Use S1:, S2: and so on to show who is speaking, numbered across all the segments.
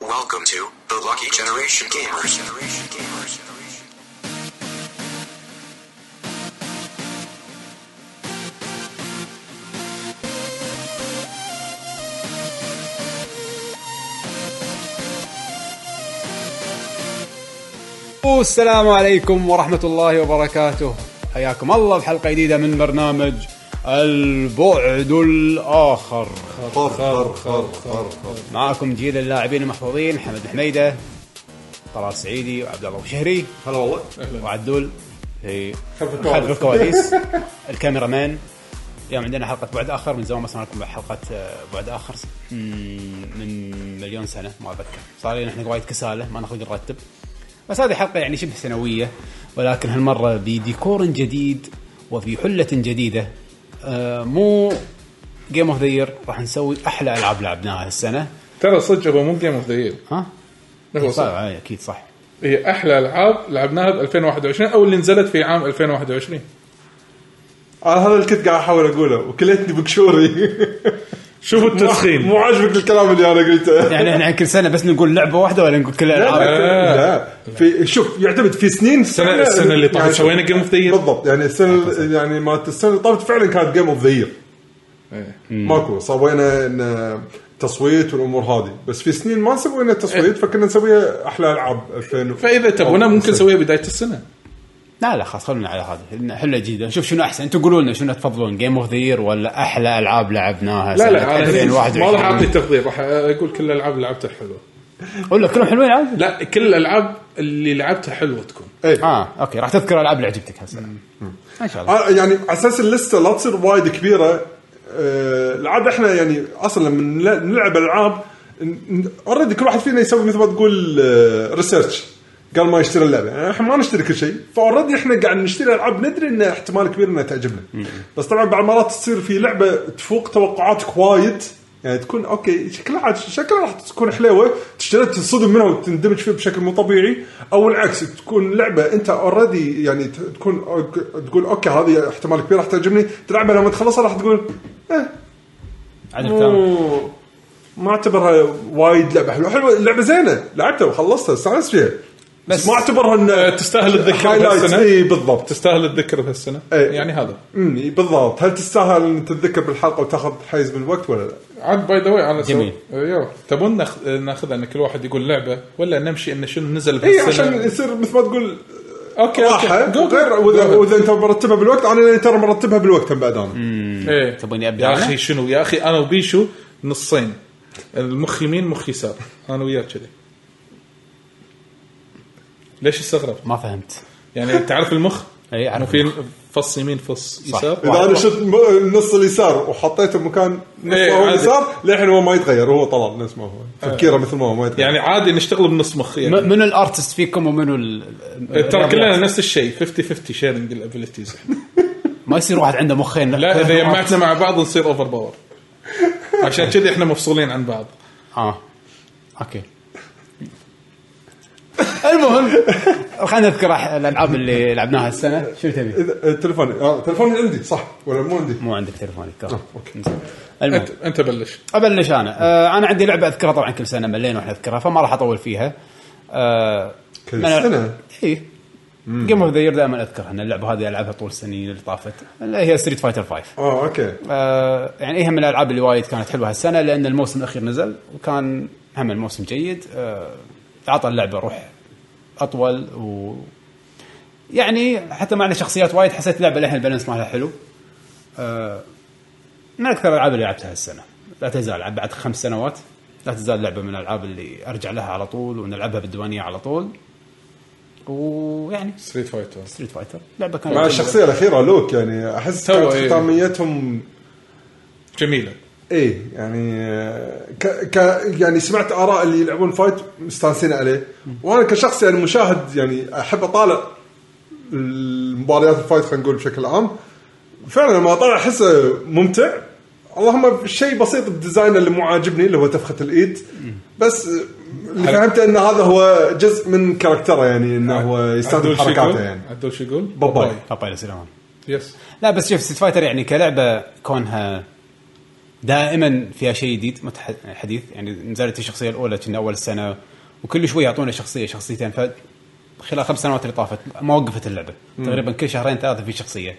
S1: Welcome to the Lucky Generation Gamers.
S2: والسلام عليكم ورحمة الله وبركاته حياكم الله بحلقة جديدة من برنامج البعد الآخر
S3: خر خر خر
S2: معاكم جيل اللاعبين المحفوظين حمد الحميدة طلال سعيدي وعبد الله الشهري
S3: هلا والله
S2: وعدول في خلف الكواليس الكاميرا مان اليوم عندنا حلقة بعد آخر من زمان ما سمعنا لكم حلقة آه، بعد آخر مم، من مليون سنة ما أتذكر صار لنا احنا وايد كسالة ما نخلق نرتب بس هذه حلقة يعني شبه سنوية ولكن هالمرة بديكور جديد وفي حلة جديدة آه، مو جيم اوف ذا يير راح نسوي احلى العاب لعبناها هالسنه
S4: ترى صدق هو مو جيم اوف ذا يير
S2: ها؟
S4: هو
S3: إيه،
S2: صح،
S4: صدق
S2: آه، اكيد صح
S4: هي احلى العاب لعبناها ب 2021 او اللي نزلت في عام 2021
S3: انا آه، هذا الكت قاعد احاول اقوله وكلتني بقشوري
S4: شوف التسخين
S3: مو عاجبك الكلام اللي انا قلته
S2: يعني احنا كل سنه بس نقول لعبه واحده ولا نقول كل الالعاب
S3: لا لا. في شوف يعتمد في سنين
S4: السنه السنه اللي طافت
S3: يعني-
S4: سوينا جيم اوف ذا يير
S3: بالضبط يعني
S4: آه،
S3: السنه يعني مالت السنه اللي طافت فعلا كانت جيم اوف ذا يير
S4: إيه.
S3: ماكو سوينا إن تصويت والامور هذه بس في سنين ما سوينا تصويت فكنا نسويها احلى العاب 2000
S4: فاذا إيه. تبونا ممكن نسويها بدايه السنه
S2: لا لا خلاص خلونا على هذا حله جديده نشوف شنو احسن انتم قولوا لنا شنو تفضلون جيم اوف ذا يير ولا احلى العاب لعبناها
S4: لا
S2: سنة
S4: لا أنا
S2: 2021
S4: ما راح اعطي تفضيل راح اقول كل الالعاب اللي لعبتها حلوه
S2: ولا كلهم حلوين عادي
S4: لا كل الالعاب اللي لعبتها حلوه تكون
S3: اي
S2: اه اوكي راح تذكر الالعاب اللي عجبتك هسه ان شاء الله
S3: آه، يعني على اساس اللسته لا تصير وايد كبيره آه، العاب احنا يعني اصلا لما نل- نلعب العاب اوريدي كل واحد فينا يسوي مثل ما تقول ريسيرش قبل ما يشتري اللعبه يعني احنا ما نشتري كل شيء فاوريدي احنا قاعد نشتري العاب ندري ان احتمال كبير انها تعجبنا بس طبعا بعض المرات تصير في لعبه تفوق توقعاتك وايد يعني تكون اوكي شكلها عاد- شكلها راح تكون حلوه تشتري تنصدم منها وتندمج فيها بشكل مو طبيعي او العكس تكون لعبه انت اوريدي يعني ت- تكون أوك- تقول اوكي هذه احتمال كبير راح تعجبني تلعبها لما تخلصها راح تقول اه
S2: عجب كلامك
S3: مو ما اعتبرها وايد لعبه حلوه حلوه اللعبه زينه لعبتها وخلصتها استانست فيها بس,
S2: بس-
S3: ما اعتبرها ان
S4: تستاهل تذكرها
S3: هايلايت
S4: بهالسنه
S3: اي بالضبط
S4: تستاهل تذكرها بهالسنه
S3: إيه.
S4: يعني هذا
S3: أمم، إي بالضبط هل تستاهل ان تتذكر بالحلقه وتاخذ حيز بالوقت ولا لا؟
S4: عاد باي ذا واي انا سو-
S2: جميل.
S4: إيه، يلا تبون ناخ- ناخذ ان كل واحد يقول لعبه ولا نمشي ان شنو نزل
S3: اي
S4: بهالسنه
S3: إيه، عشان يصير مثل ما تقول
S4: اوكي
S3: راحه
S4: اوكي
S3: إيه؟ غير واذا واذا انت مرتبها بالوقت انا لأني ترى مرتبها بالوقت هم بعد انا
S4: ايه
S2: تبوني إيه. أبدأ
S4: يا
S2: أنا؟
S4: اخي شنو يا اخي انا وبيشو نصين المخ يمين مخ يسار انا وياه كذي ليش استغرب؟
S2: ما فهمت إيه،
S4: يعني تعرف المخ؟
S2: اي اعرف
S4: في فص يمين فص
S2: صح.
S4: يسار
S3: اذا انا شفت م- النص اليسار وحطيته بمكان نص
S4: إيه،
S3: هو
S4: عادي. آه.
S3: اليسار للحين هو ما يتغير هو طلال نفس ما هو تفكيره مثل ما هو ما يتغير
S4: يعني عادي نشتغل بنص مخ يعني إيه،
S2: م- منو الارتست فيكم ومنو ال-
S4: ترى كلنا
S2: الرياضيات؟
S4: نفس الشيء 50 50 شيرنج الابيلتيز
S2: ما يصير واحد عنده مخين
S4: لا اذا جمعتنا مع بعض نصير اوفر باور عشان كذي احنا مفصولين عن بعض
S2: اه اوكي المهم خلينا نذكر أح- الالعاب اللي لعبناها السنه شنو تبي؟
S3: اذا آه، تلفوني آه، تلفوني عندي صح ولا مو عندي؟
S2: مو عندك تليفونك
S4: آه،
S3: أوكي.
S2: المهم
S4: انت انت بلش
S2: ابلش انا آه انا عندي لعبه اذكرها طبعا كل سنه ملينا واحنا نذكرها فما راح اطول فيها آه
S3: كل
S2: من- إيه.
S3: سنة؟
S2: اي جيم اوف ذا يير دائما اذكرها ان اللعبه هذه العبها طول السنين اللي طافت اللي هي ستريت فايتر 5
S3: اه اوكي
S2: آه يعني هي من الالعاب اللي وايد كانت حلوه هالسنه لان الموسم الاخير نزل وكان هم الموسم جيد آه اعطى اللعبه روح اطول و يعني حتى معنا شخصيات وايد حسيت اللعبه للحين البالانس مالها حلو آه من اكثر الالعاب اللي لعبتها هالسنه لا تزال بعد خمس سنوات لا تزال لعبه من الالعاب اللي ارجع لها على طول ونلعبها بالديوانيه على طول ويعني
S4: ستريت فايتر
S2: ستريت فايتر لعبه كانت
S3: مع
S2: حلوة.
S3: الشخصيه الاخيره لوك يعني احس
S4: تو،
S3: كانت
S4: إيه.
S3: ختاميتهم
S4: جميله
S3: ايه يعني آه، ك ك يعني سمعت اراء اللي يلعبون فايت مستانسين عليه وانا كشخص يعني مشاهد يعني احب اطالع المباريات الفايت خلينا نقول بشكل عام فعلا لما اطالع احسه ممتع اللهم شيء بسيط بالديزاين اللي مو عاجبني اللي هو تفخه الايد بس آه، اللي فهمته ان هذا هو جزء من كاركتره يعني انه هو يستخدم
S4: عدول شو يقول؟
S3: حركاته يعني
S4: عدول شو يقول؟
S3: باباي.
S2: طيب،
S4: باباي.
S2: بابا يا سلام
S4: يس
S2: لا بس شوف ستيت فايتر يعني كلعبه كونها دائما فيها شيء جديد متح- حديث يعني نزلت الشخصيه الاولى كنا اول السنه وكل شوي يعطونا شخصيه شخصيتين ف خلال خمس سنوات اللي طافت ما وقفت اللعبه تقريبا كل شهرين ثلاثه في شخصيه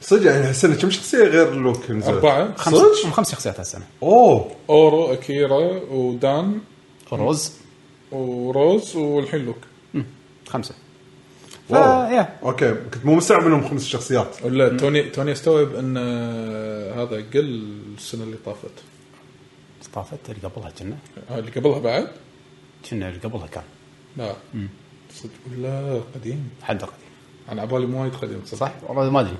S3: صدق يعني هالسنه كم شخصيه غير لوك نزلت؟
S4: أربعة.
S2: خمس
S3: صدق؟
S2: خمس شخصيات هالسنه
S3: اوه
S4: اورو اكيرا ودان
S2: روز
S4: وروز والحين لوك
S2: خمسه ف...
S3: واو.
S2: يا
S3: اوكي كنت مو مستوعب منهم خمس شخصيات
S4: ولا توني توني استوعب ان آه، هذا قل السنه اللي طافت
S2: طافت اللي قبلها كنا
S4: آه، اللي قبلها بعد
S2: كنا اللي قبلها كان
S4: لا صدق ولا قديم
S2: حد قديم
S4: انا عبالي مو وايد قديم صدق
S2: صح؟ والله ما ادري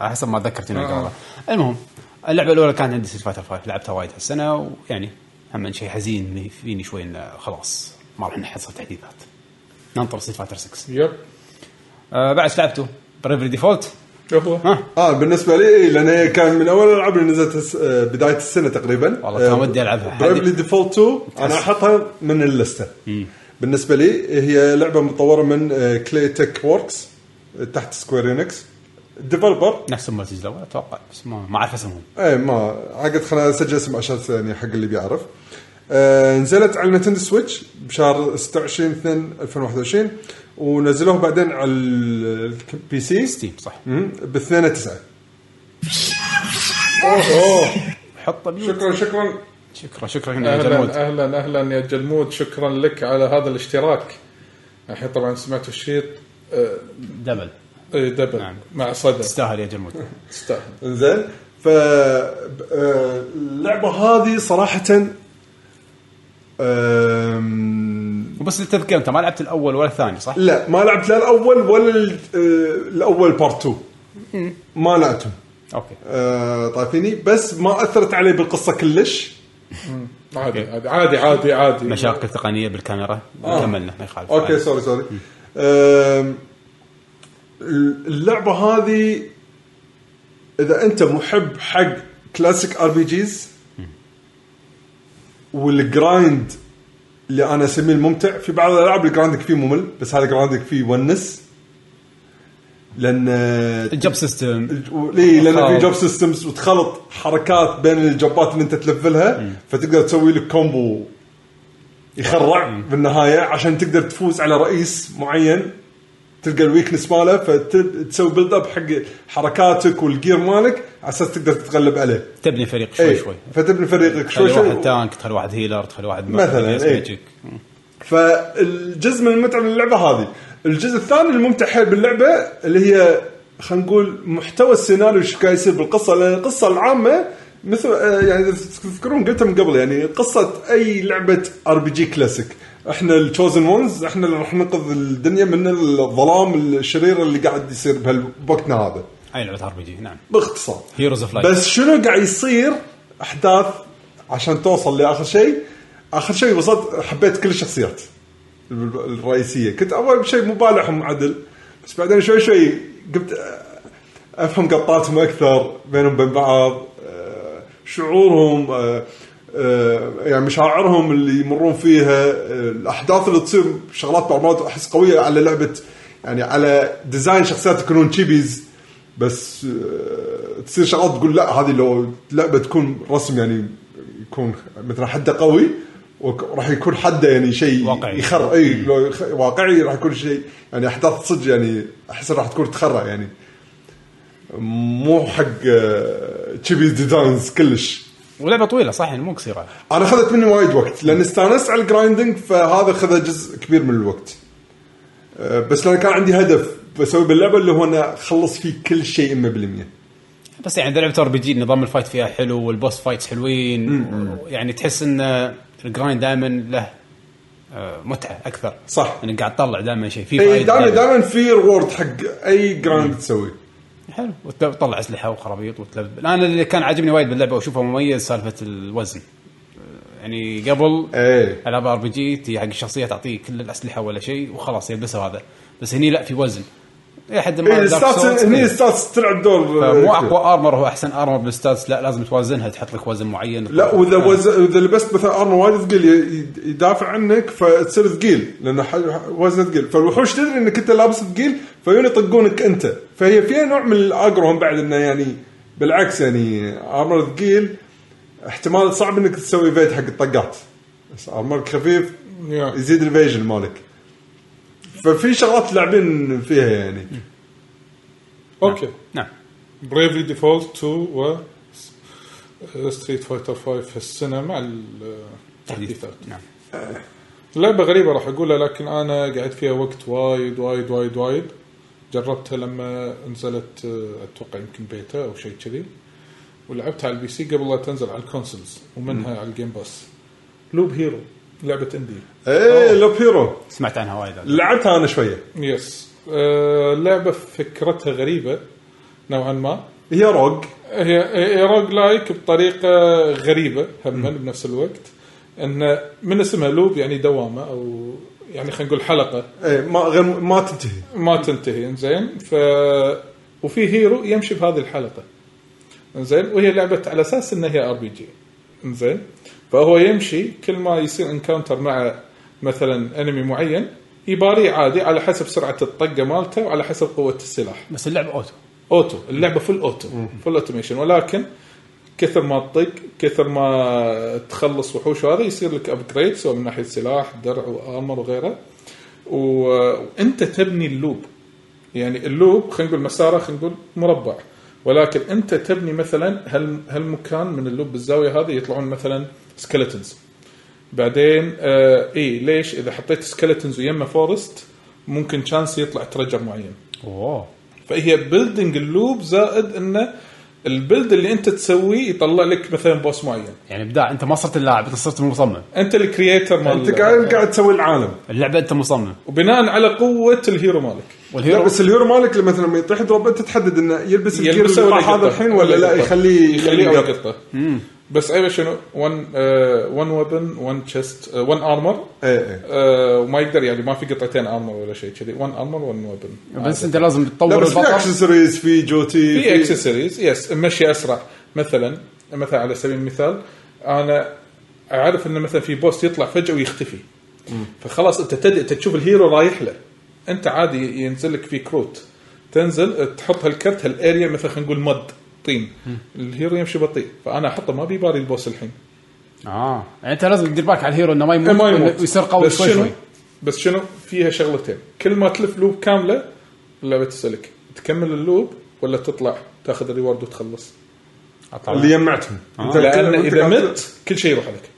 S2: على حسب ما تذكرت انه
S4: آه.
S2: قبلها المهم اللعبه الاولى كانت عندي ستريت فايتر 5 لعبتها وايد هالسنه ويعني هم شيء حزين لي- فيني شوي انه خلاص ما راح نحصل تحديثات ننطر ستريت فايتر 6
S4: يب
S2: آه بعد إيش لعبته بريفري ديفولت
S4: هو
S2: ها
S3: اه بالنسبه لي إيه لان هي كان من اول الالعاب اللي نزلت الس- آه، بدايه السنه تقريبا
S2: والله كان ودي ألعبها.
S3: برايفلي
S2: حد-
S3: ديفولت 2 انا احطها من اللسته بالنسبه لي هي لعبه مطوره من آه، كلي تك ووركس تحت سكوير انكس الديفلوبر
S2: نفس المرتج الاول اتوقع بس ما ما اعرف اسمهم
S3: اي إيه، ما عقد خلنا اسجل اسم عشان يعني حق اللي بيعرف آه نزلت على النتندو سويتش بشهر 26 2 2021 ونزلوه بعدين على البي سي
S2: ستيم صح
S3: ب 2 9
S2: حطه بيوت
S3: شكرا شكرا
S2: شكرا شكرا يا جمود
S4: اهلا اهلا اهلا يا جلمود شكرا لك على هذا الاشتراك الحين طبعا سمعت الشيط آه،
S2: دبل
S4: آه، دبل
S2: نعم.
S4: مع صدى
S2: تستاهل يا جمود
S4: تستاهل
S3: انزين ف آه، اللعبه هذه صراحه آم،
S2: وبس للتذكير انت ما لعبت الاول ولا الثاني صح؟
S3: لا ما لعبت لا الاول ولا ال- آه، الاول بارت 2 ما لعبتهم
S2: اوكي
S3: آه، طايفيني بس ما اثرت علي بالقصه كلش
S4: عادي عادي عادي عادي عادي
S2: مشاكل تقنيه بالكاميرا كملنا ما يخالف
S3: اوكي سوري سوري آم، اللعبه هذه اذا انت محب حق كلاسيك ار بي جيز والجرايند اللي انا اسميه الممتع في بعض الالعاب الجرايندك فيه ممل بس هذا جرايندك فيه ونس لان
S2: الجب سيستم
S3: ليه لان إيه، في
S2: تخالط.
S3: جوب سيستمز وتخلط حركات بين الجوبات اللي انت تلفلها فتقدر تسوي لك كومبو يخرع بالنهايه عشان تقدر تفوز على رئيس معين تلقى الويكنس ماله فتسوي بيلد اب حق حركاتك والجير مالك على اساس تقدر تتغلب عليه
S2: تبني فريق شوي
S3: اي
S2: شوي يعني
S3: فتبني فريقك شوي
S2: تخلي
S3: إيه. شوي
S2: واحد تانك تخلي واحد هيلر تخلي واحد
S3: مثلاً،
S2: بيس
S3: إيه.
S2: ميجيك.
S3: فالجزء من المتعه من اللعبه هذه الجزء الثاني الممتع حيل باللعبه اللي هي خلينا نقول محتوى السيناريو ايش قاعد يصير بالقصه لان القصه العامه مثل آه، يعني إذا تذكرون قلتها من قبل يعني قصه اي لعبه ار بي جي كلاسيك احنا التشوزن ونز احنا اللي راح ننقذ الدنيا من الظلام الشرير اللي قاعد يصير بهالوقتنا هذا
S2: اي لعبه ار بي جي نعم
S3: باختصار
S2: هيروز اوف لايت
S3: بس شنو قاعد يصير احداث عشان توصل لاخر شيء اخر شيء وصلت حبيت كل الشخصيات الرئيسيه كنت اول شيء مبالعهم عدل بس بعدين شوي شوي قمت افهم قطاتهم اكثر بينهم بين بعض آه، شعورهم آه، آه، يعني مشاعرهم اللي يمرون فيها آه، الاحداث اللي تصير شغلات بعض المرات احس قويه على لعبه يعني على ديزاين شخصيات يكونون تشيبيز بس آه، تصير شغلات تقول لا هذه لو لعبه تكون رسم يعني يكون مثلا حده قوي وك- راح يكون حده يعني شيء
S2: واقعي.
S3: يخر اي لو يخ- واقعي راح يكون شيء يعني احداث صدق يعني احس راح تكون تخرع يعني مو حق آه، تشيبي ديزاينز كلش
S2: ولعبه طويله صح يعني مو قصيره
S3: انا اخذت مني وايد وقت لان استانست على الجرايندنج فهذا خذ جزء كبير من الوقت آه، بس لان كان عندي هدف بسوي باللعبه اللي هو انا اخلص فيه كل شيء 100%
S2: بس يعني إذا لعبه ار بي جي نظام الفايت فيها حلو والبوس فايتس حلوين يعني تحس ان الجرايند دائما له آه، متعه اكثر
S3: صح.
S2: انك قاعد تطلع دائما شيء في
S3: اي
S2: فايد
S3: دائما
S2: دايماً.
S3: دائما في ريورد حق اي جرايند تسوي
S2: حلو وتطلع اسلحه وخرابيط وتلب انا اللي كان عاجبني وايد باللعبه واشوفها مميز سالفه الوزن آه، يعني قبل
S3: ايه
S2: العاب ار بي جي تي حق الشخصيه تعطيه كل الاسلحه ولا شيء وخلاص يلبسها هذا بس هني لا في وزن الى حد ما
S3: إيه،
S2: Dark
S3: الستاتس
S2: Souls
S3: هني
S2: إيه.
S3: الستاتس تلعب دور آه،
S2: مو
S3: كبير.
S2: اقوى ارمر هو احسن ارمر بالستاتس لا لازم توازنها تحط لك وزن معين نعم.
S3: لا واذا
S2: آه.
S3: وز... اذا لبست مثلا ارمر وايد ثقيل ي- ي- يدافع عنك فتصير ثقيل لان ح... وزنه ثقيل فالوحوش تدري انك انت لابس ثقيل فيون يطقونك انت فهي فيها نوع من الاجرو هم بعد انه يعني بالعكس يعني ارمر ثقيل احتمال صعب انك تسوي فيد حق الطقات بس ارمرك خفيف
S4: يا.
S3: يزيد الفيجن مالك ففي شغلات لاعبين فيها يعني
S4: اوكي
S2: نعم
S4: بريفلي ديفولت 2 و uh, ستريت فايتر 5 في uh, السنه مع التحديثات
S2: نعم
S4: لعبه غريبه راح اقولها لكن انا قعدت فيها وقت وايد وايد وايد وايد جربتها لما نزلت آه، اتوقع يمكن بيتا او شيء كذي ولعبتها على البي سي قبل لا تنزل على الكونسولز ومنها على الجيم باس لوب هيرو لعبه اندي
S3: ايه لوب هيرو
S2: سمعت عنها وايد
S3: لعبتها انا شويه
S4: يس آه، لعبه فكرتها غريبه نوعا ما
S3: هي روج
S4: هي هي روج لايك بطريقه غريبه هم بنفس الوقت ان من اسمها لوب يعني دوامه او يعني خلينا نقول حلقه
S3: ايه ما غير ما تنتهي
S4: ما تنتهي انزين ف وفي هيرو يمشي بهذه الحلقه انزين وهي لعبه على اساس انها هي ار بي جي انزين فهو يمشي كل ما يصير انكاونتر مع مثلا انمي معين يباريه عادي على حسب سرعه الطقه مالته وعلى حسب قوه السلاح
S2: بس اللعبه اوتو
S4: اوتو اللعبه فل اوتو فل اوتوميشن ولكن كثر ما تطق كثر ما تخلص وحوش وهذا يصير لك ابجريد سواء من ناحيه سلاح درع وارمر وغيره و- وانت تبني اللوب يعني اللوب خلينا نقول مساره خلينا نقول مربع ولكن انت تبني مثلا هال هالمكان من اللوب بالزاويه هذه يطلعون مثلا سكلتنز بعدين آه اي ليش اذا حطيت سكلتنز ويمه فورست ممكن شانس يطلع ترجر معين
S2: اوه
S4: فهي بيلدينج اللوب زائد انه البلد اللي انت تسويه يطلع لك مثلا بوس معين
S2: يعني ابداع انت ما صرت اللاعب انت صرت المصمم
S4: انت الكرييتر مال
S3: انت قاعد قاعد تسوي العالم
S2: اللعبه انت مصمم
S4: وبناء على قوه الهيرو مالك
S3: لا
S2: والهيرو
S3: بس الهيرو مالك لما مثلا لما يطيح دروب انت تحدد انه يلبس الكير
S4: يلبسه
S3: اللي
S4: ولا
S3: راح هذا
S4: يقطع.
S3: الحين ولا لا
S4: يقطع.
S3: يخليه
S4: يخليه ولا
S3: يقطع.
S4: يقطع بس عيبه شنو uh, 1 1 ويبن 1 تشست 1 ارمر
S3: ايه ايه
S4: وما يقدر يعني ما في قطعتين ارمر ولا شيء كذي 1 ارمر 1 ويبن
S2: بس انت لازم
S3: لا
S2: تطور
S3: بس في
S2: البطل
S3: اكسسوارز في جوتي
S4: في اكسسوارز يس مشي اسرع مثلا مثلا على سبيل المثال انا اعرف انه مثلا في بوست يطلع فجاه ويختفي فخلاص انت تدري انت تشوف الهيرو رايح له انت عادي ينزل لك في كروت تنزل تحط هالكرت هالاريا مثلا خلينا نقول مد طين الهيرو يمشي بطيء فانا احطه ما بيباري البوس الحين
S2: اه
S4: إيه،
S3: آه،
S2: يعني انت لازم تدير بالك على الهيرو انه ما يموت,
S4: ما يموت.
S2: وإنه يصير قوي
S4: بس
S2: شوي
S4: شنو
S2: شوي
S4: بس شنو فيها شغلتين كل ما تلف لوب كامله اللعبه تسالك تكمل اللوب ولا تطلع تاخذ الريورد وتخلص
S2: أطلع.
S3: اللي جمعتهم انت
S4: لان
S3: انت
S4: اذا
S3: قاعد-
S4: مت كل شيء يروح لك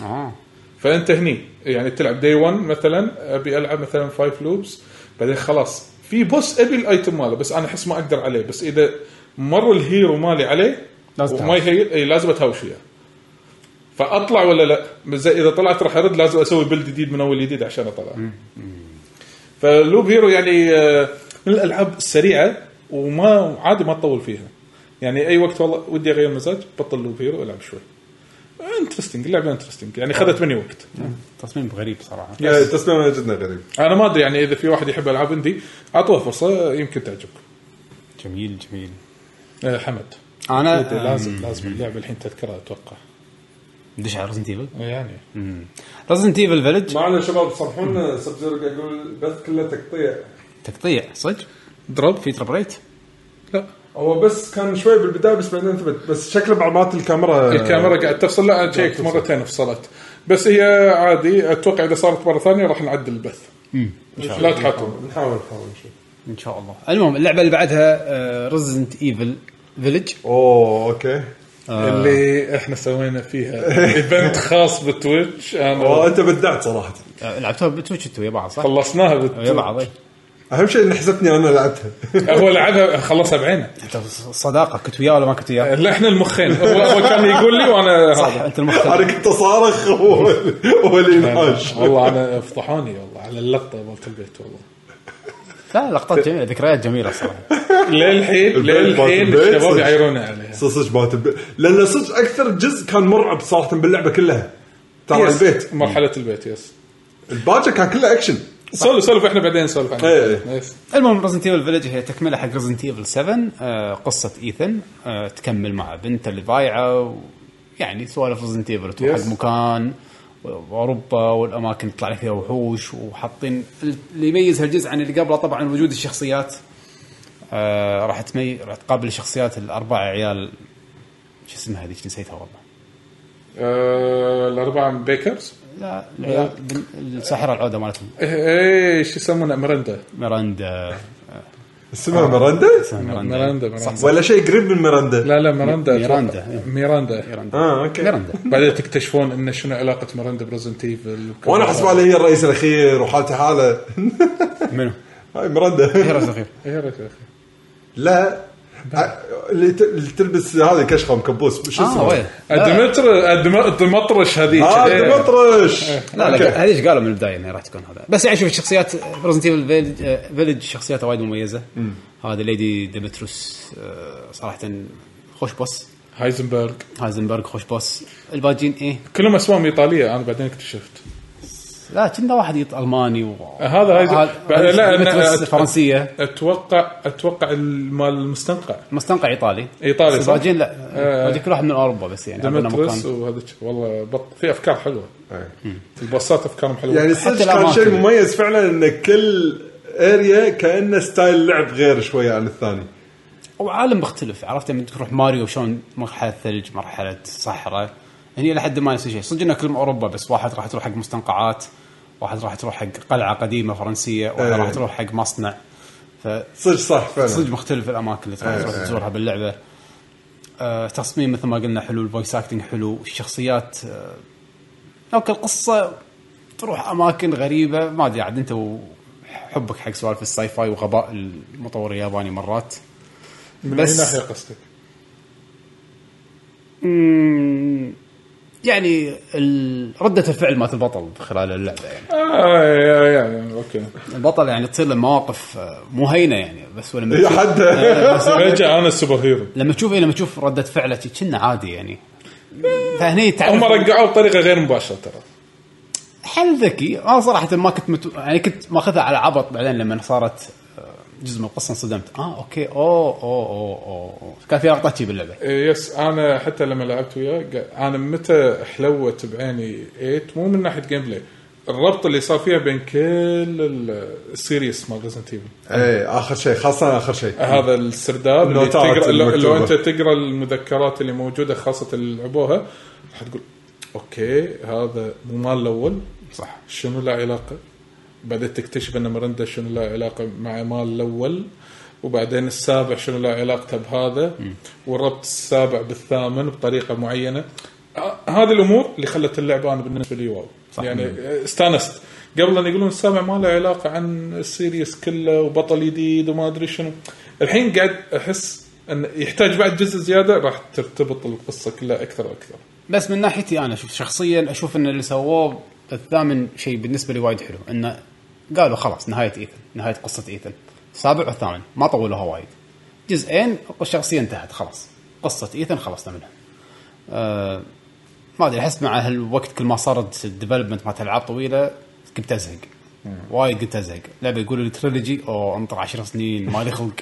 S2: اه
S4: فانت هني يعني تلعب دي 1 مثلا ابي العب مثلا 5 لوبس بعدين خلاص في بوس ابي الايتم ماله بس انا احس ما اقدر عليه بس اذا مر الهيرو مالي عليه
S2: لازم
S4: وما يهيل اي لازم اتهاوش وياه فاطلع ولا لا بس اذا طلعت راح ارد لازم اسوي بلد جديد من اول جديد عشان اطلع فلوب هيرو يعني آه، من الالعاب السريعه وما عادي ما تطول فيها يعني اي وقت والله ودي اغير مزاج بطل لوب هيرو العب شوي انترستنج اللعبه انترستنج يعني خذت مني وقت
S2: تصميم غريب صراحه
S3: ايه، تصميمها جدا غريب
S4: انا ما ادري يعني اذا في واحد يحب العاب اندي اعطوها فرصه يمكن تعجبكم
S2: جميل جميل
S4: آه، حمد
S3: إيه،
S2: انا
S4: ودي لازم لازم اللعبه الحين تذكرها اتوقع
S2: ندش على رزنت ايفل
S4: يعني
S2: رزنت ايفل فيلج
S3: معنا شباب صفحونا سب زيرو قاعد يقول البث كله تقطيع
S2: تقطيع صدق
S4: دروب
S2: في تربريت
S4: لا
S3: هو بس كان شوي بالبدايه بس بعدين ثبت بس شكله بعد مات الكاميرا
S4: الكاميرا قاعد إيه، تفصل لا انا شيكت مرتين فصلت بس هي عادي اتوقع اذا صارت مره ثانيه راح نعدل البث لا تحاتم
S3: نحاول نحاول نشوف
S2: ان شاء الله المهم اللعبه اللي بعدها آه، رزنت ايفل فيلج
S3: اوه اوكي
S4: اللي احنا سوينا فيها ايفنت خاص بتويتش
S3: والله
S4: انا
S3: انت بدعت صراحه
S2: لعبتوها آه، بتويتش انتوا ويا بعض صح؟
S4: خلصناها
S2: ويا بعض
S4: بتويتش
S2: إيه.
S3: اهم شيء ان حسبتني انا لعبتها
S4: هو لعبها خلصها بعينه
S2: انت صداقه كنت وياه ولا ما كنت وياه؟
S4: لا احنا المخين هو, هو كان يقول لي وانا
S2: صح
S4: هذا
S2: انت المختار
S3: انا كنت اصارخ هو- هو اللي ينحاش
S4: والله انا فضحوني والله على اللقطه مالت البيت والله
S2: لا لقطات جميله ذكريات جميله صراحه
S4: للحين
S3: البيت مالت
S4: للحين
S3: البيت
S4: الشباب
S3: صدق.
S4: يعيرونه عليها
S3: صدق ما تب... لان صدق اكثر جزء كان مرعب صراحه باللعبه كلها ترى
S4: يس،
S3: البيت
S4: مرحله البيت يس
S3: الباجا كان كله اكشن
S4: سولف سولف احنا بعدين نسولف عنها
S3: إيه.
S4: يس.
S2: المهم رزنت ايفل فيلج هي تكمله حق رزنت ايفل 7 آه، قصه ايثن آه، تكمل مع بنته اللي ضايعه و- يعني سوالف رزنت ايفل تروح
S4: Yes.
S2: حق مكان و- واوروبا والاماكن اللي طلع فيها وحوش وحاطين اللي يميز هالجزء عن اللي قبله طبعا وجود الشخصيات آه، راح تمي راح تقابل الشخصيات الاربعه عيال شو اسمها هذيك نسيتها والله
S4: آه، الاربعه من بيكرز
S2: لا العيال- بن- الساحره العوده مالتهم
S4: ايه إيه، شو يسمونها مرندا
S2: ميراندا
S3: اسمها مرندا؟
S2: اسمها
S4: ميراندا،
S2: ميراندا
S4: ميراندا.
S2: صح صح
S3: ولا شيء قريب من مرندا؟
S4: لا لا مرندا
S2: ميراندا،
S4: أتوقع.
S2: إيه.
S4: ميراندا
S2: ميراندا
S3: اه اوكي
S2: ميراندا
S4: بعدين تكتشفون ان شنو علاقه مرندا بريزنت ايفل
S3: وانا احسب علي هي الرئيس الاخير وحالته حاله
S2: منو؟ آه،
S3: هاي مرندا
S2: هيرا صغير
S4: إيه، يا أخي.
S3: لا أ- اللي ت- اللي تلبس هذه كشخه مكبوس شو
S2: اه وين؟
S3: اسمه؟
S4: آه.
S2: لا
S4: الدمتر الدم- الدمطرش هذيك
S3: اه
S4: إيه.
S3: دمطرش
S2: آه، لا,
S3: أوكي.
S2: لا هذيك قالوا من البدايه انها راح تكون هذا بس يعني شوف الشخصيات بريزنت ايفل فيلج شخصياتها آه، وايد مميزه هذا ليدي ديمتروس آه، صراحه خوش بوس
S4: هايزنبرغ
S2: هايزنبرغ خوش بوس الباجين ايه
S4: كلهم اسمائهم ايطاليه انا بعدين اكتشفت
S2: لا كنا واحد يط الماني و...
S4: هذا هايز- بعد- لا، أنا-
S2: ديمتروس
S4: أت-
S2: فرنسيه
S4: اتوقع اتوقع مال المستنقع
S2: مستنقع ايطالي
S4: إيطالي،
S2: بس
S4: صح؟
S2: الباجين لا
S4: آه.
S2: هذيك كل واحد من اوروبا بس يعني عندنا
S4: دمترس
S2: مكان
S4: وهذا الشيء. والله بط... في افكار حلوه
S3: إيه.
S4: الباصات افكارهم حلوه
S3: يعني
S2: حتى
S3: صدق
S2: الأماكن.
S3: كان شيء مميز فعلا ان كل اريا كانه ستايل لعب غير شويه عن الثاني
S2: وعالم مختلف عرفت لما تروح ماريو شلون مرحله ثلج مرحله صحراء هني لحد ما نفس الشيء صدق انها كلهم اوروبا بس واحد راح تروح حق مستنقعات واحد راح تروح حق قلعه قديمه فرنسيه واحد
S3: إيه.
S2: راح تروح حق مصنع فصدق
S3: صدق صح فعلا
S2: مختلف الاماكن اللي تروح-
S3: إيه.
S2: تروح تزورها باللعبه آه، تصميم مثل ما قلنا حلو الفويس اكتنج حلو الشخصيات آه، اوكي القصه تروح اماكن غريبه ما ادري عاد انت وحبك حق سوالف الساي فاي وغباء المطور الياباني مرات
S4: من
S2: بس-
S4: اي ناحيه قصدك؟
S2: مم، يعني ال- ردة الفعل مالت البطل خلال اللعبة يعني
S4: آه يا يا اوكي
S2: البطل يعني تصير له مواقف آه، مو هينة يعني بس ولما
S3: يا
S2: تشوف- آه،
S3: حد
S4: إيه، آه، رجع انا السوبر هيرو
S2: لما تشوف إيه، لما تشوف ردة فعله كنا عادي يعني فهني
S4: هم
S2: تعرف
S4: رجعوه بطريقه غير مباشره ترى
S2: حل ذكي انا صراحه ما كنت مت... يعني كنت ماخذها على عبط بعدين لما صارت آه، جزء من القصه انصدمت اه اوكي اوه اوه اوه, أوه. كان في لقطات شي باللعبه
S4: إيه، يس انا حتى لما لعبت وياه قا- انا متى حلوت بعيني 8 مو من ناحيه جيم بلاي الربط اللي صار فيها بين كل ال- السيريس مال ريزنت ايفل
S3: ايه اخر شيء خاصه اخر شيء
S4: هذا السرداب اللي
S3: النوتات
S4: تقرا لو, لو
S3: المكتوبة.
S4: انت تقرا المذكرات اللي موجوده خاصه اللي لعبوها راح تقول اوكي هذا مو مال الاول
S2: صح
S4: شنو له علاقه؟ بعدين تكتشف ان مرندا شنو له علاقه مع مال الاول وبعدين السابع شنو له علاقته بهذا وربط السابع بالثامن بطريقه معينه آه، هذه الامور اللي خلت اللعبه انا بالنسبه لي واو
S2: صح.
S4: يعني آه، استانست قبل ان يقولون السابع ما له علاقه عن السيريس كله وبطل جديد وما ادري شنو الحين قاعد احس ان يحتاج بعد جزء زياده راح ترتبط القصه كلها اكثر واكثر
S2: بس من ناحيتي انا شوف شخصيا اشوف ان اللي سووه الثامن شيء بالنسبه لي وايد حلو انه قالوا خلاص نهايه ايثن نهايه قصه ايثن السابع والثامن ما طولوها وايد جزئين الشخصيه انتهت خلاص قصه ايثن خلصنا منها أه ما ادري احس مع هالوقت كل ما صارت الديفلوبمنت مالت العاب طويله كنت ازهق وايد كنت ازهق لعبه يقولوا لي تريلوجي او انطر 10 سنين ما لي خلق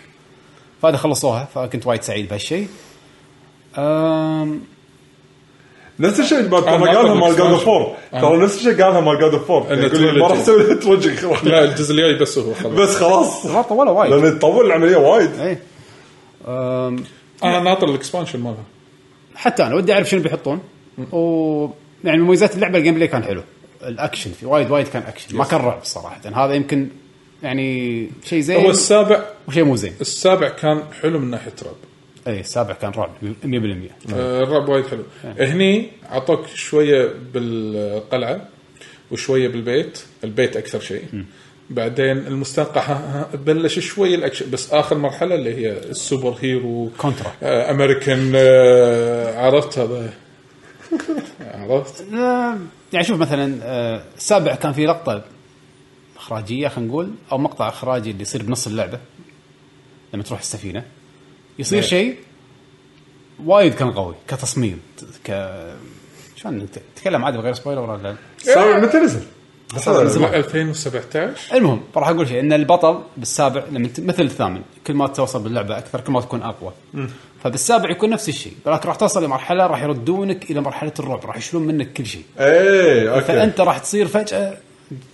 S2: فهذا خلصوها فكنت وايد سعيد بهالشيء أه، أم
S3: نفس الشيء اللي
S4: أنا ما
S3: ترى قالها مال
S4: أقول لك
S3: جاد
S4: سماش.
S3: اوف 4 ترى نفس الشيء قالها مال جاد اوف 4
S4: إنه
S3: يقول لي ما راح
S4: trilogy.
S3: اسوي تروجي
S4: لا الجزء الجاي بس هو خلاص
S3: بس خلاص
S2: ما طولوا وايد
S3: لان تطول العمليه وايد
S2: ايه أم،
S4: انا ناطر الاكسبانشن مالها
S2: حتى انا ودي اعرف شنو بيحطون و يعني مميزات اللعبه الجيم بلاي كان حلو الاكشن في وايد وايد كان اكشن ما كان رعب صراحه هذا يمكن يعني شيء
S4: هو
S2: زين
S4: السابع
S2: وشيء مو زين
S4: السابع كان حلو من ناحيه رب
S2: اي السابع كان رعب 100%
S4: آه، الرب وايد حلو هني عطوك شويه بالقلعه وشويه بالبيت البيت اكثر شيء بعدين المستنقع ها- ها- بلش شوي الاكشن بس اخر مرحله اللي هي السوبر هيرو
S2: كونترا.
S4: آه، امريكان آه، عرفت هذا عرفت
S2: آه، يعني شوف مثلا آه، السابع كان في لقطه اخراجيه خلينا نقول او مقطع اخراجي اللي يصير بنص اللعبه لما تروح السفينه يصير
S4: إيه.
S2: شيء وايد كان قوي كتصميم ك شلون نت- نتكلم عادي بغير سبويلر ولا لا؟
S3: صار متى نزل؟
S2: نزل.
S4: 2017
S2: المهم راح اقول شيء ان البطل بالسابع لما ت- مثل الثامن كل ما توصل باللعبه اكثر كل ما تكون اقوى فبالسابع يكون نفس الشيء ولكن راح توصل لمرحله راح يردونك الى مرحله الرعب راح يشيلون منك كل شيء
S3: ايه اوكي
S2: فانت راح تصير فجاه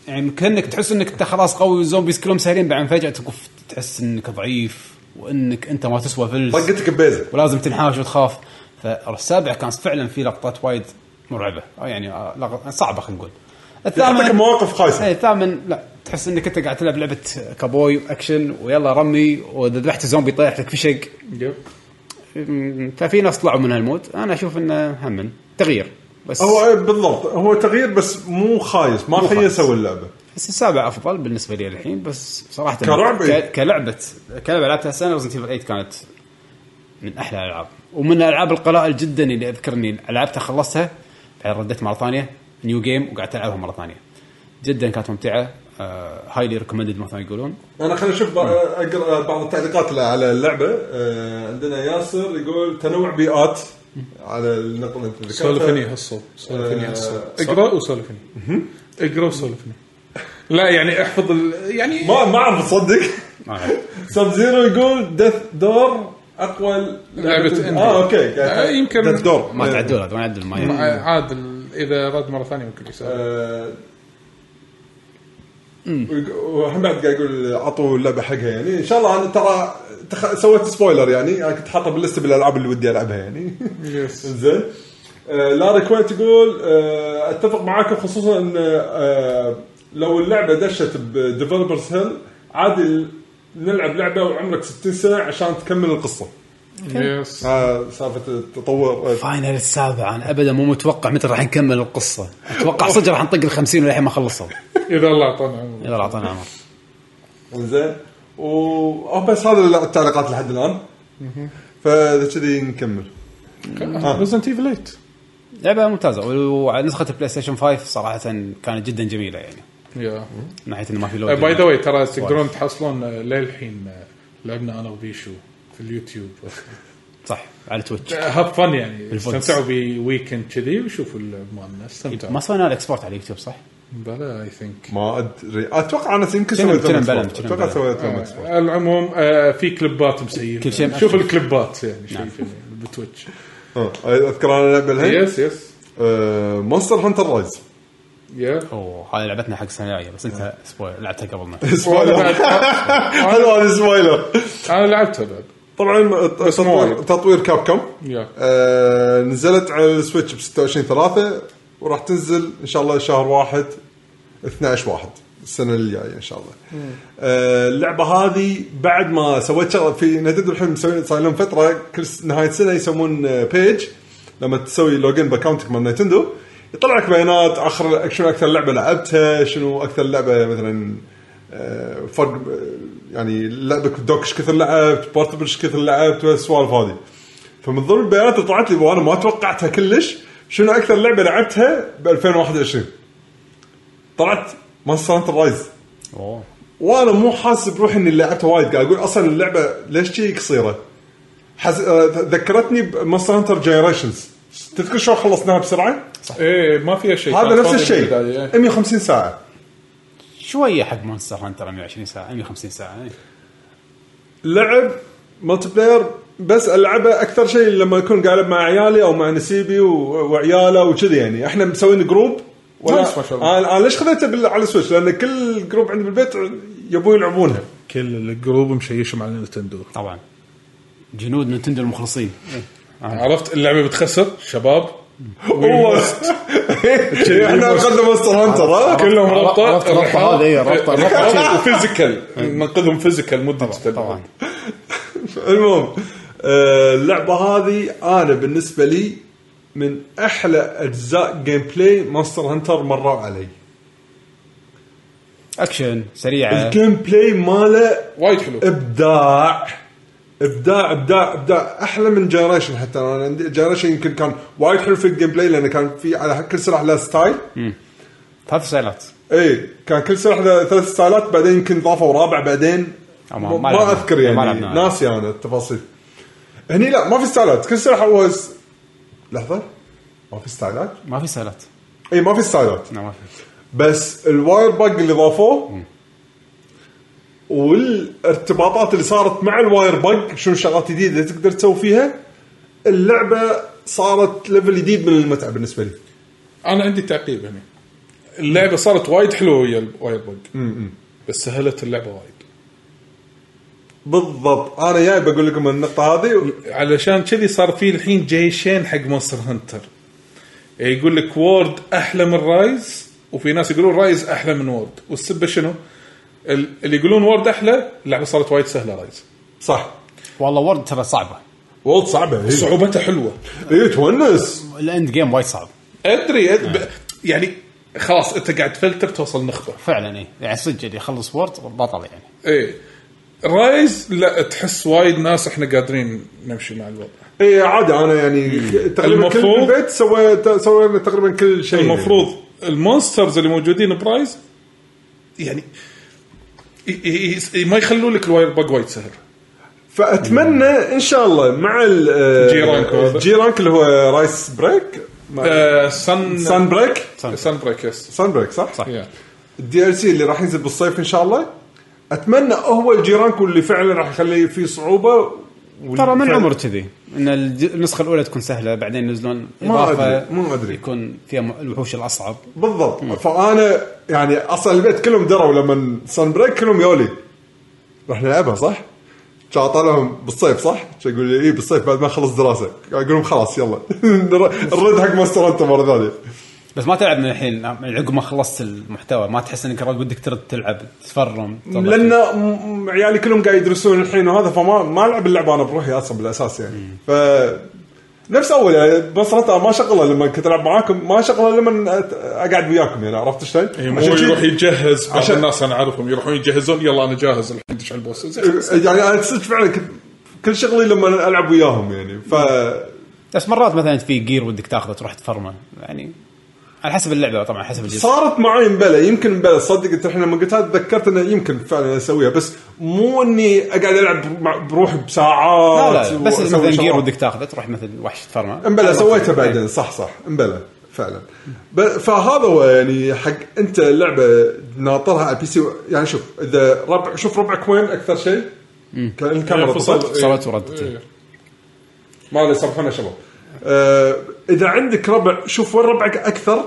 S2: يعني كانك تحس انك انت خلاص قوي والزومبيز كلهم سهلين بعدين فجاه تقف تحس انك ضعيف وانك انت ما تسوى فلس
S3: طقتك ببيزه
S2: ولازم تنحاش وتخاف فالسابع كانت فعلا في لقطات وايد مرعبه او يعني آه، لق- صعبه خلينا نقول
S3: يعطيك مواقف خايسه
S2: اي الثامن لا تحس انك انت قاعد تلعب لعبه كابوي واكشن ويلا رمي واذا ذبحت زومبي طيح لك فشق
S4: يب.
S2: أمم، ففي ناس طلعوا من هالمود انا اشوف انه هم تغيير بس
S3: هو إيه بالضبط هو تغيير بس مو خايس ما
S2: مو خايس.
S3: خيسوا اللعبه
S2: بس السابع افضل بالنسبه لي الحين بس صراحه
S3: كرعب إيه.
S2: ك- كلعبه كلعبه لعبتها السنه ريزنت ايفل 8 كانت من احلى الالعاب ومن الالعاب القلائل جدا اللي اذكرني لعبتها خلصتها بعدين رديت مره ثانيه نيو جيم وقعدت العبها مره ثانيه جدا كانت آه، ممتعه هايلي ريكومندد مثلا يقولون
S3: انا خلينا نشوف بقى- اقرا بعض التعليقات ل- على اللعبه آه، عندنا ياسر يقول تنوع بيئات على النقطه اللي انت ذكرتها.
S4: سولفني هالصوت سولفني
S3: آه،
S4: هالصوت
S3: صوت.
S4: اقرا وسولفني اقرا وسولفني لا يعني احفظ ال- يعني
S3: ما ما اعرف تصدق
S2: ما أعرف.
S3: سب زيرو يقول دث دور اقوى
S4: لعبة
S3: اه اوكي
S4: آه، يمكن-
S3: دث دور
S2: ما تعدل هذا ما يعدل
S4: مع-
S2: ما
S4: عادل اذا رد مره ثانيه ممكن يسال
S3: آه، ويق- وهم بعد قاعد يقول اعطوا اللعبه حقها يعني ان شاء الله انا ترى تخ... سويت سبويلر يعني انا كنت حاطها باللسته بالالعاب اللي ودي العبها يعني
S4: يس.
S3: زين آه، لاري كويت تقول آه، اتفق معاكم خصوصا ان آه، لو اللعبه دشت بديفلوبرز هيل عادي نلعب لعبه وعمرك 60 سنه عشان تكمل القصه
S4: يس
S3: آه، سالفه التطور آه،
S2: فاينل السابع انا ابدا مو متوقع متى راح نكمل القصه اتوقع صدق راح نطق ال 50 وللحين ما خلصوا
S4: اذا الله اعطانا عمره
S2: يلا اعطانا عمر
S3: زين و آه، بس هذا التعليقات لحد الان فاذا كذي نكمل Ah.
S4: ريزنت ايفل 8
S2: لعبه ممتازه ونسخه البلاي ستيشن 5 صراحه كانت جدا جميله يعني
S4: يا
S3: Mm-hmm.
S4: Uh,
S2: من ناحيه انه ما في لود
S4: باي ذا واي ترى تقدرون تحصلون آه، للحين آه، لعبنا انا وبيشو في اليوتيوب
S2: صح على تويتش
S4: هاب فن يعني
S2: بالفوتس.
S4: استمتعوا بويكند كذي وشوفوا اللعب مالنا
S2: ما
S4: استمتعوا uh,
S2: سوينا الاكسبورت على اليوتيوب صح؟
S4: بلا اي ثينك
S3: ما ادري اتوقع انا يمكن
S2: كنا-
S3: سويت
S2: كنا
S3: لهم
S2: بلم-
S3: إكسبورت.
S2: كنا
S3: اتوقع
S2: بلم.
S3: سويت لهم إكسبورت.
S4: على العموم آه، في كليبات مسيرة
S2: كل شيء نعم.
S4: شوف
S2: مأشر.
S4: الكليبات يعني شوف يعني بتويتش
S3: آه، اذكر انا لعبه الحين
S4: يس يس
S3: مونستر هانتر رايز
S4: يا
S2: اوه هذه لعبتنا حق السنه الجايه بس انت سبويل لعبتها قبلنا
S4: وأنا بعد-
S3: حلو هذا سبويلر
S4: انا لعبتها بعد
S3: طبعا تطوير-
S4: وايد.
S3: تطوير كاب كوم
S4: يا
S3: آه، نزلت على السويتش ب 26 3 وراح تنزل ان شاء الله شهر واحد 12 واحد السنه الجايه ان شاء الله. آه، اللعبه هذه بعد ما سويت شغله في نتندو الحين مسوين صار لهم فتره كل س- نهايه سنه يسوون آه، بيج لما تسوي لوجن باكونتك مال نتندو يطلع لك بيانات اخر شنو اكثر لعبه لعبتها شنو اكثر لعبه مثلا آه، فرق آه، يعني لعبك دوك ايش كثر لعبت بورتبل ايش كثر لعبت والسوالف هذه. فمن ضمن البيانات اللي طلعت لي وانا ما توقعتها كلش شنو اكثر لعبه لعبتها ب 2021 طلعت مونستر هانتر رايز
S2: اوه
S3: وانا مو حاسس بروحي اني لعبتها وايد قاعد اقول اصلا اللعبه ليش شي قصيره؟ حس... آه، ذكرتني بمونستر هانتر جنريشنز تذكر شلون خلصناها بسرعه؟
S4: ايه ما فيها شيء
S3: هذا
S4: كانت
S3: نفس
S4: فاضية
S3: الشيء
S4: بالبداية، إيه.
S3: 150 ساعه
S2: شويه حق مونستر هانتر 120 ساعه 150 ساعه يعني.
S3: لعب ملتي بلاير بس العبه اكثر شيء لما اكون قاعد ألعب مع عيالي او مع نسيبي و- وعياله وكذي يعني احنا مسوين جروب
S4: نايس ما شاء الله.
S3: انا أنا ليش خذيته بال- على السويتش؟ لان كل جروب عندي بالبيت يبون يلعبونها
S4: كل الجروب مشيشهم على نتندو
S2: طبعا جنود نتندو المخلصين آه.
S4: عرفت اللعبه بتخسر شباب
S3: والله احنا اخذنا مونستر هانتر ها؟
S4: كلهم ربطه
S2: عرفت الربطة هذه، إيه، ربطة- ربطة.
S4: وفيزيكال ننقذهم فيزيكال مو ديجيتال
S2: طبعا
S3: المهم آه، اللعبه هذه انا بالنسبه لي من احلى اجزاء جيم بلاي مونستر هانتر مروا علي
S2: اكشن
S4: آه.
S2: سريعه
S3: الجيم بلاي ماله
S4: وايد حلو
S3: ابداع ابداع ابداع ابداع احلى من جنريشن حتى انا عندي جنريشن يمكن كان وايد حلو في الجيم بلاي لانه كان في على كل سلاح له ستايل
S2: ثلاث سيلات
S3: اي كان كل سلاح له ثلاث ستايلات بعدين يمكن ضافوا رابع بعدين
S2: أما
S3: ما,
S2: ما
S3: ما
S2: لعبنا.
S3: اذكر
S2: ما
S3: يعني
S2: لعبنا.
S3: ناسي انا التفاصيل هني لا ما في ستايلات كل سلاح هو س... لحظه ما في ستايلات
S2: ما في سيلات
S3: اي ما في ستايلات
S2: لا ما في
S3: بس الواير باج اللي ضافوه والارتباطات اللي صارت مع الواير باج شنو الشغلات الجديده اللي تقدر تسوي فيها اللعبه صارت ليفل جديد من المتعه بالنسبه لي
S4: انا عندي تعقيب هنا اللعبه صارت وايد حلوه ويا الواير بوج بس سهلت اللعبه وايد
S3: بالضبط انا جاي بقول لكم النقطه هذه
S4: علشان كذي صار في الحين جيشين حق مونستر هنتر يقول لك وورد احلى من رايز وفي ناس يقولون رايز احلى من وورد والسبه شنو؟ ال- اللي يقولون وورد احلى اللعبه صارت وايد سهله رايز
S3: صح
S2: والله وورد ترى صعبه
S3: والله صعبه هي
S4: صعوبتها حلوه
S3: اي تونس
S2: الاند جيم وايد صعب
S4: ادري أد... ب- يعني خلاص انت قاعد تفلتر توصل نخبه
S2: فعلا اي يعني صدق اللي يخلص وورد بطل يعني
S4: ايه رايز لا تحس وايد ناس احنا قادرين نمشي مع الوضع
S3: اي إيه، عادي انا يعني تقريبا كل
S4: المفروض-
S3: البيت سويت سوينا تقريبا كل شيء يعني.
S4: المفروض المونسترز اللي موجودين برايز يعني ي- ي- ي- ما يخلون لك الواير باج وايد سهل
S3: فاتمنى ان شاء الله مع ال- آه،
S4: جي رانك هذا.
S3: جي رانك اللي هو رايس بريك
S4: آه، سن
S3: سان بريك
S4: سن بريك يس
S3: سان بريك صح؟
S2: صح.
S4: يا.
S3: الدي ال سي اللي راح ينزل بالصيف ان شاء الله اتمنى هو الجي رانك اللي فعلا راح يخلي فيه صعوبه وال-
S2: ترى من
S3: فعلاً-
S2: عمر كذي ان الج- النسخه الاولى تكون سهله بعدين ينزلون
S3: ما
S2: إضافة
S3: أدري، ما أدري.
S2: يكون فيها م- الوحوش الاصعب
S3: بالضبط فانا يعني اصلا البيت كلهم دروا لما سان بريك كلهم يولي راح نلعبها صح؟ كان اطالعهم بالصيف صح؟ كان يقول لي اي بالصيف بعد ما اخلص دراسه اقول لهم خلاص يلا نرد حق ماستر انت مره ثانيه
S2: بس ما تلعب من الحين من عقب ما خلصت المحتوى ما تحس انك رد ودك ترد تلعب تفرم تطلع.
S3: لان م- عيالي كلهم قاعد يدرسون الحين وهذا فما ما العب اللعبه انا بروحي اصلا بالاساس يعني ف نفس اول يعني بس أنا ما شغله لما كنت العب معاكم ما شغله لما أت- اقعد وياكم يعني عرفت شلون؟
S4: إيه، مو
S3: عشان شي-
S4: يروح يجهز بعض
S3: عشان-
S4: الناس انا اعرفهم يروحون يجهزون يلا انا جاهز الحين دش على البوس زين.
S3: يعني انا صدق فعلا كنت كل شغلي لما العب وياهم يعني ف
S2: بس مرات مثلا في جير ودك تاخذه تروح تفرمه يعني على حسب اللعبه طبعا حسب الجزء
S3: صارت معي مبلى يمكن مبلى صدق انت الحين لما قلتها تذكرت انه يمكن فعلا اسويها بس مو اني اقعد العب مع- بروحي
S2: لا
S3: بساعات
S2: لا بس
S3: وأسوي
S2: مثلا جير
S3: شغلات.
S2: ودك تاخذه تروح مثل وحش تفرمه
S3: امبلا سويتها
S2: إيه.
S3: بعدين صح صح امبلا فعلا ب- فهذا هو يعني حق انت اللعبه ناطرها على البي سي و- يعني شوف اذا ربع شوف ربعك وين اكثر شيء كان الكاميرا
S2: إيه،
S4: انفصل.
S3: تصور-
S2: صوت وردت
S4: إيه.
S3: ما عليه صرفونا شباب آه اذا عندك ربع شوف وين ربعك اكثر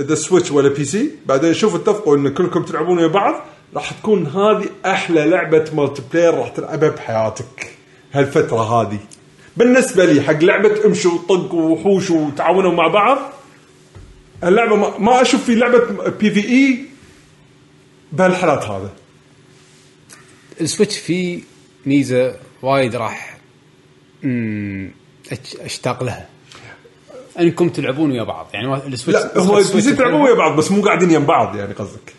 S3: اذا سويتش ولا بي سي بعدين شوفوا اتفقوا ان كلكم تلعبون ويا بعض راح تكون هذه احلى لعبه مالتي بلاير راح تلعبها بحياتك هالفتره هذه بالنسبه لي حق لعبه امشوا وطق ووحوش وتعاونوا مع بعض اللعبه ما, ما اشوف في لعبه بي في اي E بهالحالات هذا
S2: السويتش فيه ميزه وايد راح أمم، أش- اشتاق لها انكم يعني تلعبون ويا بعض يعني ما- السويتش
S3: لا هو البي سي تلعبون ويا بعض بس مو قاعدين يم بعض يعني قصدك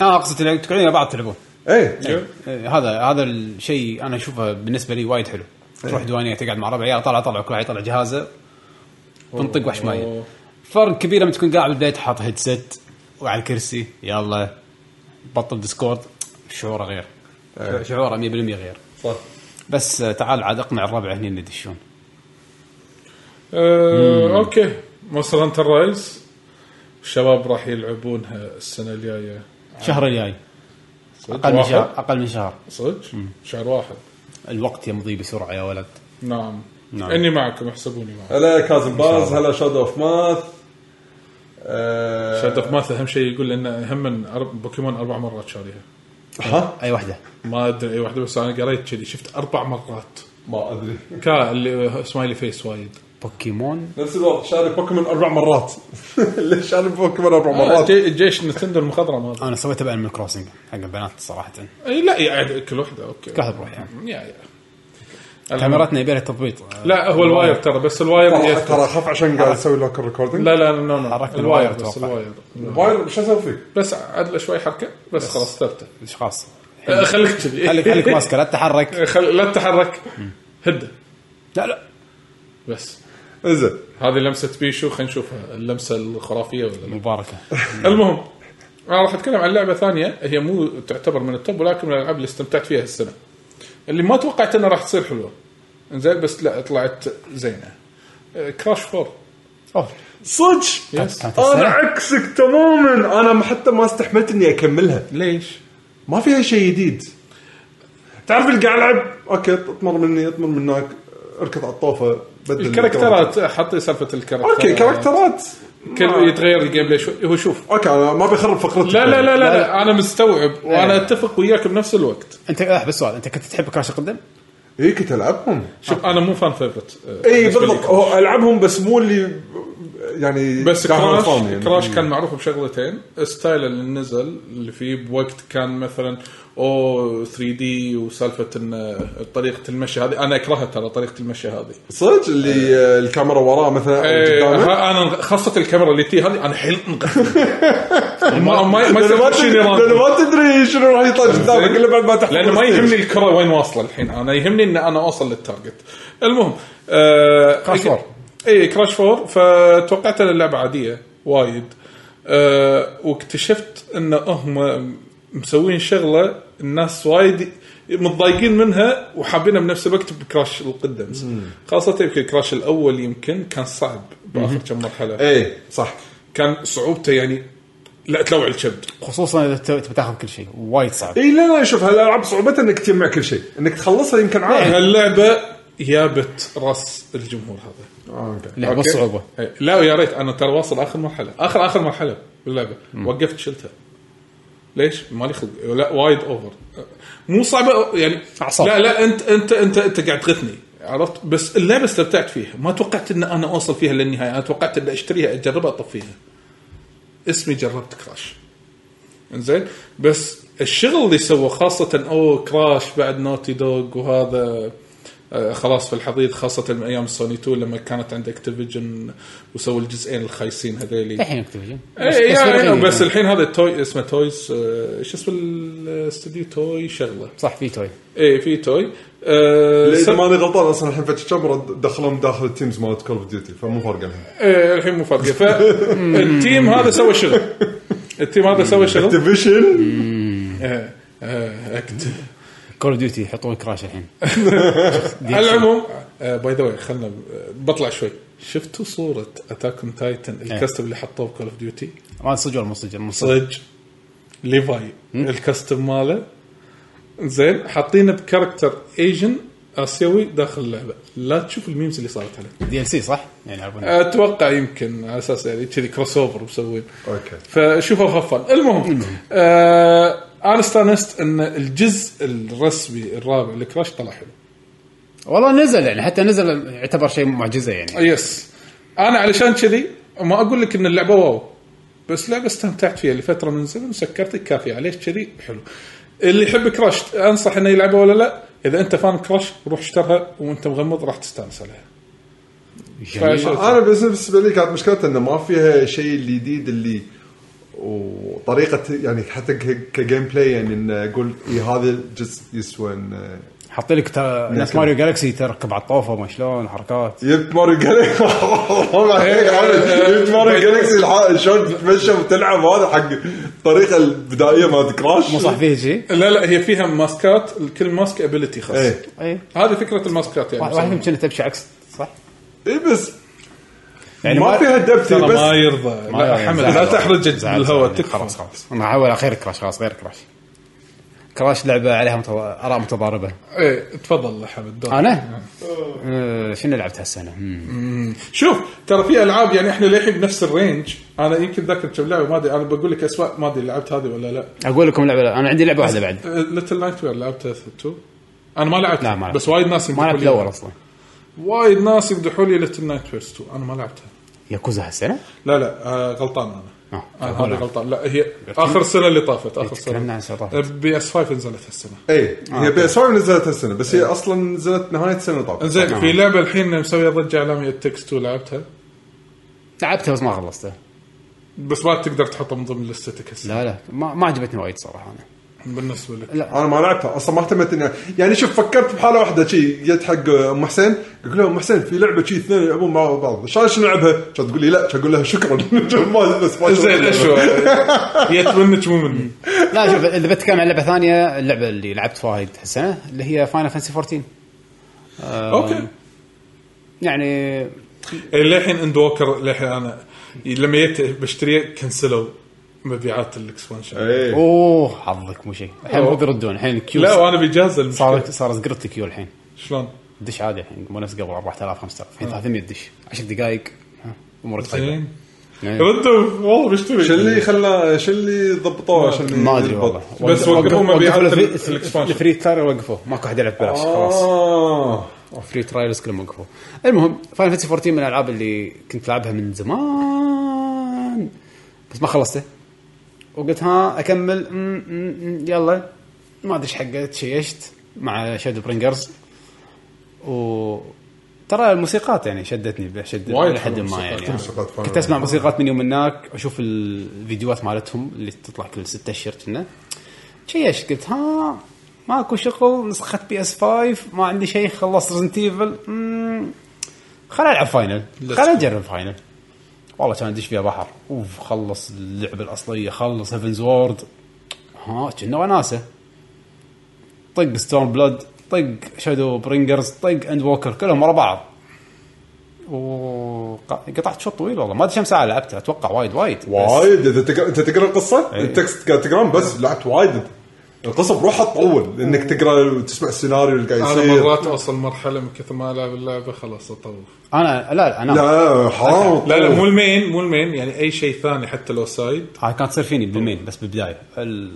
S2: اه اقصد تلعب- تقعدون ويا بعض تلعبون
S3: ايه
S2: إيه، هذا هذا الشيء انا اشوفه بالنسبه لي وايد حلو
S3: إيه.
S2: تروح ديوانيه تقعد مع ربع عيال طلع طلع كل واحد يطلع جهازه بنطق وحش مايل فرق كبير لما تكون قاعد بالبيت حاط هيدسيت وعلى الكرسي يلا بطل ديسكورد شعوره غير
S3: إيه.
S2: شعوره 100% غير
S3: صح
S2: بس آه، تعال عاد اقنع الربع هني اللي يدشون
S4: آه، اوكي مونستر هانتر رايز الشباب راح يلعبونها السنه الجايه
S2: الشهر الجاي
S4: صدق؟
S2: اقل من
S4: واحد؟
S2: شهر اقل من شهر
S4: صدق شهر واحد
S2: الوقت يمضي بسرعه يا ولد
S4: نعم
S2: نعم.
S4: اني معكم احسبوني معكم
S3: هلا كازم باز
S2: الله.
S3: هلا شادو اوف ماث
S4: شاد اوف ماث اهم شيء يقول لان هم من أرب- بوكيمون اربع مرات شاريها
S3: ها
S2: اي واحده
S4: ما ادري اي واحده بس انا قريت كذي شفت اربع مرات
S3: ما ادري
S4: كا اللي سمايلي فيس وايد
S2: بوكيمون
S3: نفس الوضع شاري بوكيمون اربع مرات ليش شاري بوكيمون اربع مرات
S4: مرات جيش نتندو المخضرم هذا
S2: انا سويتها بانيمال كروسنج حق البنات صراحه
S4: اي لا يعني كل واحده اوكي
S2: كهرب بروح يعني
S4: يا يا
S2: كاميراتنا يبي لها تضبيط آه،
S4: لا هو الواير ترى بس الواير
S3: ترى
S4: يثبت.
S3: ترى اخاف عشان قاعد اسوي لوكر ريكوردنج
S4: لا لا لا لا لا.
S2: حركنا
S4: الواير
S2: الواير
S4: بس
S2: أتوقع.
S4: الواير
S3: واير شو اسوي فيه؟
S4: بس عدله شوي حركه بس خلاص ثبته
S2: ايش خاص
S4: آه، خليك كذي
S2: خليك خليك ماسكه لا تتحرك
S4: خل... لا تتحرك هده
S2: لا لا
S4: بس
S3: انزين
S4: هذه لمسه بيشو خلينا نشوفها اللمسه الخرافيه ولا لا
S2: مباركه
S4: المهم انا راح اتكلم عن لعبه ثانيه هي مو تعتبر من التوب ولكن من الالعاب اللي استمتعت فيها السنه اللي ما توقعت انها راح تصير حلوه زين بس لا طلعت زينه آه، كراش فور
S2: أوه.
S3: صدق
S4: يس
S2: كانت
S3: انا
S2: السنة.
S3: عكسك تماما انا حتى ما استحملت اني اكملها
S4: ليش؟
S3: ما فيها شيء جديد تعرف اللي قاعد العب اوكي اطمر مني اطمر من هناك اركض على الطوفه بدل
S4: الكاركترات حطي سالفه الكاركترات
S3: اوكي كاركترات
S4: آه. كل يتغير الجيم بلاي شوي هو شوف
S3: اوكي انا ما بخرب فقرتك
S4: لا لا لا لا,
S2: لا.
S4: لا انا مستوعب وانا اتفق وياك بنفس الوقت
S2: انت آه بس سؤال انت كنت تحب كراش القدم؟
S3: اي كنت العبهم
S4: شوف انا مو آه، فان فيفرت
S3: اي إيه، بالضبط هو العبهم بس مو اللي يعني
S4: بس
S3: قهرمان
S4: كراش
S3: فان يعني.
S4: كراش كان معروف بشغلتين ستايل اللي نزل اللي فيه بوقت كان مثلا او 3 دي وسالفه ان طريقه المشي هذه انا اكرهها ترى طريقه المشي هذه
S3: صدق اللي آه، الكاميرا وراه مثلا
S4: إيه،
S3: قدامه.
S4: ها- انا خاصه الكاميرا اللي تي هذه انا حيل انقفل. ما ما ما
S3: لأنه ما
S4: يسوي شيء
S3: تدري- لأنه
S4: نظام.
S3: ما تدري شنو راح يطلع قدامك الا طيب، بعد ما تحط
S4: لانه إيه؟ ما
S3: الستيج.
S4: يهمني الكره وين واصله الحين انا يهمني ان انا اوصل للتارجت المهم آه
S2: كراش فور.
S4: اي كراش فور فتوقعت ان اللعبه عاديه وايد آه واكتشفت ان هم مسوين شغله الناس وايد متضايقين منها وحابينها بنفس الوقت بكراش القدمز خاصه يمكن الكراش الاول يمكن كان صعب باخر كم مرحله
S3: اي صح
S4: كان صعوبته يعني لا تلوع الكبد
S2: خصوصا اذا ت- تبي تاخذ كل شيء وايد صعب
S3: اي لا لا شوف هالالعاب صعوبتها انك تجمع كل شيء انك تخلصها يمكن عادي
S4: هاللعبه يابت راس الجمهور هذا
S3: آه، أوكي.
S2: لعبه
S4: أوكي.
S2: صعوبه
S4: إيه. لا ويا ريت انا ترى واصل اخر مرحله اخر اخر مرحله باللعبه وقفت شلتها ليش؟ مالي خلق لا وايد اوفر مو صعبه يعني
S2: أعصاب.
S4: لا لا انت انت انت انت قاعد تغثني عرفت بس اللعبه استمتعت فيها ما توقعت ان انا اوصل فيها للنهايه انا توقعت ان اشتريها اجربها اطفيها اسمي جربت كراش انزين بس الشغل اللي سووه خاصه او كراش بعد نوتي دوغ وهذا آه، خلاص في الحضيض خاصه من ايام سوني 2 لما كانت عند اكتيفيجن وسووا الجزئين الخايسين هذيلي
S2: الحين اكتيفيجن
S4: اي يعني بس
S2: يعني.
S4: الحين هذا التوي اسمه تويز آه، شو اسمه الاستوديو توي شغله
S2: صح في توي
S4: اي في توي آه،
S3: اذا
S4: سب-
S3: ماني غلطان اصلا الحين فتش كاميرا دخلهم داخل التيمز مالت كول اوف ديوتي فمو فارقه الحين
S4: آه، الحين مو فاضيه فالتيم هذا سوى شغل التيم هذا سوى شغل
S3: ديفيشن
S4: آه، آه، أكت-
S2: كول اوف ديوتي يحطون كراش الحين
S4: على العموم باي ذا واي خلنا آه، بطلع شوي شفتوا صوره اتاك اون تايتن الكاستم اللي حطوه بكول اوف ديوتي
S2: ما صدق ولا مو صدق مو صدق
S4: صج ليفاي الكاستم ماله زين حاطينه بكاركتر ايجن اسيوي داخل اللعبه لا تشوف الميمز اللي صارت عليه
S2: دي ال سي صح؟ يعني يلعبون
S4: اتوقع يمكن على اساس يعني كذي كروس اوفر مسوين
S3: اوكي
S4: فشوفوا خفان المهم آه انا استانست ان الجزء الرسمي الرابع لكراش طلع حلو
S2: والله نزل يعني حتى نزل يعتبر شيء معجزه يعني
S4: يس انا علشان كذي ما اقول لك ان اللعبه واو بس لعبه استمتعت فيها لفتره من زمن وسكرتك كافيه عليش كذي حلو اللي يحب كراش انصح انه يلعبها ولا لا اذا انت فان كراش روح اشترها وانت مغمض راح تستانس عليها
S2: جميل.
S4: فشو-
S3: انا بس بالنسبه لي كانت مشكلتها انه ما فيها شيء الجديد اللي وطريقه يعني حتى ك- كجيم بلاي يعني انه اقول اي هذا الجزء يسوى إنه
S2: حاطين لك تا- ناس ماريو جالكسي تركب على الطوفه وما شلون حركات
S3: جبت ماريو جالكسي والله عليك عمل. جبت ماريو جالكسي الح- شلون تتمشى وتلعب هذا حق الطريقه البدائيه مالت كراش
S2: مو صح فيه شيء
S4: لا لا هي فيها ماسكات كل ماسك ابيلتي خاص
S3: ايه
S2: اي
S4: هذه فكره الماسكات يعني
S2: إيه. واحد واحد فيهم كنا تمشي عكس صح؟
S3: اي إيه، بس
S2: يعني
S3: ما فيها دبث
S4: ترى ما
S3: بس
S4: يرضى
S2: ما- يعني
S4: لا حمد
S2: زعل-
S4: لا تحرج
S2: زعل-
S4: بالهواء
S2: زعل. خلاص
S4: تكفى
S2: خلاص انا احاول غير كراش خلاص غير كراش كراش لعبه عليها متو... اراء متضاربه
S4: ايه تفضل يا حمد دور.
S2: انا آه، شنو لعبت هالسنه؟ مم.
S4: شوف ترى في العاب يعني احنا للحين بنفس الرينج انا يمكن ذاكر كم لعبه ما ادري انا بقول لك اسماء ما ادري لعبت هذه ولا لا أه،
S2: اقول لكم لعبه لا. انا عندي لعبه واحده بعد
S4: ليتل نايت وير لعبتها 2 انا ما لعبت
S2: لا، ما لعبت.
S4: بس وايد ناس
S2: ما
S4: يمدحوا
S2: لعبت
S4: لي
S2: الاول اصلا
S4: وايد ناس يمدحوا لي ليتل نايت ويرز 2 انا ما لعبتها
S2: ياكوزا هالسنه؟
S4: لا لا آه غلطان انا
S2: آه،
S4: انا
S2: أقول
S4: هذا
S2: لك.
S4: غلطان لا هي اخر سنه اللي طافت اخر
S2: تكلمنا عن
S4: سنه
S2: سنة طافت.
S4: بي اس 5 نزلت هالسنه
S3: اي إيه. هي بي اس نزلت هالسنه بس هي اصلا نزلت نهايه السنه طبعا
S4: زين في لعبه الحين مسويه ضجه اعلاميه تكست 2 لعبتها
S2: لعبتها بس ما خلصتها
S4: بس ما تقدر تحطها من ضمن لستك هسه
S2: لا لا ما, ما عجبتني وايد صراحه انا
S4: بالنسبه لك
S3: انا ما لعبتها اصلا ما اهتمت اني يعني شوف فكرت بحاله واحده شي جت حق ام حسين قلت له ام حسين في لعبه شي اثنين يلعبون مع بعض شلون شنو نلعبها؟ كانت تقول لي لا كان اقول لها شكرا ما- بس ما-
S4: زين اشو جت منك مو مني
S2: لا شوف اذا بتكلم عن لعبه ثانيه اللعبه اللي لعبت وايد هالسنه اللي هي فاينل فانسي 14
S4: اوكي
S2: يعني
S4: إيه، للحين اند ووكر للحين انا لما جيت بشتريه كنسلوا مبيعات الاكسبانشن
S3: إيه.
S2: اوه حظك مو شيء الحين المفروض يردون الحين الكيو
S4: لا وانا بجاز المشكله
S2: صارت صار زقرت الكيو الحين
S4: شلون؟
S2: دش عادي الحين مو نفس قبل 4000 5000 الحين 300 دش 10 دقائق امورك طيبه
S4: آه. زين
S2: إيه.
S4: ردوا والله بشتري
S3: أيوة. شو اللي خلاه شو اللي ضبطوه عشان
S2: ما ادري والله
S3: يضبط؟
S4: بس وقفوا مبيعات ال- آه. الاكسبانشن.
S2: الفري ترايل وقفوا ماكو احد يلعب ببلاش خلاص
S3: اه
S2: فري ترايلز كلهم وقفوا المهم فاين فانتسي 14 من الالعاب اللي كنت لعبها من زمان بس ما خلصته وقلت ها اكمل مم، مم، مم، يلا ما ادري ايش حقه تشيشت مع شادو برينجرز و ترى الموسيقات يعني شدتني بشد
S4: وايد
S2: إلى حد
S4: حلوة
S2: ما
S4: الموسيقات،
S2: يعني
S4: كل
S3: موسيقات فعلاً.
S2: كنت اسمع موسيقات من يوم هناك اشوف الفيديوهات مالتهم اللي تطلع كل ستة اشهر كنا شيشت قلت ها ماكو شغل نسخه بي اس 5 ما عندي شيء خلصت ريزنت ايفل خل العب فاينل خل اجرب فاينل والله كان ادش فيها بحر اوف خلص اللعبه الاصليه خلص هيفنز وورد ها كنا وناسه طق ستون بلود طق شادو برينجرز طق اند ووكر كلهم ورا بعض وقطعت شوط طويل والله ما ادري كم ساعه لعبتها اتوقع وايد وايد بس-
S3: وايد اذا تقرا انت تقرا القصه
S2: إيه.
S3: التكست قاعد تقرا بس لعبت وايد انت. القصه بروحها تطول انك تقرا وتسمع السيناريو اللي قاعد
S4: انا
S3: يصير
S4: إيه. مرات اوصل مرحله من كثر ما العب اللعبه خلاص اطوف
S2: انا لا لا انا
S3: لا حرام
S4: لا لا مو المين مو المين يعني اي شيء ثاني حتى لو سايد
S2: هاي كانت تصير فيني بالمين بس بالبدايه ال...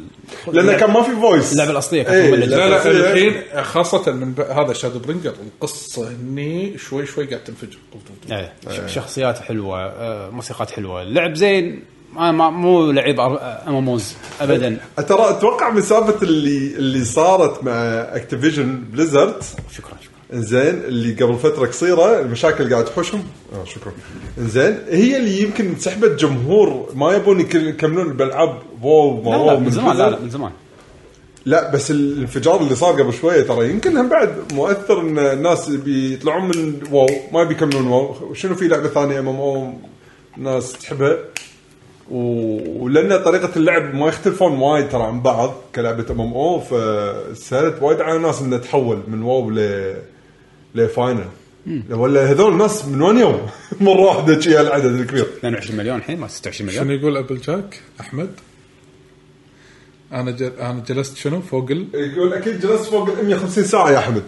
S3: لان كان ما في فويس
S2: اللعبة الأصلية كانت
S3: كانت
S2: مملة
S4: لا لا
S3: إيه.
S4: الحين خاصه من ب- هذا شادو برينجر القصه هني شوي شوي قاعد تنفجر
S2: إيه، شخصيات حلوه آه، موسيقات حلوه اللعب زين انا ما مو آه، لعيب ام اموز ابدا
S3: ترى اتوقع من سالفه اللي اللي صارت مع اكتيفيجن بليزرد
S2: شكرا شكرا
S3: انزين اللي قبل فتره قصيره المشاكل اللي قاعد تحوشهم اه شكرا انزين هي اللي يمكن سحبت جمهور ما يبون يك- يكملون بالعاب واو ما
S2: لا لا
S3: واو
S2: من زمان لا لا
S3: Blizzard.
S2: من زمان
S3: لا بس الانفجار اللي صار قبل شويه ترى يمكن هم بعد مؤثر ان الناس بيطلعون من واو ما بيكملون واو شنو في لعبه ثانيه ام ام او ناس تحبها و- ولان طريقه اللعب ما يختلفون وايد ترى عن بعض كلعبه ام ام او فسهلت وايد على الناس انها تحول من واو ل لفاينل ولا هذول الناس من وين يوم مره واحده شي هالعدد الكبير
S2: 22 مليون الحين ما 26 مليون
S4: شنو يقول ابل جاك احمد انا جل... انا جلست شنو فوق ال
S3: يقول اكيد جلست فوق ال 150 ساعه يا احمد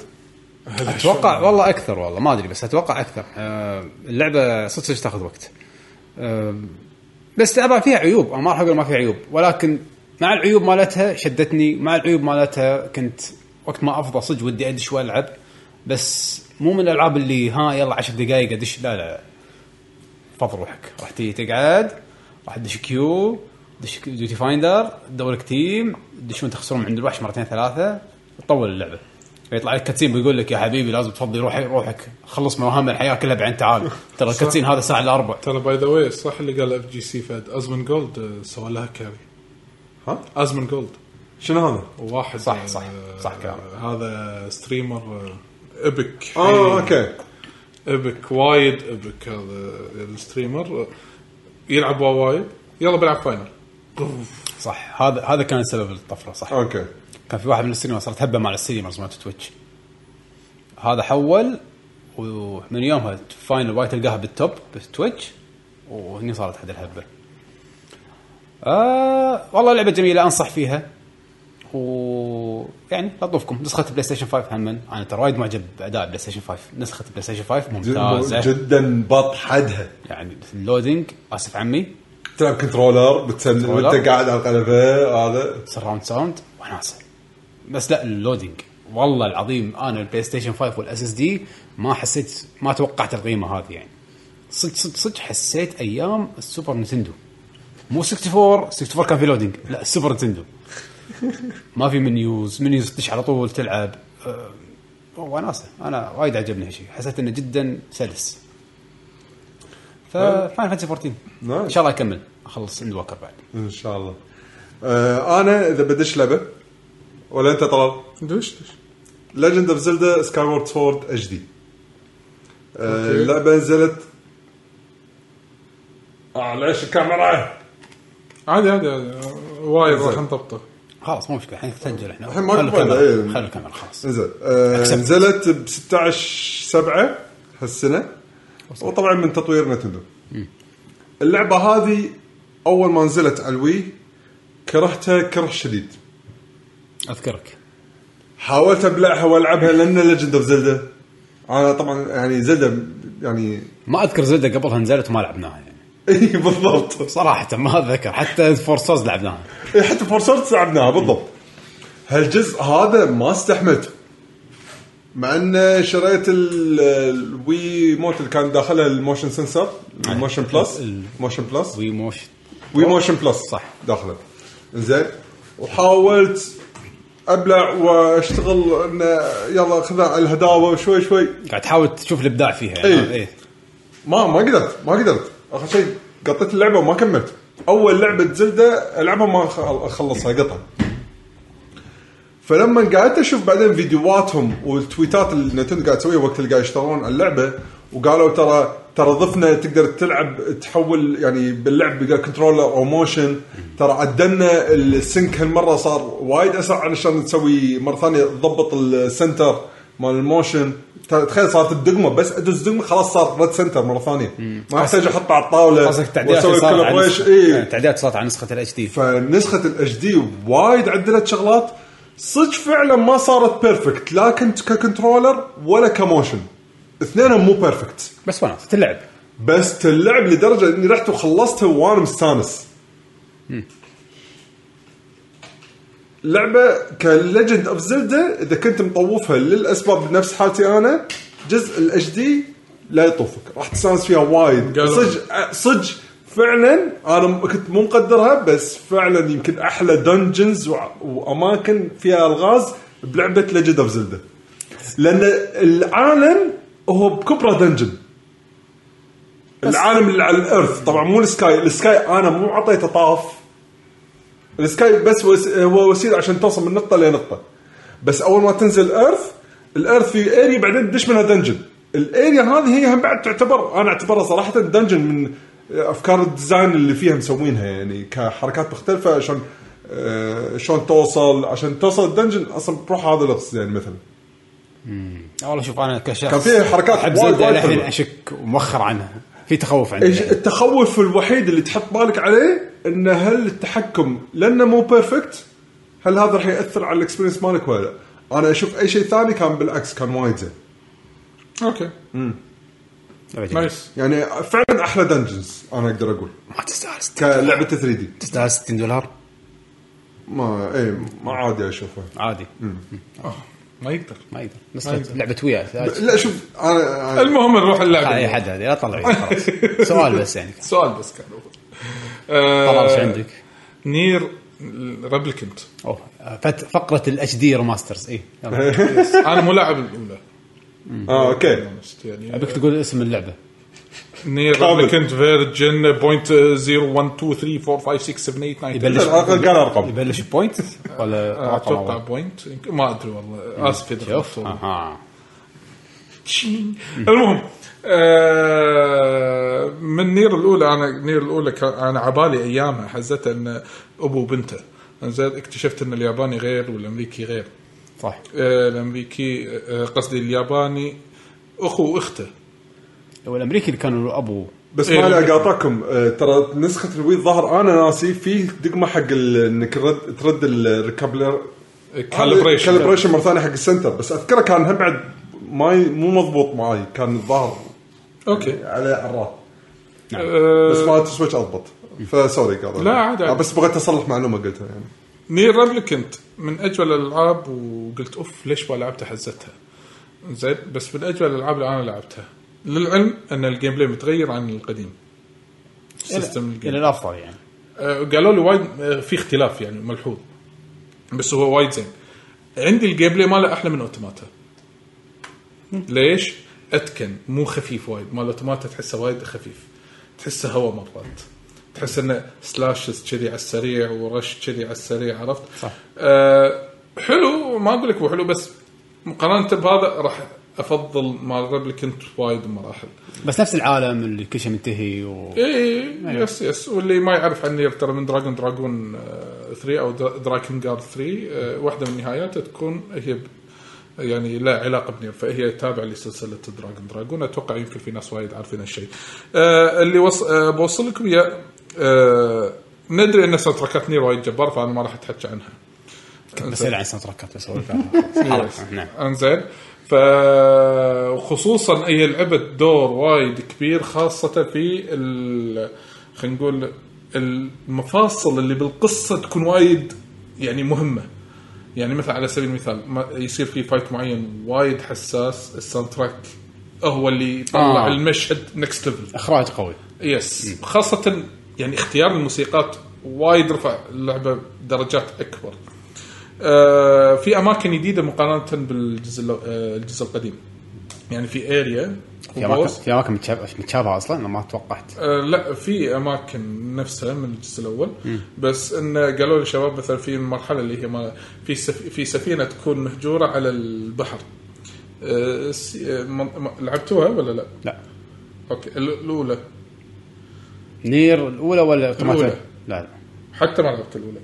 S2: اتوقع والله اكثر والله ما ادري بس اتوقع اكثر آه، اللعبه صدق صدق تاخذ وقت آه، بس طبعا فيها عيوب انا ما راح اقول ما فيها عيوب ولكن مع العيوب مالتها شدتني مع العيوب مالتها كنت وقت ما افضى صدق ودي ادش والعب بس مو من الالعاب اللي ها يلا 10 دقائق ادش لا لا فض روحك راح تيجي تقعد راح تدش كيو دش ديوتي فايندر تدور لك تيم تدشون تخسرون من عند الوحش مرتين ثلاثه تطول اللعبه فيطلع لك كاتسين بيقول لك يا حبيبي لازم تفضي روحك روحك خلص مهام الحياه كلها بعدين تعال ترى الكاتسين هذا الساعه الا ربع
S4: ترى باي ذا واي صح اللي قال اف جي سي فهد ازمن جولد آه، سوى لها كاري
S3: ها؟
S4: ازمن جولد
S3: شنو هذا؟
S4: واحد
S2: صح، صح،
S4: آه،
S2: صح كلامك.
S4: هذا آه، ستريمر ابك
S3: اه اوكي
S4: ابك وايد ابك هذا الستريمر آه، يلعب وايد يلا بلعب فاينل
S2: صح هذا هذا كان سبب الطفره صح
S3: اوكي
S2: كان في واحد من السينما صارت هبه مع الستريمرز مالت تويتش هذا حول ومن يومها فاينل وايد تلقاها بالتوب بتويتش وهني صارت حد الهبه آه والله لعبه جميله انصح فيها و يعني لا تطوفكم نسخه بلاي ستيشن 5 هم انا ترى وايد معجب باداء بلاي ستيشن 5 نسخه بلاي ستيشن 5 ممتازه
S3: جدا بط حدها
S2: يعني في اللودينج اسف عمي
S3: تلعب كنترولر بتسلم
S2: كنترولر.
S3: وانت قاعد على القلبه هذا
S2: سراوند ساوند وناسه بس لا اللودينج والله العظيم انا البلاي ستيشن 5 والاس اس دي ما حسيت ما توقعت القيمه هذه يعني صدق صدق صدق حسيت ايام السوبر نتندو مو 64 64 كان في لودينج لا السوبر نتندو ما في منيوز منيوز تدش على طول تلعب أه، وناسه انا وايد عجبني هالشيء حسيت انه جدا سلس ففاينل فانتسي 14 ان شاء الله اكمل اخلص عند وكر بعد
S3: ان شاء الله آه انا اذا بدش لعبه ولا انت طلال
S4: دش دش
S3: ليجند اوف زلدا سكاي وورد سورد اتش دي آه، اللعبه نزلت اه ليش الكاميرا
S4: عادي عادي عادي وايد راح نضبطه
S2: خلاص مو مشكله الحين تسجل احنا
S3: الحين ما
S2: خلوا
S3: نقبل،
S2: الكاميرا
S3: إيه.
S2: خلوا الكاميرا خلاص
S3: زين آه،
S2: Accept.
S3: نزلت ب 16 7 هالسنه وطبعا من تطوير نتندو اللعبه هذه اول ما نزلت على الوي كرهتها كره شديد
S2: اذكرك
S3: حاولت ابلعها والعبها لان ليجند اوف زلدا انا طبعا يعني زلدا يعني
S2: ما اذكر زلده قبلها نزلت وما لعبناها يعني
S3: اي بالضبط
S2: صراحه ما اتذكر حتى فورسوز لعبناها
S3: إي، إيه، حتى فورسارت لعبناها بالضبط هالجزء هذا ما استحملته مع ان شريت ال- الوي موت اللي كان داخلها الموشن سنسر الموشن بلس
S2: ال-
S3: موشن بلس
S2: وي موشن
S3: وي موشن بلس صح داخله زين وحاولت ابلع واشتغل انه يلا خذها على الهداوه شوي شوي
S2: قاعد تحاول تشوف الابداع فيها يعني
S3: إي.
S2: إيه.
S3: ما ما قدرت ما قدرت اخر شيء قطيت اللعبه وما كملت اول لعبه زلدة العبها ما خل- اخلصها قطع فلما قعدت اشوف بعدين فيديوهاتهم والتويتات اللي نتندو قاعد تسويها وقت اللي قاعد يشتغلون على اللعبه وقالوا ترى ترى ضفنا تقدر تلعب تحول يعني باللعب بقى كنترولر او موشن ترى عدلنا السنك هالمره صار وايد اسرع علشان تسوي مره ثانيه تضبط السنتر مال الموشن ترى تخيل صارت الدقمه بس ادوس دقمه خلاص صار ريد سنتر مره ثانيه ما احتاج احطه على الطاوله
S2: قصدك التعديلات اللي
S3: وأسوي
S2: صارت على يعني
S3: collaboration.
S2: نسخة-
S3: إيه.
S2: التعديلات صارت على نسخه الاتش دي
S3: فنسخه الاتش دي وايد عدلت شغلات صدق فعلا ما صارت بيرفكت لا كنت ككنترولر ولا كموشن اثنينهم مو بيرفكت
S2: بس وناس تلعب
S3: بس تلعب لدرجه اني رحت وخلصتها وانا مستانس لعبه كليجند اوف زلدا اذا كنت مطوفها للاسباب نفس حالتي انا جزء الاتش دي لا يطوفك راح تستانس فيها وايد
S4: قالوا.
S3: صدق صدق فعلا انا م- كنت مو مقدرها بس فعلا يمكن احلى دنجنز واماكن فيها الغاز بلعبه ليجند اوف زلدا لان العالم هو بكبره دنجن العالم اللي على الارث طبعا مو السكاي السكاي انا مو عطيته طاف السكاي بس وس... هو وسيله عشان توصل من نقطه لنقطه بس اول ما تنزل الارث الارث في اريا بعدين تدش منها دنجن الاريا هذه هي هم بعد تعتبر انا اعتبرها صراحه دنجن من افكار الديزاين اللي فيها مسوينها يعني كحركات مختلفه عشان آه، شلون توصل عشان توصل الدنجن اصلا بروح هذا الغص يعني مثلا
S2: والله شوف انا كشخص
S3: كان فيه حركات
S2: احب
S3: وايد
S2: زلدة
S3: وايد
S2: الحين
S3: حلوة.
S2: اشك ومؤخر عنها في تخوف عندي
S3: إيش التخوف الوحيد اللي تحط بالك عليه انه هل التحكم لانه مو بيرفكت هل هذا راح ياثر على الاكسبيرينس مالك ولا لا؟ انا اشوف اي شيء ثاني كان بالعكس كان وايد زين
S4: اوكي
S2: أبداً.
S4: نايس
S3: يعني فعلا احلى دنجنز انا اقدر اقول
S2: ما تستاهل 60
S3: كلعبه 3 دي
S2: تستاهل 60 دولار
S3: ما اي ما عادي اشوفها
S2: عادي
S4: آه، ما يقدر
S2: ما يقدر نسخه لعبه ويا
S3: لا شوف انا, أنا
S4: المهم نروح
S2: اي
S4: اللعبه
S2: حد هذه لا طلع عيد، خلاص سؤال بس يعني
S4: سؤال بس كان هو.
S2: طلع
S4: آه،
S2: ايش عندك؟
S4: نير ريبليكنت
S2: اوه فت فقره الاتش دي ريماسترز اي إيه، يلا.
S4: انا مو لاعب الاولى
S3: اه اوكي
S4: يعني
S2: ابيك تقول اسم اللعبه
S4: نير
S3: كامل.
S4: ريبليكنت فيرجن بوينت 0 1 2 3 4 5 6 7 8 9
S2: يبلش
S3: على الأقل قال ارقام
S2: يبلش بوينت ولا رقم
S4: اتوقع
S2: أول؟
S4: بوينت يمكن- ما ادري والله اسف اذا
S2: شوف آه.
S4: غلطت.
S2: اها
S4: تشين. المهم آه، من نير الاولى انا نير الاولى كان- انا عبالي ايامها حزتها ان ابو وبنته زين اكتشفت ان الياباني غير والامريكي غير
S2: صح
S4: آه، الامريكي آه، قصدي الياباني اخو واخته
S2: والامريكي اللي كانوا ابو
S3: بس
S4: إيه،
S3: ما لي
S4: ممكن.
S3: اقاطعكم آه، ترى نسخه الوي ظهر انا ناسي فيه دقمه حق ال- انك رد- ترد الريكابلر
S4: كالبريشن
S3: كالبريشن مره ثانيه حق السنتر بس اذكره كان هم بعد ماي مو مضبوط معي كان الظاهر
S4: اوكي
S3: على عراق
S4: آه،
S3: بس مالت السويتش اضبط فسوري قاعد أقول.
S4: لا، عادي، عادي.
S3: بس بغيت اصلح معلومه قلتها يعني
S4: نير ريبليكنت من اجمل الالعاب وقلت اوف ليش ما لعبتها حزتها زين بس من اجمل الالعاب اللي انا لعبتها للعلم ان الجيم بلاي متغير عن القديم سيستم
S2: الى
S4: الجيم
S2: إلى الافضل يعني
S4: آه، قالوا لي وايد آه، في اختلاف يعني ملحوظ بس هو وايد زين عندي الجيم بلاي ماله احلى من اوتوماتا ليش؟ اتكن مو خفيف وايد مال اوتوماتا تحسه وايد خفيف تحسه هواء مرات تحس انه سلاشز كذي على السريع ورش كذي على السريع عرفت؟
S2: صح.
S4: آه حلو ما اقول لك هو حلو بس مقارنه بهذا راح افضل مال ريبليكنت وايد مراحل
S2: بس نفس العالم اللي كل شيء منتهي و
S4: اي يس يس إيه. واللي ما يعرف عن نير ترى من آه، دراجون دراجون 3 او دراكن جارد 3 آه، واحده من نهاياتها تكون هي ب- يعني لا علاقه بنير فهي تابعه لسلسله دراجون دراجون اتوقع يمكن في ناس وايد عارفين هالشيء. آه، اللي وص... آه، بوصل لكم اياه آه، ندري ان ساوند نير وايد جبار فانا ما راح اتحكى عنها.
S2: بس
S4: إنزين.
S2: العن سنت ركبت بس أقول.
S4: يس.
S2: خلاص، نعم
S4: انزين ف إيه، وخصوصا هي لعبت دور وايد كبير خاصه في ال- خلينا نقول المفاصل اللي بالقصه تكون وايد يعني مهمه يعني مثلا على سبيل المثال ما- يصير في فايت معين وايد حساس الساوند تراك هو اللي يطلع
S2: آه.
S4: آه. المشهد نكست ليفل
S2: اخراج قوي
S4: يس خاصة يعني اختيار الموسيقات وايد رفع اللعبة درجات أكبر آه في أماكن جديدة مقارنة بالجزء الأو- آه، الجزء القديم يعني في اريا
S2: في اماكن في اماكن متشاب- متشابهه اصلا انا ما توقعت
S4: آه، لا في اماكن نفسها من الجزء الاول بس انه قالوا للشباب مثلا في المرحله اللي هي ما في سف في سفينه تكون مهجوره على البحر آه، س- آه، من- ما- لعبتوها ولا لا؟
S2: لا
S4: اوكي ال- الاولى
S2: نير الاولى ولا اوتوماتيك
S4: الأولى.
S2: لا لا
S4: حتى ما لعبت الاولى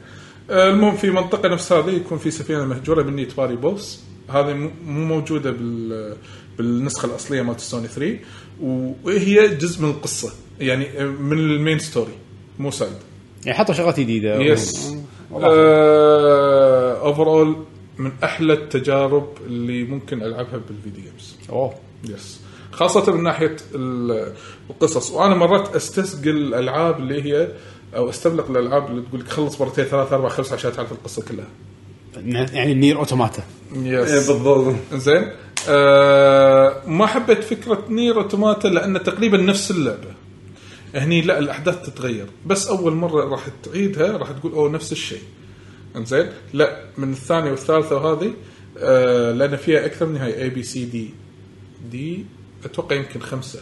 S4: آه، المهم في منطقه نفس هذه يكون في سفينه مهجوره من يتباري بوس هذه مو مو موجوده بال بالنسخه الاصليه مالت سوني 3 وهي جزء من القصه يعني آه، من المين ستوري مو سايد
S2: يعني حطوا شغلات جديده
S4: يس
S2: والله.
S4: اوفر اول آه، من احلى التجارب اللي ممكن العبها بالفيديو جيمز
S2: اوه
S4: يس خاصة من ناحية ال- القصص وأنا مرات أستثقل الألعاب اللي هي أو أستبلق الألعاب اللي تقول لك خلص مرتين ثلاث أربع خمس عشان تعرف القصة كلها
S2: يعني نير اوتوماتا
S3: إيه،
S4: يس
S3: بالضبط
S4: زين آه ما حبيت فكرة نير أوتوماتا لأن تقريبا نفس اللعبة هني لا الأحداث تتغير بس أول مرة راح تعيدها راح تقول أوه نفس الشيء انزين لا من الثانية والثالثة وهذه آه لأن فيها أكثر من هاي اي بي سي دي دي أتوقع يمكن خمسة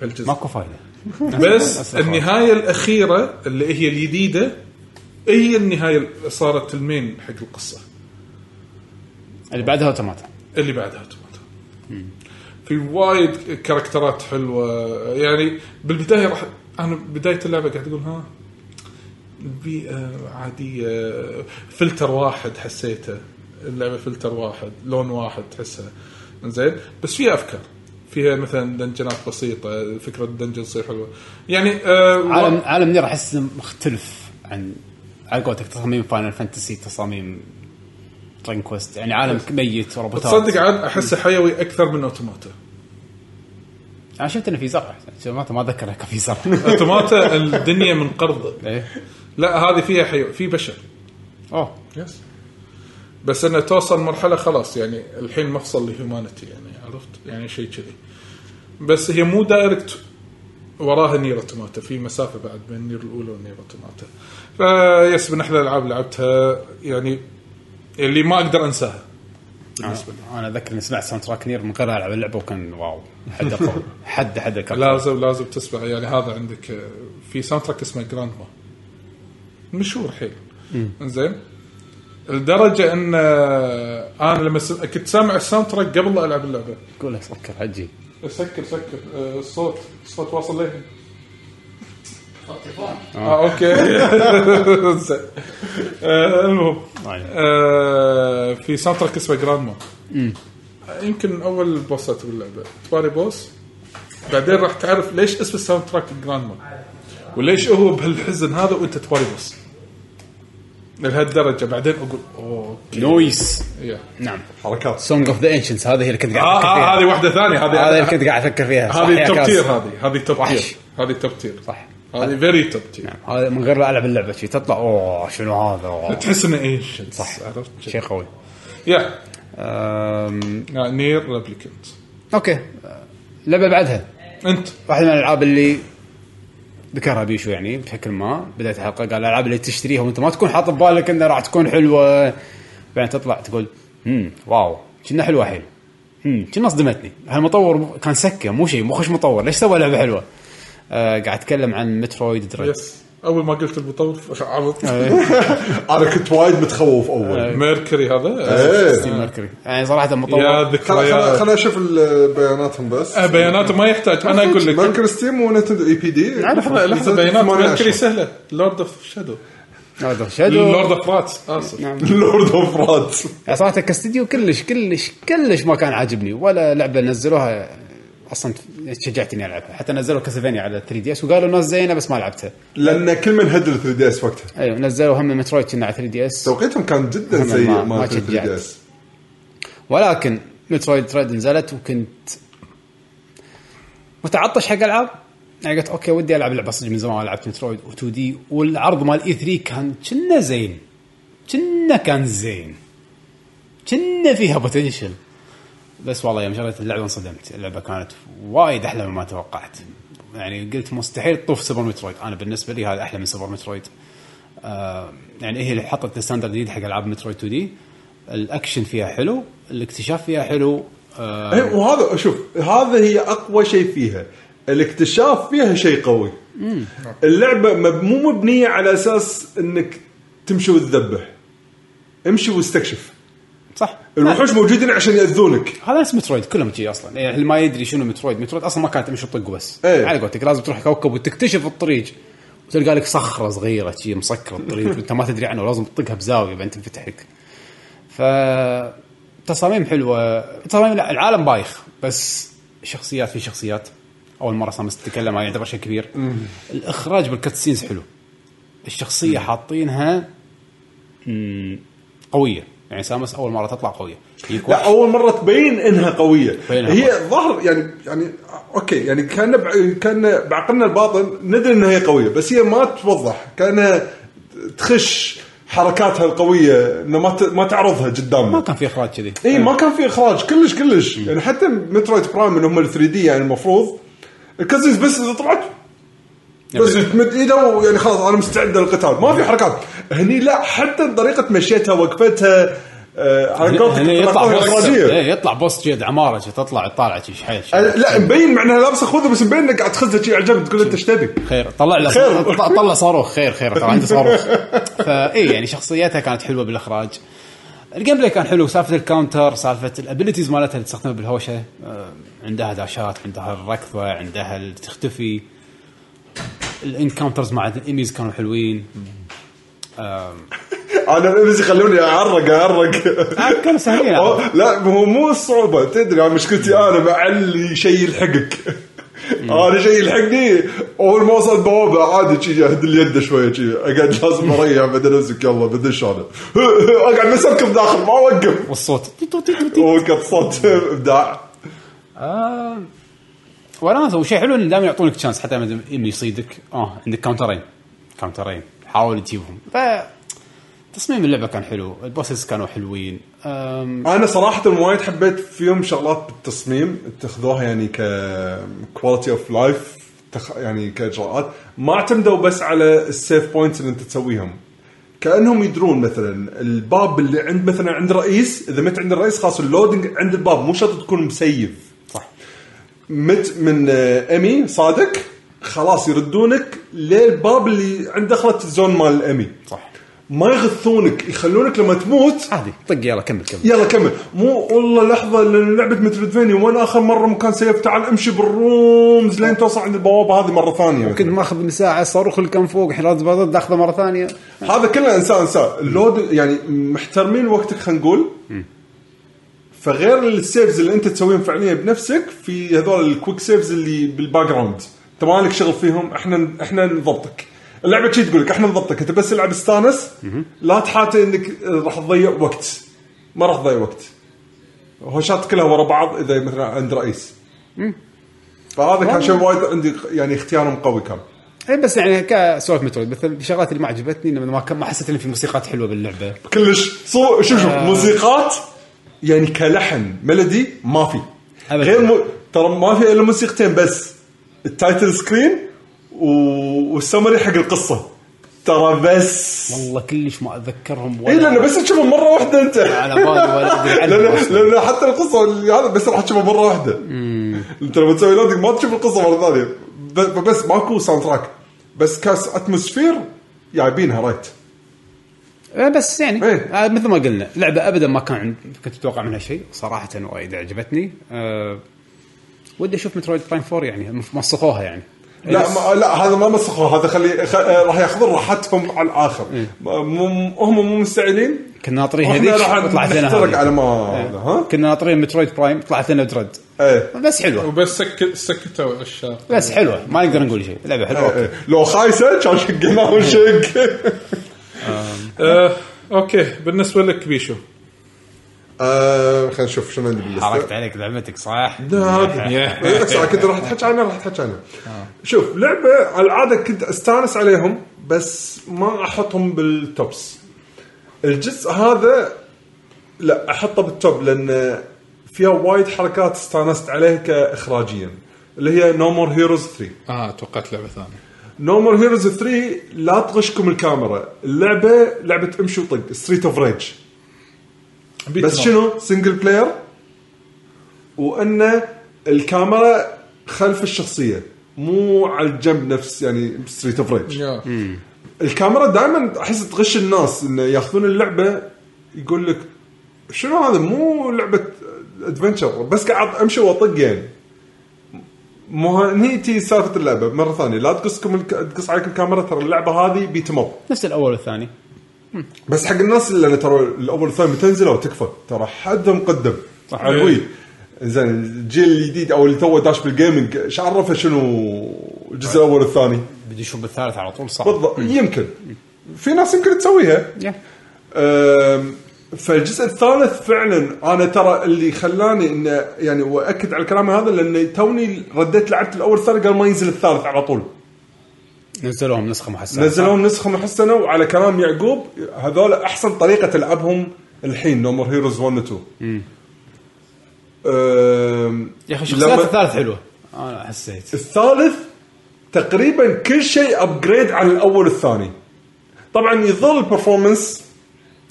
S4: بهالجزء
S2: ماكو فايده
S4: بس النهايه الاخيره اللي هي الجديده هي النهايه اللي صارت المين حق القصه
S2: اللي بعدها اوتوماتا
S4: اللي بعدها اوتوماتا في وايد كاركترات حلوه يعني بالبدايه راح انا بدايه اللعبه قاعد اقول ها البيئه عاديه فلتر واحد حسيته اللعبه فلتر واحد لون واحد تحسها زين بس فيها افكار فيها مثلا دنجنات بسيطه فكره الدنجن تصير حلوه يعني آه
S2: عالم عالم نير احس مختلف عن على قولتك تصاميم فاينل فانتسي تصاميم ترين كويست يعني عالم ميت وروبوتات
S4: تصدق عاد احسه حيوي اكثر من اوتوماتا
S2: انا شفت انه في زرع اوتوماتا ما اتذكر كان في زرع
S4: اوتوماتا الدنيا منقرضه
S2: ايه
S4: لا هذه فيها حيو في بشر
S2: اوه
S4: يس بس انه توصل مرحله خلاص يعني الحين مفصل لهيومانيتي يعني عرفت يعني شيء كذي بس هي مو دايركت وراها نير اوتوماتا في مسافه بعد بين النير الاولى والنير اوتوماتا فيس من احلى الالعاب اللي لعبتها يعني اللي ما اقدر انساها بالنسبه لي
S2: انا اذكر اني سمعت ساوند تراك نير من غير العب اللعبه وكان واو حد قوي حد حد قوي
S4: لازم لازم تسمع يعني هذا عندك آه، في ساوند تراك اسمه جراند ما مشهور حيل زين لدرجه ان آه، انا لما سم... كنت سامع الساوند تراك قبل لا العب اللعبه
S2: قول لك سكر حجي
S4: سكر سكر آه، الصوت الصوت واصل لي اه اوكي زين. آه، المهم
S2: طيب.
S4: آه، في ساوند تراك اسمه جراند ما يمكن اول بوسات باللعبه تباري بوس بعدين راح تعرف ليش اسم الساوند تراك جراند ما وليش هو بهالحزن هذا وانت تباري بوس لهالدرجه بعدين اقول اوه
S2: نويس
S4: يا
S2: نعم
S3: حركات
S2: سونج اوف ذا انشنتس هذه اللي كنت قاعد
S4: آه،
S2: افكر
S4: آه،
S2: فيها
S4: هذه واحده ثانيه
S2: هذه اللي
S4: هذه
S2: كنت قاعد افكر فيها صح
S4: هذه
S2: يا كاس.
S4: التوبتير هذه هذه
S2: وحش.
S4: التوبتير هذه التوبتير
S2: صح
S4: هذه فيري توبتير
S2: هذا نعم. من غير لا العب اللعبه شي تطلع اوه شنو هذا أوه.
S4: تحس انه ايش صح عرفت
S2: شيء قوي
S4: يا
S2: أم...
S4: نير ريبليكنت
S2: اوكي اللعبه بعدها
S4: انت
S2: واحده من الالعاب اللي ذكرها بيشو يعني بشكل ما بدايه الحلقه قال الالعاب اللي تشتريها وانت ما تكون حاط ببالك انها راح تكون حلوه بعدين تطلع تقول هم واو كنا حلوه حيل هم كنا صدمتني هالمطور مو- كان سكه مو شيء مو خش مطور ليش سوى لعبه حلوه؟ آه قاعد اتكلم عن مترويد دريد
S4: يس اول ما قلت المطور على طول
S3: انا كنت وايد متخوف اول
S4: أيوه. ميركوري هذا
S3: ايه
S2: ميركوري يعني صراحه
S4: يا
S2: المطور
S4: ذكريات
S3: خليني اشوف ال- بياناتهم بس
S4: آه، بياناته ما يحتاج انا اقول لك
S3: ماركر ستيم ونتندو E اي بي دي
S4: لحظه لحظه بيانات ميركوري سهله لورد اوف شادو
S2: هذا شادو
S4: لورد اوف راتس اسف
S3: لورد اوف راد
S2: يعني صراحه كاستديو كلش كلش كلش ما كان عاجبني ولا لعبه نزلوها اصلا شجعتني العبها حتى نزلوا كاسلفينيا على 3 دي اس وقالوا ناس زينه بس ما لعبتها
S3: لان كل من هدل 3 دي اس وقتها
S2: ايوه نزلوا هم مترويد كنا على 3 دي اس
S3: توقيتهم كان جدا
S2: هم
S3: سيء
S2: ما-
S3: مال
S2: ما
S3: 3
S2: شجعت.
S3: دي اس
S2: ولكن مترويد تريد نزلت وكنت متعطش حق العاب انا قلت اوكي ودي العب لعبه صدق من زمان لعبت مترويد و2 دي والعرض مال اي 3 كان كنا زين كنا كان زين كنا فيها بوتنشل بس والله يوم شريت اللعبه انصدمت اللعبه كانت وايد احلى مما توقعت يعني قلت مستحيل تطوف سوبر مترويد انا بالنسبه لي هذا احلى من سوبر مترويد آه يعني هي اللي حطت الستاندرد جديد حق العاب مترويد 2 دي الاكشن فيها حلو الاكتشاف فيها حلو آه
S3: إيه، وهذا شوف هذا هي اقوى شيء فيها الاكتشاف فيها شيء قوي اللعبه مب- مو مبنيه على اساس انك تمشي وتذبح امشي واستكشف
S2: صح
S3: الوحوش موجودين عشان ياذونك
S2: هذا نفس مترويد كلهم كذي اصلا يعني اللي ما يدري شنو مترويد مترويد اصلا ما كانت تمشي تطق بس
S3: إيه.
S2: على قولتك لازم تروح كوكب وتكتشف الطريق وتلقى لك صخره صغيره شي مسكره الطريق وانت ما تدري عنه لازم تطقها بزاويه بعدين تنفتح لك ف تصاميم حلوه تصاميم لا العالم بايخ بس شخصيات في شخصيات اول مره سامس تتكلم هاي يعتبر شيء كبير الاخراج بالكاتسينز حلو الشخصيه حاطينها مم، قويه يعني سامس اول مره تطلع قويه يجيك
S3: لا اول مره تبين انها قويه
S2: بينها
S3: هي ظهر يعني يعني اوكي يعني كان بع- كان بعقلنا الباطن ندري انها هي قويه بس هي ما توضح كانها تخش حركاتها القويه انه ما ت- ما تعرضها قدامنا
S2: ما كان في اخراج كذي
S3: اي إيه، ما كان في اخراج كلش كلش يعني حتى مترويد برايم من هم ال 3 دي يعني المفروض الكازنز بس اذا طلعت بس تمد ايده ويعني يعني خلاص انا مستعد للقتال ما في حركات هني لا حتى طريقه مشيتها وقفتها آه، على قولتك
S2: هنا يعني يطلع
S3: طريقتها
S2: بوس
S3: الإخراجية.
S2: إيه، يطلع بوس جد عماره شي تطلع طالع شي حيل شي.
S3: آه، لا مبين مع انها لابسه خوذه بس مبين انك قاعد تخزها شي عجبك تقول انت ايش تبي؟
S2: خير طلع له
S3: خير.
S2: طلع- طلع صاروخ خير خير طلع عنده صاروخ فاي يعني شخصيتها كانت حلوه بالاخراج الجيم بلاي كان حلو سالفه الكاونتر سالفه الابيلتيز مالتها اللي تستخدمها بالهوشه آه، عندها داشات عندها الركضه عندها اللي تختفي الانكاونترز مع الانميز كانوا حلوين
S3: انا بس يخلوني اعرق اعرق
S2: آه، كانوا سهلين على-
S3: أو- لا هو مو الصعوبه تدري انا مشكلتي انا مع اللي شيء يلحقك انا شيء يلحقني اول ما اوصل بوابه عادي شي اهدل يده شويه شي اقعد لازم اريح بعدين امسك يلا بدش انا اقعد بس اركب داخل ما اوقف
S2: والصوت تي- تو- تي- تو- تي.
S3: وكب صوت ابداع
S2: آه، وناسه وشيء حلو انه دائما يعطونك تشانس حتى لما إنه يصيدك اه عندك كاونترين كاونترين حاول تجيبهم ف تصميم اللعبه كان حلو البوسز كانوا حلوين أم،
S3: انا صراحه وايد حبيت فيهم شغلات بالتصميم اتخذوها يعني ككواليتي اوف لايف يعني كاجراءات ما اعتمدوا بس على السيف بوينتس اللي انت تسويهم كانهم يدرون مثلا الباب اللي عند مثلا عند رئيس اذا مت عند الرئيس خلاص اللودنج عند الباب مو شرط تكون مسيف
S2: صح
S3: مت من آه، امي صادق خلاص يردونك للباب اللي عند دخلت الزون مال الامي
S2: صح
S3: ما يغثونك يخلونك لما تموت
S2: عادي طق يلا كمل كمل
S3: يلا كمل مو والله لحظه لان لعبه مترويدفينيا وانا اخر مره مكان سيف تعال امشي بالرومز لين توصل عند البوابه هذه مره ثانيه
S2: كنت ماخذ من ساعه الصاروخ اللي كان فوق الحين لازم برد اخذه مره ثانيه
S3: هذا كله انسان انسان اللود يعني محترمين وقتك خلينا نقول فغير السيفز اللي انت تسويهم فعليا بنفسك في هذول الكويك سيفز اللي بالباك جراوند انت مالك شغل فيهم احنا احنا نضبطك اللعبه شي تقول لك احنا نضبطك انت بس العب استانس لا تحاتي انك راح تضيع وقت ما راح تضيع وقت هوشات كلها ورا بعض اذا مثلا عند رئيس فهذا كان شيء وايد عندي يعني اختيارهم قوي كان
S2: إيه، بس يعني كسوالف مترويد مثلا الشغلات اللي ما عجبتني لما ما كان- ما حسيت ان في موسيقات حلوه باللعبه
S3: كلش صو شوف شوف موسيقات يعني كلحن ميلودي ما في
S2: أبداً.
S3: غير م... ترى ما في الا موسيقتين بس التايتل سكرين و... والسمري حق القصه ترى بس
S2: والله كلش ما اتذكرهم
S3: اي لان بس تشوفهم مره واحده انت
S2: على بالي ولا ادري عنهم
S3: لان
S2: أصلاً.
S3: لان حتى القصه اللي هذا بس راح تشوفها مره واحده انت لما تسوي لودنج ما تشوف القصه مره ثانيه ب- بس ماكو ساوند تراك بس كاس اتموسفير جايبينها رايت
S2: آه، بس يعني
S3: إيه.
S2: آه، مثل ما قلنا لعبه ابدا ما كان عند كنت اتوقع منها شيء صراحه وايد عجبتني أه ودي اشوف مترويد برايم 4 يعني مف- مسخوها يعني
S3: لا
S2: بس-
S3: ما لا هذا ما مسخوه هذا خلي خ... آه، راح ياخذون راحتهم على الاخر ما- مو هم مو مستعجلين
S2: كنا ناطرين
S3: احنا
S2: هذيك
S3: راح
S2: طلعت لنا
S3: نحترق
S2: هذيك. إيه.
S3: على ما ها
S2: كنا ناطرين مترويد برايم طلعت لنا درد
S3: ايه
S2: بس حلوه
S4: وبس سكت سكتوا الشارع
S2: بس حلوه ما نقدر نقول شيء لعبه حلوه
S3: إيه. لو خايسه كان
S2: إيه.
S3: شقناه ونشق
S4: آه، اوكي بالنسبه لك بيشو
S3: آه خلينا نشوف شنو عندي
S2: حركت
S3: باللسته
S2: عليك لعبتك صح؟
S3: لا عادي. بس أنا كنت راح تحكي عنها راح تحكي عنها شوف لعبه على العاده كنت استانس عليهم بس ما احطهم بالتوبس الجزء هذا لا احطه بالتوب لان فيها وايد حركات استانست عليها كاخراجيا اللي هي نو مور هيروز 3
S4: اه توقعت لعبه ثانيه
S3: نو مور هيروز 3 لا تغشكم الكاميرا اللعبه لعبه امشي وطق ستريت اوف ريج بس شنو سنجل بلاير وان الكاميرا خلف الشخصيه مو على الجنب نفس يعني ستريت اوف ريج
S4: يا.
S3: الكاميرا دائما احس تغش الناس انه ياخذون اللعبه يقول لك شنو هذا مو لعبه ادفنشر بس قاعد امشي واطق يعني مو ه- هني تي سالفه اللعبه مره ثانيه لا تقصكم الك... تقص عليكم الكاميرا ترى اللعبه هذه بيتم اب
S2: نفس الاول والثاني
S3: بس حق الناس اللي أنا ترى الاول والثاني بتنزله وتكفى ترى حد مقدم
S2: صح.
S3: على الوي زين الجيل الجديد او اللي تو داش بالجيمنج ايش عرفه شنو الجزء الاول والثاني
S2: بدي اشوف الثالث على طول صعب
S3: بالضبط يمكن في ناس يمكن تسويها
S2: يا.
S3: أم، فالجزء الثالث فعلا انا ترى اللي خلاني انه يعني واكد على كلامي هذا لان توني رديت لعبت الاول والثاني قال ما ينزل الثالث على طول
S2: نزلوهم نسخه محسنه
S3: نزلوهم نسخه محسنه وعلى كلام يعقوب هذول احسن طريقه تلعبهم الحين نومر هيروز 1 و 2
S2: يا اخي شخصيات الثالث حلوه انا حسيت
S3: الثالث تقريبا كل شيء ابجريد عن الاول والثاني طبعا يظل البرفورمنس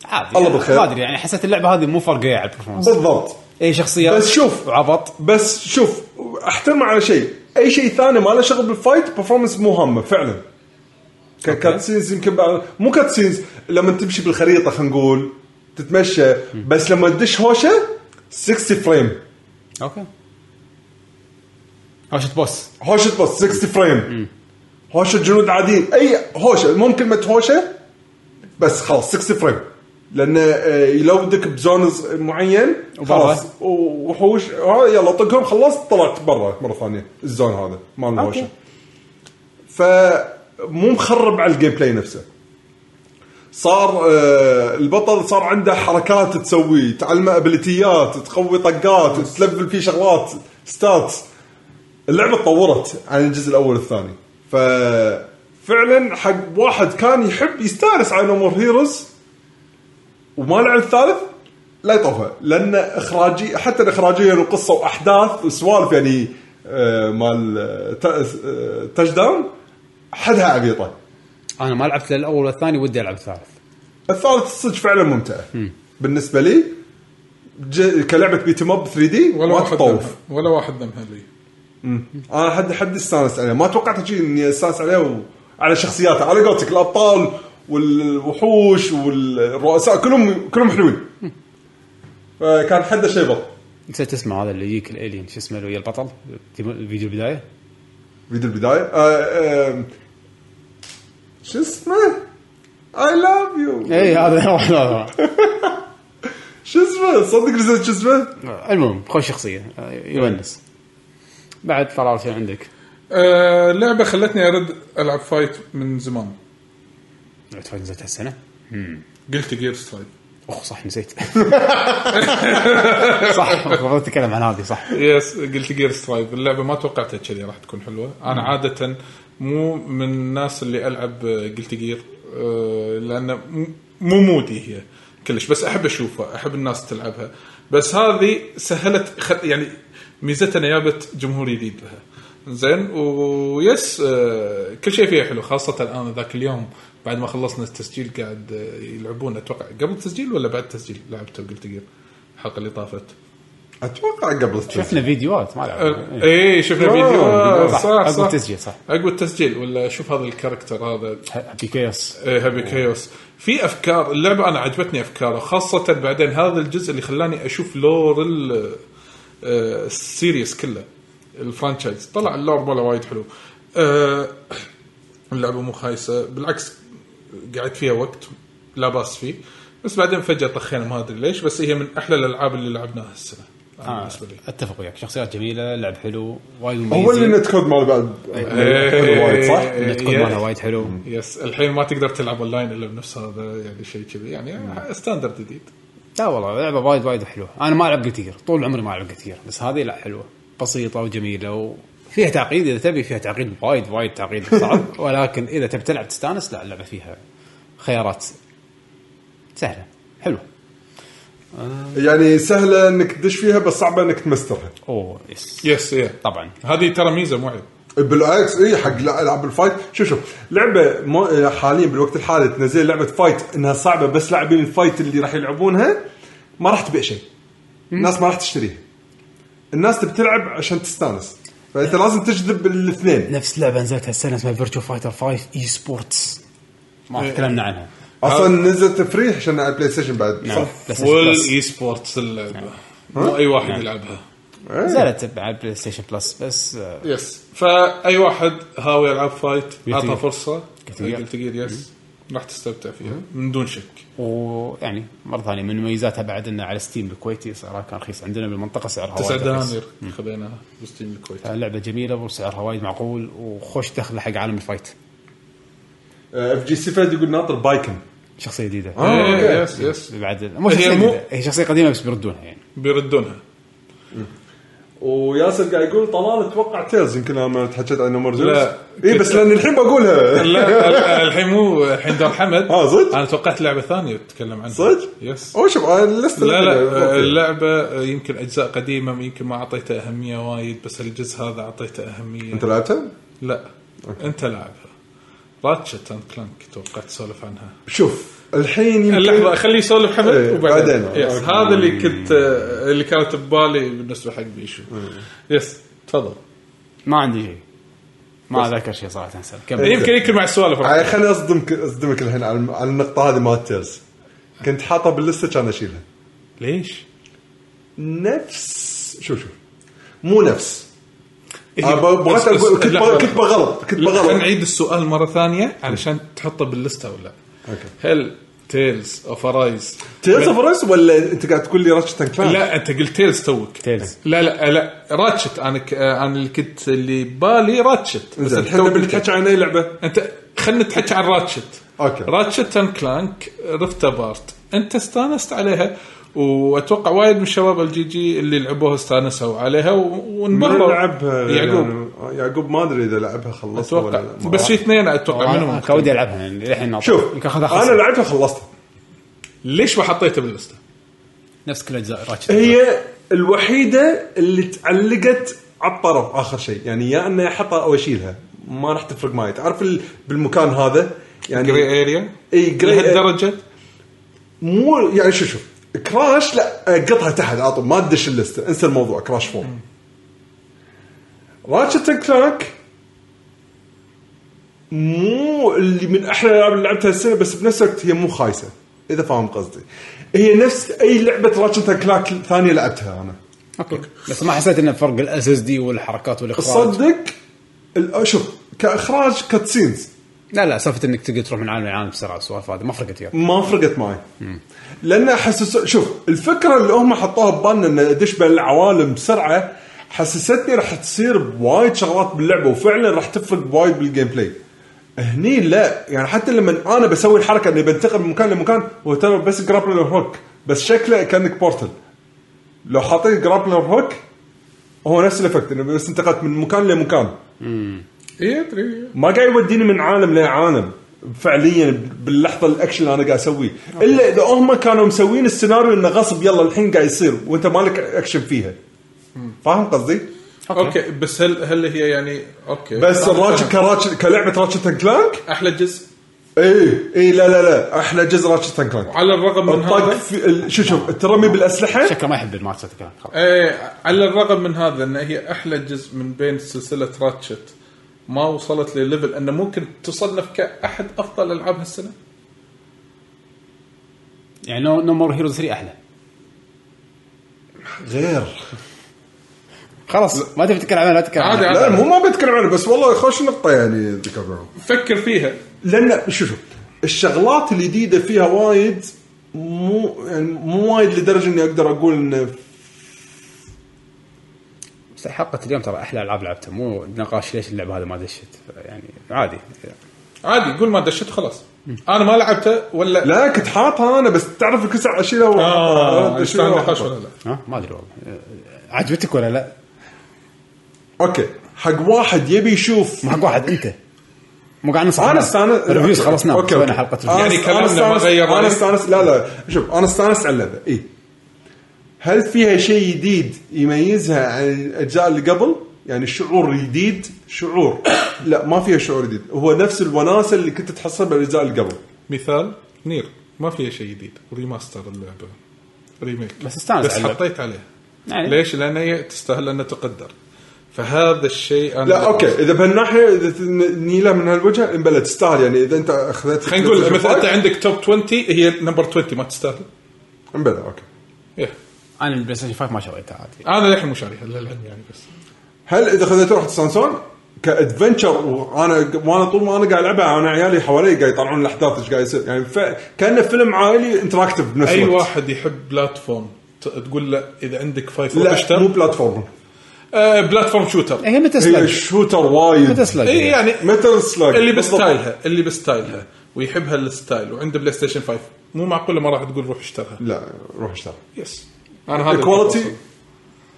S2: عادي
S3: الله بالخير.
S2: ما ادري يعني حسيت اللعبه هذه مو فرقه على البرفورمانس
S3: بالضبط
S2: اي شخصيه
S3: بس شوف.
S2: عبط
S3: بس شوف احترم على شيء اي شيء ثاني ما له شغل بالفايت برفورمنس مو هامه فعلا ك- كاتسينز يمكن بعد مو كاتسينز لما تمشي بالخريطه خلينا نقول تتمشى بس لما تدش هوشه 60 فريم
S2: اوكي هوشة بوس
S3: هوشه بس 60 فريم هوشه جنود عاديين اي هوشه المهم كلمه هوشه بس خلاص 60 فريم لانه آه، يلودك بزونز معين
S2: وبرا.
S3: خلاص و- وحوش آه، يلا طقهم خلصت طلعت برا مره ثانيه الزون هذا مال الهوشه فمو مخرب على الجيم بلاي نفسه صار آه، البطل صار عنده حركات تسوي تعلمه ابيليتيات تقوي طقات تلفل فيه شغلات ستات اللعبه تطورت عن الجزء الاول والثاني ف فعلا حق واحد كان يحب يستانس على امور هيروز وما لعب الثالث لا يطوفه لان اخراجي حتى اخراجيا وقصه واحداث وسوالف يعني آه، مال تاش داون حدها عبيطه
S2: انا ما لعبت للاول والثاني ودي العب الثالث
S3: الثالث صدق فعلا ممتع بالنسبه لي ج- كلعبه بيتم اب 3 دي
S4: ولا
S3: ما
S4: واحد
S3: تطوف
S4: دمها. ولا واحد دمها لي
S3: انا حد حد استانس عليه ما توقعت شيء اني استانس عليه و... على شخصياته على قولتك الابطال والوحوش والرؤساء كلهم كلهم حلوين فكان حده شيء بط
S2: نسيت اسمه هذا اللي يجيك الالين شو اسمه اللي ويا البطل تيم- فيديو البدايه
S3: فيديو البدايه آه، آه، شو اسمه؟ اي لاف يو
S2: اي هذا
S3: شو اسمه؟ صدق نسيت شو اسمه؟
S2: المهم خوش شخصيه آه، يونس بعد طلال شو عندك؟
S4: آه لعبه خلتني ارد العب فايت من زمان
S2: لعبت فايت نزلت هالسنه
S4: قلت جير سترايك
S2: اخ صح نسيت صح المفروض نتكلم عن هذه صح
S4: يس قلت جير سترايف اللعبه ما توقعتها كذي راح تكون حلوه انا عاده مو من الناس اللي العب قلت جير لان آه، م- مو مودي هي كلش بس احب اشوفها احب الناس تلعبها بس هذه سهلت خ... يعني ميزتها إنها جابت جمهور جديد لها زين ويس آه، كل شيء فيها حلو خاصه انا ذاك اليوم بعد ما خلصنا التسجيل قاعد آه، يلعبون اتوقع قبل التسجيل ولا بعد التسجيل لعبته قلت جير الحلقه اللي طافت
S3: اتوقع قبل
S2: شفنا فيديوهات ما لعبنا إيه. إي.
S4: اي شفنا فيديو آه،
S2: صح،
S4: صح
S2: عقب
S4: صح
S2: التسجيل، صح.
S4: عقب التسجيل ولا شوف هذا الكاركتر هذا
S2: هابي كيوس
S4: آه، هابي كيوس في افكار اللعبه انا عجبتني افكاره خاصه بعدين هذا الجزء اللي خلاني اشوف لور ال- آه، السيريس كله الفرانشايز طلع اللور ماله وايد حلو آه، اللعبه مو خايسه بالعكس قعدت فيها وقت لا باس فيه بس بعدين فجاه طخينا ما ادري ليش بس هي من احلى الالعاب اللي لعبناها السنه أنا
S2: آه
S4: بالنسبه لي
S2: اتفق وياك شخصيات جميله لعب حلو وايد
S3: هو اللي
S2: مميز
S3: النت كود مال بعد
S4: إيه.
S3: وايد صح؟
S4: إيه.
S2: النتكود مالها وايد حلو
S4: يس الحين ما تقدر تلعب اونلاين الا بنفس هذا يعني شيء كذي يعني ستاندرد جديد
S2: لا والله لعبه وايد وايد حلوه انا ما العب كثير طول عمري ما العب كثير بس هذه لا حلوه بسيطه وجميله وفيها تعقيد اذا تبي فيها تعقيد وايد وايد تعقيد صعب ولكن اذا تبي تلعب تستانس لا اللعبه فيها خيارات سهله حلوه
S3: يعني سهله انك تدش فيها بس صعبه انك تمسترها
S2: اوه يس
S4: يس يا
S2: طبعا
S4: هذه ترى ميزه مو عيب
S3: بالعكس اي إيه، حق لا- العاب الفايت شوف شوف لعبه مو حاليا بالوقت الحالي تنزل لعبه فايت انها صعبه بس لاعبين الفايت اللي راح يلعبونها ما راح تبيع شيء الناس ما راح تشتريها الناس تبي تلعب عشان تستانس فانت لازم تجذب
S4: نعم.
S3: الاثنين
S2: نفس لعبه نزلت هالسنه اسمها فيرتشو فايتر 5 اي سبورتس ما تكلمنا عنها
S3: اصلا نزلت فري عشان على البلاي ستيشن بعد
S2: نعم.
S3: صح؟
S2: بلاي ستيشن
S4: فول
S2: بلس.
S4: اي سبورتس اللعبه
S3: نعم.
S4: مو اي واحد يلعبها
S2: نزلت على البلاي ستيشن بلس بس آه،
S4: يس فاي واحد هاوي يلعب فايت اعطى
S2: جير.
S4: فرصه
S2: Guilty Gear.
S4: جلتجير يس راح تستمتع فيها من دون شك
S2: ويعني مره ثانيه من مميزاتها بعد انه على ستيم الكويتي سعرها كان رخيص عندنا بالمنطقه سعرها
S4: تسع
S2: وايد رخيص.
S4: دنانير خذيناها بستيم الكويت
S3: آه.
S2: لعبه جميله وسعرها وايد معقول وخوش دخله حق عالم الفايت
S3: اف جي سي فهد يقول ناطر بايكن
S2: شخصيه جديده
S3: آه،
S4: إيه،
S3: أوكي.
S4: يس يس
S2: بعد مو
S4: هي
S2: شخصيه
S4: مو-
S2: جديده هي شخصيه قديمه بس بيردونها يعني
S4: بيردونها
S3: وياسر قاعد يقول طلال اتوقع تيلز يمكن انا ما تحكيت عن نمبر
S4: لا.
S3: اي بس لان الحين بقولها
S4: لا لا، الحين مو الحين دور حمد
S3: آه، صدق؟
S4: انا توقعت لعبه ثانيه تتكلم عنها
S3: صدق؟
S4: يس
S3: او شوف آه، انا لسه
S4: لا آه، لا اللعبة يمكن أجزاء قديمة يمكن ما أعطيتها أهمية وايد بس الجزء هذا أعطيته أهمية
S3: انت لعبتها؟
S4: لا أنت لاعبها راتشت أند كلانك توقعت تسولف عنها
S3: شوف الحين يمكن
S4: اللحظة خليه يسولف حمد
S3: إيه،
S4: وبعدين
S3: بعدين.
S4: يس
S3: أوكي.
S4: هذا اللي كنت آه، اللي كانت ببالي بالنسبة حق بيشو
S3: إيه.
S4: يس تفضل
S2: ما عندي شيء ما اذكر شيء صراحه هسه كمل
S4: يمكن يمكن مع السوالف راح
S3: هاي آه، خليني اصدمك اصدمك الحين على الم- على النقطه هذه مالت تيرز كنت حاطه باللسته كان اشيلها آه،
S4: ليش؟
S3: نفس شوف شوف مو نفس أنا ب-
S4: إيه، بس-
S3: بغيت
S4: بس-
S3: اقول كنت
S4: لحظة.
S3: ب- كنت بغلط كنت
S4: خلينا
S3: بغلط
S4: نعيد السؤال مرة ثانية علشان تحطه باللستة ولا
S3: أوكي.
S4: هل تيلز اوف ارايز
S3: تيرز اوف ريس ولا انت قاعد تقول لي راتشت اند كلانك؟
S4: لا انت قلت تيلز توك
S2: تيلز.
S4: لا لا لا راتشت انا ك... انا اللي كنت اللي ببالي راتشت
S3: زين
S4: انت
S3: الحين
S4: توك
S3: نبي
S4: قلت-
S3: نتحكي عن اي لعبه؟
S4: انت خلينا نتحكي عن راتشت
S3: أوكي.
S4: راتشت اند كلانك رفت بارت انت استانست عليها واتوقع وايد من شباب الجي جي اللي لعبوها استانسوا عليها و-
S3: من
S4: وانبهروا
S3: لعبها
S4: يعقوب
S3: يعني- يعقوب ما ادري اذا لعبها خلصها ولا
S4: اتوقع
S3: لا ما
S4: بس في
S3: أعرف.
S4: اثنين اتوقع منهم
S2: أنا كودي العبها يعني للحين ناطر.
S3: شوف
S2: يمكن اخذها
S3: انا
S2: خلص
S3: لعبتها خلصتها
S4: ليش ما حطيته باللسته؟
S2: نفس كل اجزاء راتشت
S3: هي الوحيده اللي تعلقت على الطرف اخر شيء يعني يا اني احطها او اشيلها ما راح تفرق معي تعرف ال- بالمكان هذا يعني
S4: جري اريا
S3: اي جري
S4: لهالدرجه
S3: مو يعني شوف شوف كراش لا قطها تحت على طول ما تدش اللسته انسى الموضوع كراش فور راتشت أند كلانك مو اللي من احلى الالعاب اللي لعبتها السنه بس بنفس الوقت هي مو خايسه اذا فاهم قصدي هي نفس اي لعبه راتشت أند كلانك ثانيه لعبتها انا
S2: اوكي بس ما حسيت انه فرق الاس اس دي والحركات والاخراج
S3: تصدق ال- شوف كاخراج كاتسينز
S2: لا لا سالفه انك تقدر تروح من عالم لعالم بسرعه والسوالف هذه ما فرقت وياك
S3: ما فرقت معي لان حسس شوف الفكره اللي هم حطوها ببالنا ان ادش بالعوالم بسرعه حسستني راح تصير بوايد شغلات باللعبه وفعلا راح تفرق بوايد بالجيم بلاي هني لا يعني حتى لما انا بسوي الحركه اني بنتقل من مكان لمكان هو ترى بس جرابلر هوك بس شكله كانك بورتل لو حطيت جرابلر هوك هو نفس الافكت انه بس انتقلت من مكان لمكان
S4: اي ادري
S3: ما قاعد يوديني من عالم لعالم فعليا باللحظه الاكشن اللي انا قاعد اسويه الا اذا هم كانوا مسوين السيناريو انه غصب يلا الحين قاعد يصير وانت مالك اكشن فيها فاهم قصدي؟
S4: اوكي بس هل هل هي يعني اوكي
S3: بس
S4: أنا
S3: الراتشت
S4: فاهم.
S3: كراتش كلعبه راتشت أند كلانك
S4: احلى جزء
S3: اي اي لا لا لا احلى جزء راتشت أند كلانك
S4: على الرغم من
S3: الطق
S4: هذا
S3: في ال- شو شوف ترمي بالاسلحه
S2: شكله ما يحب الماتشات كلام خلاص
S4: ايه على الرغم من هذا ان هي احلى جزء من بين سلسله راتشت ما وصلت لليفل انه ممكن تصنف كاحد افضل العاب هالسنه
S2: يعني نو مور هيروز 3 احلى
S3: غير
S2: خلاص ما تبي تتكلم عنها لا تتكلم
S4: عادي
S2: عنها.
S3: لا
S4: عادي
S3: مو ما بتكلم عنه بس والله خوش نقطه يعني ذكرناها
S4: فكر فيها
S3: لان شوف شوف الشغلات الجديده فيها وايد مو يعني مو وايد لدرجه اني اقدر اقول انه
S2: بس حلقه اليوم ترى احلى العاب لعبتها مو نقاش ليش اللعبه هذا ما دشت يعني عادي
S4: عادي قول ما دشت خلاص انا ما لعبته ولا
S3: لا كنت حاطها انا بس تعرف الكل ساعه اشيلها و-
S4: اه
S3: أشيلها
S4: استنى
S3: وأحطها.
S4: نقاش ولا لا
S2: ها ما ادري والله آه، عجبتك ولا لا؟
S3: اوكي حق واحد يبي يشوف
S2: ما حق واحد انت مو قاعد ننصح
S3: انا
S2: الناس.
S3: استانس
S2: ريفيوز خلصنا
S3: اوكي
S2: سوينا
S3: اوكي
S2: حلقه
S3: أنا
S2: ريفيوز
S4: يعني
S3: أنا
S4: كلامنا ما
S3: استانس-
S4: غير رأيك؟
S3: انا استانس لا لا شوف انا استانس على اللعبه اي هل فيها شيء جديد يميزها عن الاجزاء اللي قبل؟ يعني شعور جديد شعور لا ما فيها شعور جديد هو نفس الوناسه اللي كنت تحصلها بالاجزاء اللي قبل
S4: مثال نير ما فيها شيء جديد ريماستر اللعبه ريميك
S2: بس استانس
S4: بس
S2: على اللعبة.
S4: حطيت عليها
S2: يعني.
S4: ليش؟ لان هي تستاهل انها تقدر فهذا الشيء انا
S3: لا اوكي اذا بهالناحيه اذا تن- نيلها من هالوجه بلا تستاهل يعني اذا انت اخذت
S4: خلينا نقول مثلا انت عندك توب 20 هي نمبر 20 ما تستاهل
S3: بلا اوكي
S4: إيه.
S2: انا البلاي ستيشن 5 ما شريتها عادي
S4: انا للحين مو شاريها للعلم يعني بس
S3: هل اذا خذيت روح سانسون كادفنشر وانا وانا طول ما انا قاعد العبها انا عيالي حوالي قاعد يطلعون الاحداث ايش قاعد يصير يعني ف... كانه فيلم عائلي انتراكتف بنفس
S4: اي
S3: الوقت
S4: واحد يحب بلاتفورم ت- تقول له اذا عندك فايف
S3: لا مو
S4: اشتر
S3: بلاتفورم
S4: آه بلاتفورم شوتر
S2: إيه، هي متى
S3: هي
S2: سلاج
S3: شوتر وايد
S2: متى سلاج
S4: اي يعني
S3: متل سلاج
S4: اللي
S3: بالضبط.
S4: بستايلها اللي بستايلها ويحبها الستايل وعنده بلاي ستيشن 5 مو معقوله ما راح تقول روح اشترها
S3: لا روح اشتغل
S4: يس انا هذا
S3: كواليتي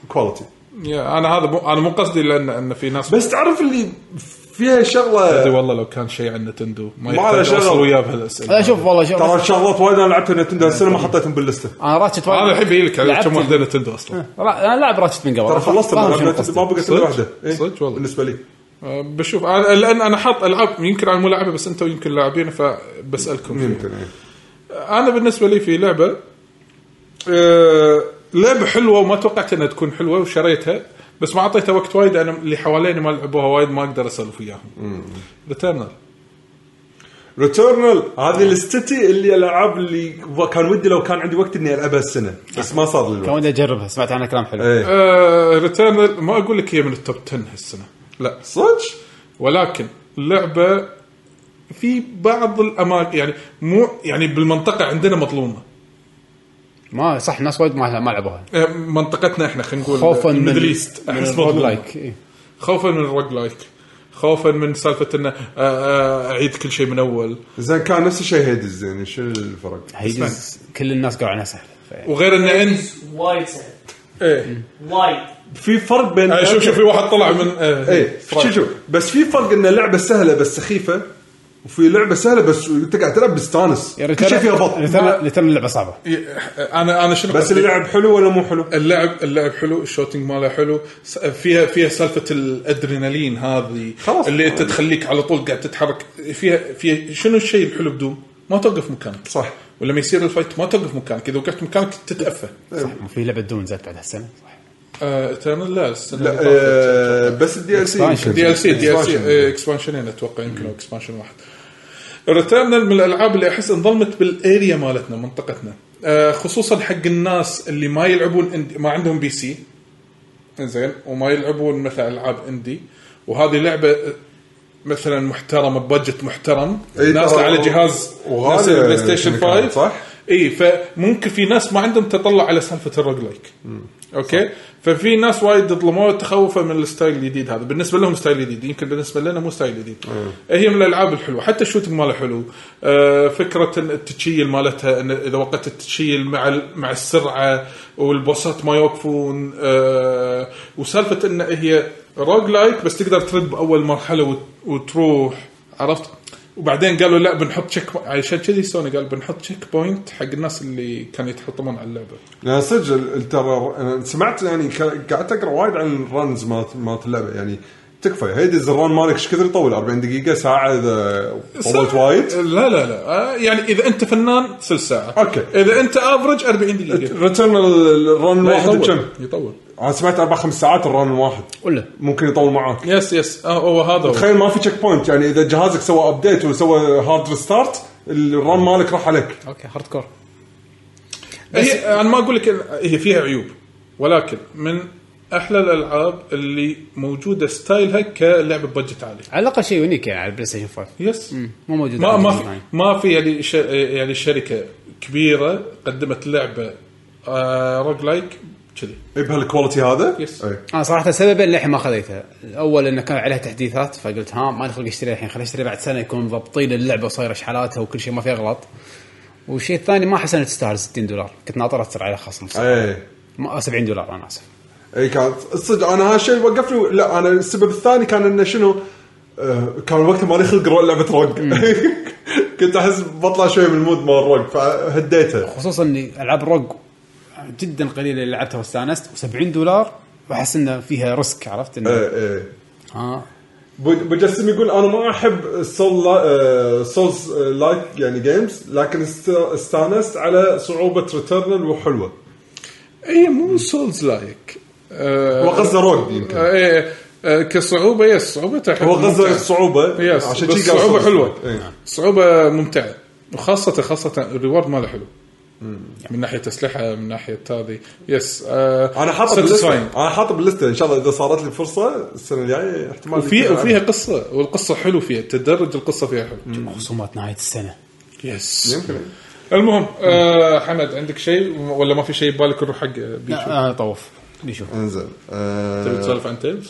S3: كواليتي
S4: يا انا هذا مو انا مو قصدي لان ان في ناس
S3: بس تعرف اللي فيها
S4: قصدي
S3: شغله
S4: والله لو كان شيء عن نتندو ما
S3: ما له
S4: يحتاج
S3: شغل.
S4: اوصل وياه بهالاسئله
S2: لا شوف والله شوف
S3: ترى شغلات وايد انا لعبتها نتندو هالسنه ما حطيتهم باللسته
S4: آه،
S2: انا راتشت وايد
S4: انا الحين بيجي لك على
S2: لعبت
S4: كم
S2: ال-
S4: واحده نتندو اصلا
S2: را- انا لاعب راتشت من قبل
S3: ترى خلصت
S2: فاهم
S3: من
S2: شنو
S3: لعبة
S2: قصدي.
S3: ما بقيت
S4: صدق؟
S3: الا واحده إيه؟
S4: صدق والله.
S3: بالنسبه لي
S4: أه، بشوف انا لان انا حاط العاب يمكن انا مو لاعبه بس انتم يمكن لاعبين فبسالكم فيها.
S3: يمكن إيه.
S4: انا بالنسبه لي في لعبه آه، لعبه حلوه وما توقعت انها تكون حلوه وشريتها بس ما اعطيتها وقت وايد انا اللي حواليني ما لعبوها وايد ما اقدر اسولف وياهم. ريتيرنال
S3: ريتيرنال هذه الاستتي اللي الالعاب اللي و- كان ودي لو كان عندي وقت اني العبها السنه بس ما صار لي
S2: كان
S3: الوقت
S2: ودي اجربها سمعت عنها كلام
S4: إيه.
S2: حلو
S3: ايه
S4: ريتيرنال آه، ما اقول لك هي من التوب 10 هالسنه لا
S3: صدق
S4: ولكن اللعبه في بعض الاماكن يعني مو يعني بالمنطقه عندنا مظلومه
S2: ما صح ناس وايد ما ما لعبوها
S4: آه، منطقتنا احنا خلينا نقول
S2: خوفا من
S4: الميدل ايست
S2: من
S4: احس
S2: الروج
S4: مظلومه
S2: لايك إيه.
S4: خوفا من الروج لايك خوفا من سالفه انه آه، آه، اعيد كل شيء من اول
S3: زين كان نفس الشيء هيدز يعني شو الفرق؟
S2: هيجز كل الناس قالوا عنها سهله ف-
S4: وغير انه انت
S5: وايد سهل
S3: إيه.
S4: ايه
S5: وايد
S3: في فرق بين
S4: آه، شوف شوف في واحد طلع من آه،
S3: ايه شوف شوف بس في فرق ان لعبه سهله بس سخيفه وفي لعبه سهله بس انت قاعد تلعب بستانس
S2: يعني
S3: كل شيء فيها بط
S2: ريتيرن- ريتيرن اللعبه صعبه
S4: ي- انا انا إيه، شنو
S3: بس
S4: قصدي؟
S3: اللعب حلو ولا مو حلو؟
S4: اللعب اللعب حلو الشوتنج ماله حلو س- فيها فيها سالفه الادرينالين هذه
S3: خلاص.
S4: اللي انت تخليك على طول قاعد تتحرك فيها فيها شنو الشيء الحلو بدوم؟ ما توقف مكانك
S3: صح
S4: ولما يصير الفايت ما توقف مكانك اذا وقفت مكانك تتأفى
S2: صح في لعبه دون زاد بعد هالسنه صح
S4: آه، ترى لا السنه
S3: لا
S4: لا
S3: آه، بس الدي ال سي
S2: Expansion.
S4: دي ال سي دي ال
S3: Expansion.
S4: سي اكسبانشنين اتوقع يعني يمكن او اكسبانشن واحد ريتيرنال من الالعاب اللي احس انظلمت بالاريا مالتنا منطقتنا آه، خصوصا حق الناس اللي ما يلعبون اندي ما عندهم بي سي زين وما يلعبون مثلا العاب اندي وهذه لعبه آه، مثلا محترمه ببادجت محترم
S3: إي
S4: ناس
S3: ترى
S4: على جهاز
S3: وهذا
S4: ناس على بلاي ستيشن
S3: كان
S4: 5
S3: صح؟
S4: اي فممكن في ناس ما عندهم تطلع على سالفه الروج لايك اوكي ففي ناس وايد ظلموه تخوفه من الستايل الجديد هذا بالنسبه لهم ستايل جديد يمكن بالنسبه لنا مو ستايل جديد هي من الالعاب الحلوه حتى الشوتنج ماله حلو آه، فكره إن التشيل مالتها إن اذا وقت التشيل مع ال- مع السرعه والبوسات ما يوقفون آه، وسالفه ان هي روج لايك بس تقدر ترد باول مرحله وت- وتروح عرفت وبعدين قالوا لا بنحط تشيك عشان كذي سوني قال بنحط تشيك بوينت حق الناس اللي كانوا يتحطمون على اللعبه
S3: لا صدق ال- ال- ترى انا سمعت يعني ك- قعدت اقرا وايد عن الرنز مالت مالت اللعبه يعني تكفى هيدز الرن مالك ايش كثر يطول 40 دقيقه ساعه اذا طولت وايد
S4: لا لا لا آه، يعني اذا انت فنان سل ساعه
S3: أوكي.
S4: اذا انت افرج 40 دقيقه
S3: ريتيرن الرن
S4: لا،
S3: واحد كم؟
S4: يطول يطول
S3: انا سمعت اربع خمس ساعات الرن واحد
S2: ولا
S3: ممكن يطول معاك
S4: يس يس آه، هو هذا هو.
S3: تخيل ما في تشيك بوينت يعني اذا جهازك سوى ابديت وسوى هارد ريستارت الرن مالك راح عليك
S2: اوكي هارد كور
S4: هي انا ما اقول لك إن- هي فيها عيوب ولكن من احلى الالعاب اللي موجوده ستايلها كلعبه ببجت عالي
S2: على الاقل شيء يونيك يعني على البلاي ستيشن 5
S4: يس
S2: مو موجود
S4: ما
S2: عندي
S4: ما
S2: أونلاين.
S4: في ما في يعني ش... يعني شركه كبيره قدمت لعبه آه روج لايك كذي
S3: اي بهالكواليتي إيه هذا؟
S4: يس.
S3: إيه.
S2: انا صراحه سبب للحين ما خذيتها الاول انه كان عليها تحديثات فقلت ها ما لي خلق اشتريها الحين خليني اشتريها بعد سنه يكون مضبطين اللعبه وصايره شحالاتها وكل شيء ما فيها غلط والشيء الثاني ما احس انها تستاهل 60 دولار كنت ناطرها تصير عليها خصم
S3: اي
S2: ما- 70 دولار انا اسف
S3: اي كانت صدق انا هالشيء وقفني لا انا السبب الثاني كان انه شنو آه، كان وقتها مالي خلق رو- لعبه روج كنت احس بطلع شوي من المود مال آه، الروج فهديتها
S2: خصوصا اني العاب روج جدا قليله اللي لعبتها واستانست و70 دولار واحس انه فيها ريسك عرفت
S4: إيه.
S2: آه. انه
S3: اي اي
S2: ها
S3: بجسم يقول انا ما احب السول آه، سولز لايك يعني جيمز لكن است- استانست على صعوبه ريتيرنال وحلوه
S4: هي
S3: إيه،
S4: مو سولز لايك آه،
S3: هو غزة روج يمكن.
S4: آه، إيه، آه، كصعوبه يس صعوبتها
S3: آه، هو
S4: حلوة
S3: غزه
S4: ممتعة.
S3: الصعوبه
S4: يس
S3: عشان
S4: عشان
S3: كذي قال
S4: صعوبه
S3: صعوبة.
S4: حلوه
S3: إيه.
S4: صعوبه ممتعه وخاصه خاصه الريورد ماله حلو من ناحيه اسلحه من ناحيه هذه يس آه
S3: انا حاطه باللسته
S4: satisfying.
S3: انا حاطه باللسته ان شاء الله اذا صارت لي فرصه السنه الجايه احتمال
S4: وفي
S3: يكون
S4: وفيها قصه والقصه حلو فيها تدرج القصه فيها حلو
S2: خصومات نهايه السنه
S4: يس
S3: يمكن
S4: المهم آه حمد عندك شيء ولا ما في شيء ببالك نروح حق بيشو
S2: لا، انا طوف بيشوف
S3: انزين آه،
S4: تبي تسولف عن تيلز؟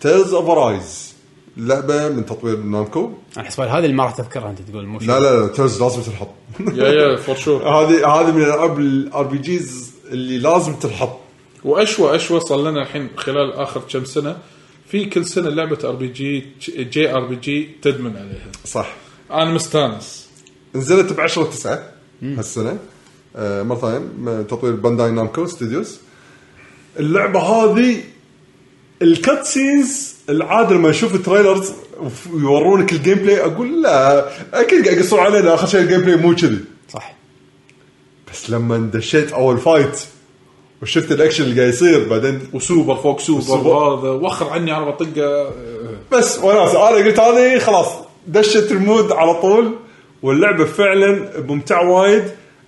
S3: تيلز اوف رايز لعبه من تطوير نامكو
S2: انا حسب هذه اللي ما راح تذكرها انت تقول مو
S3: لا لا لا تيلز لازم تنحط
S4: يا يا فور شور
S3: هذه هذه من الالعاب الار بي جيز اللي لازم تنحط
S4: واشوى اشوى صار لنا الحين خلال اخر كم سنه في كل سنه لعبه ار بي جي جي ار بي جي تدمن عليها
S3: صح
S4: انا مستانس
S3: نزلت ب 10 9 هالسنه آه، مره ثانيه من تطوير بانداي نامكو ستوديوز اللعبه هذه الكات سينز العاده لما اشوف التريلرز وف- ويورونك الجيم بلاي اقول لا اكيد قاعد يقصون علينا اخر شيء الجيم بلاي مو كذي
S2: صح
S3: بس لما دشيت اول فايت وشفت الاكشن اللي قاعد يصير بعدين
S4: وسوبر فوق سوبر
S3: وسوبر.
S4: وهذا وخر عني انا بطقه آه،
S3: بس وناس انا قلت هذه خلاص دشت المود على طول واللعبه فعلا ممتعه وايد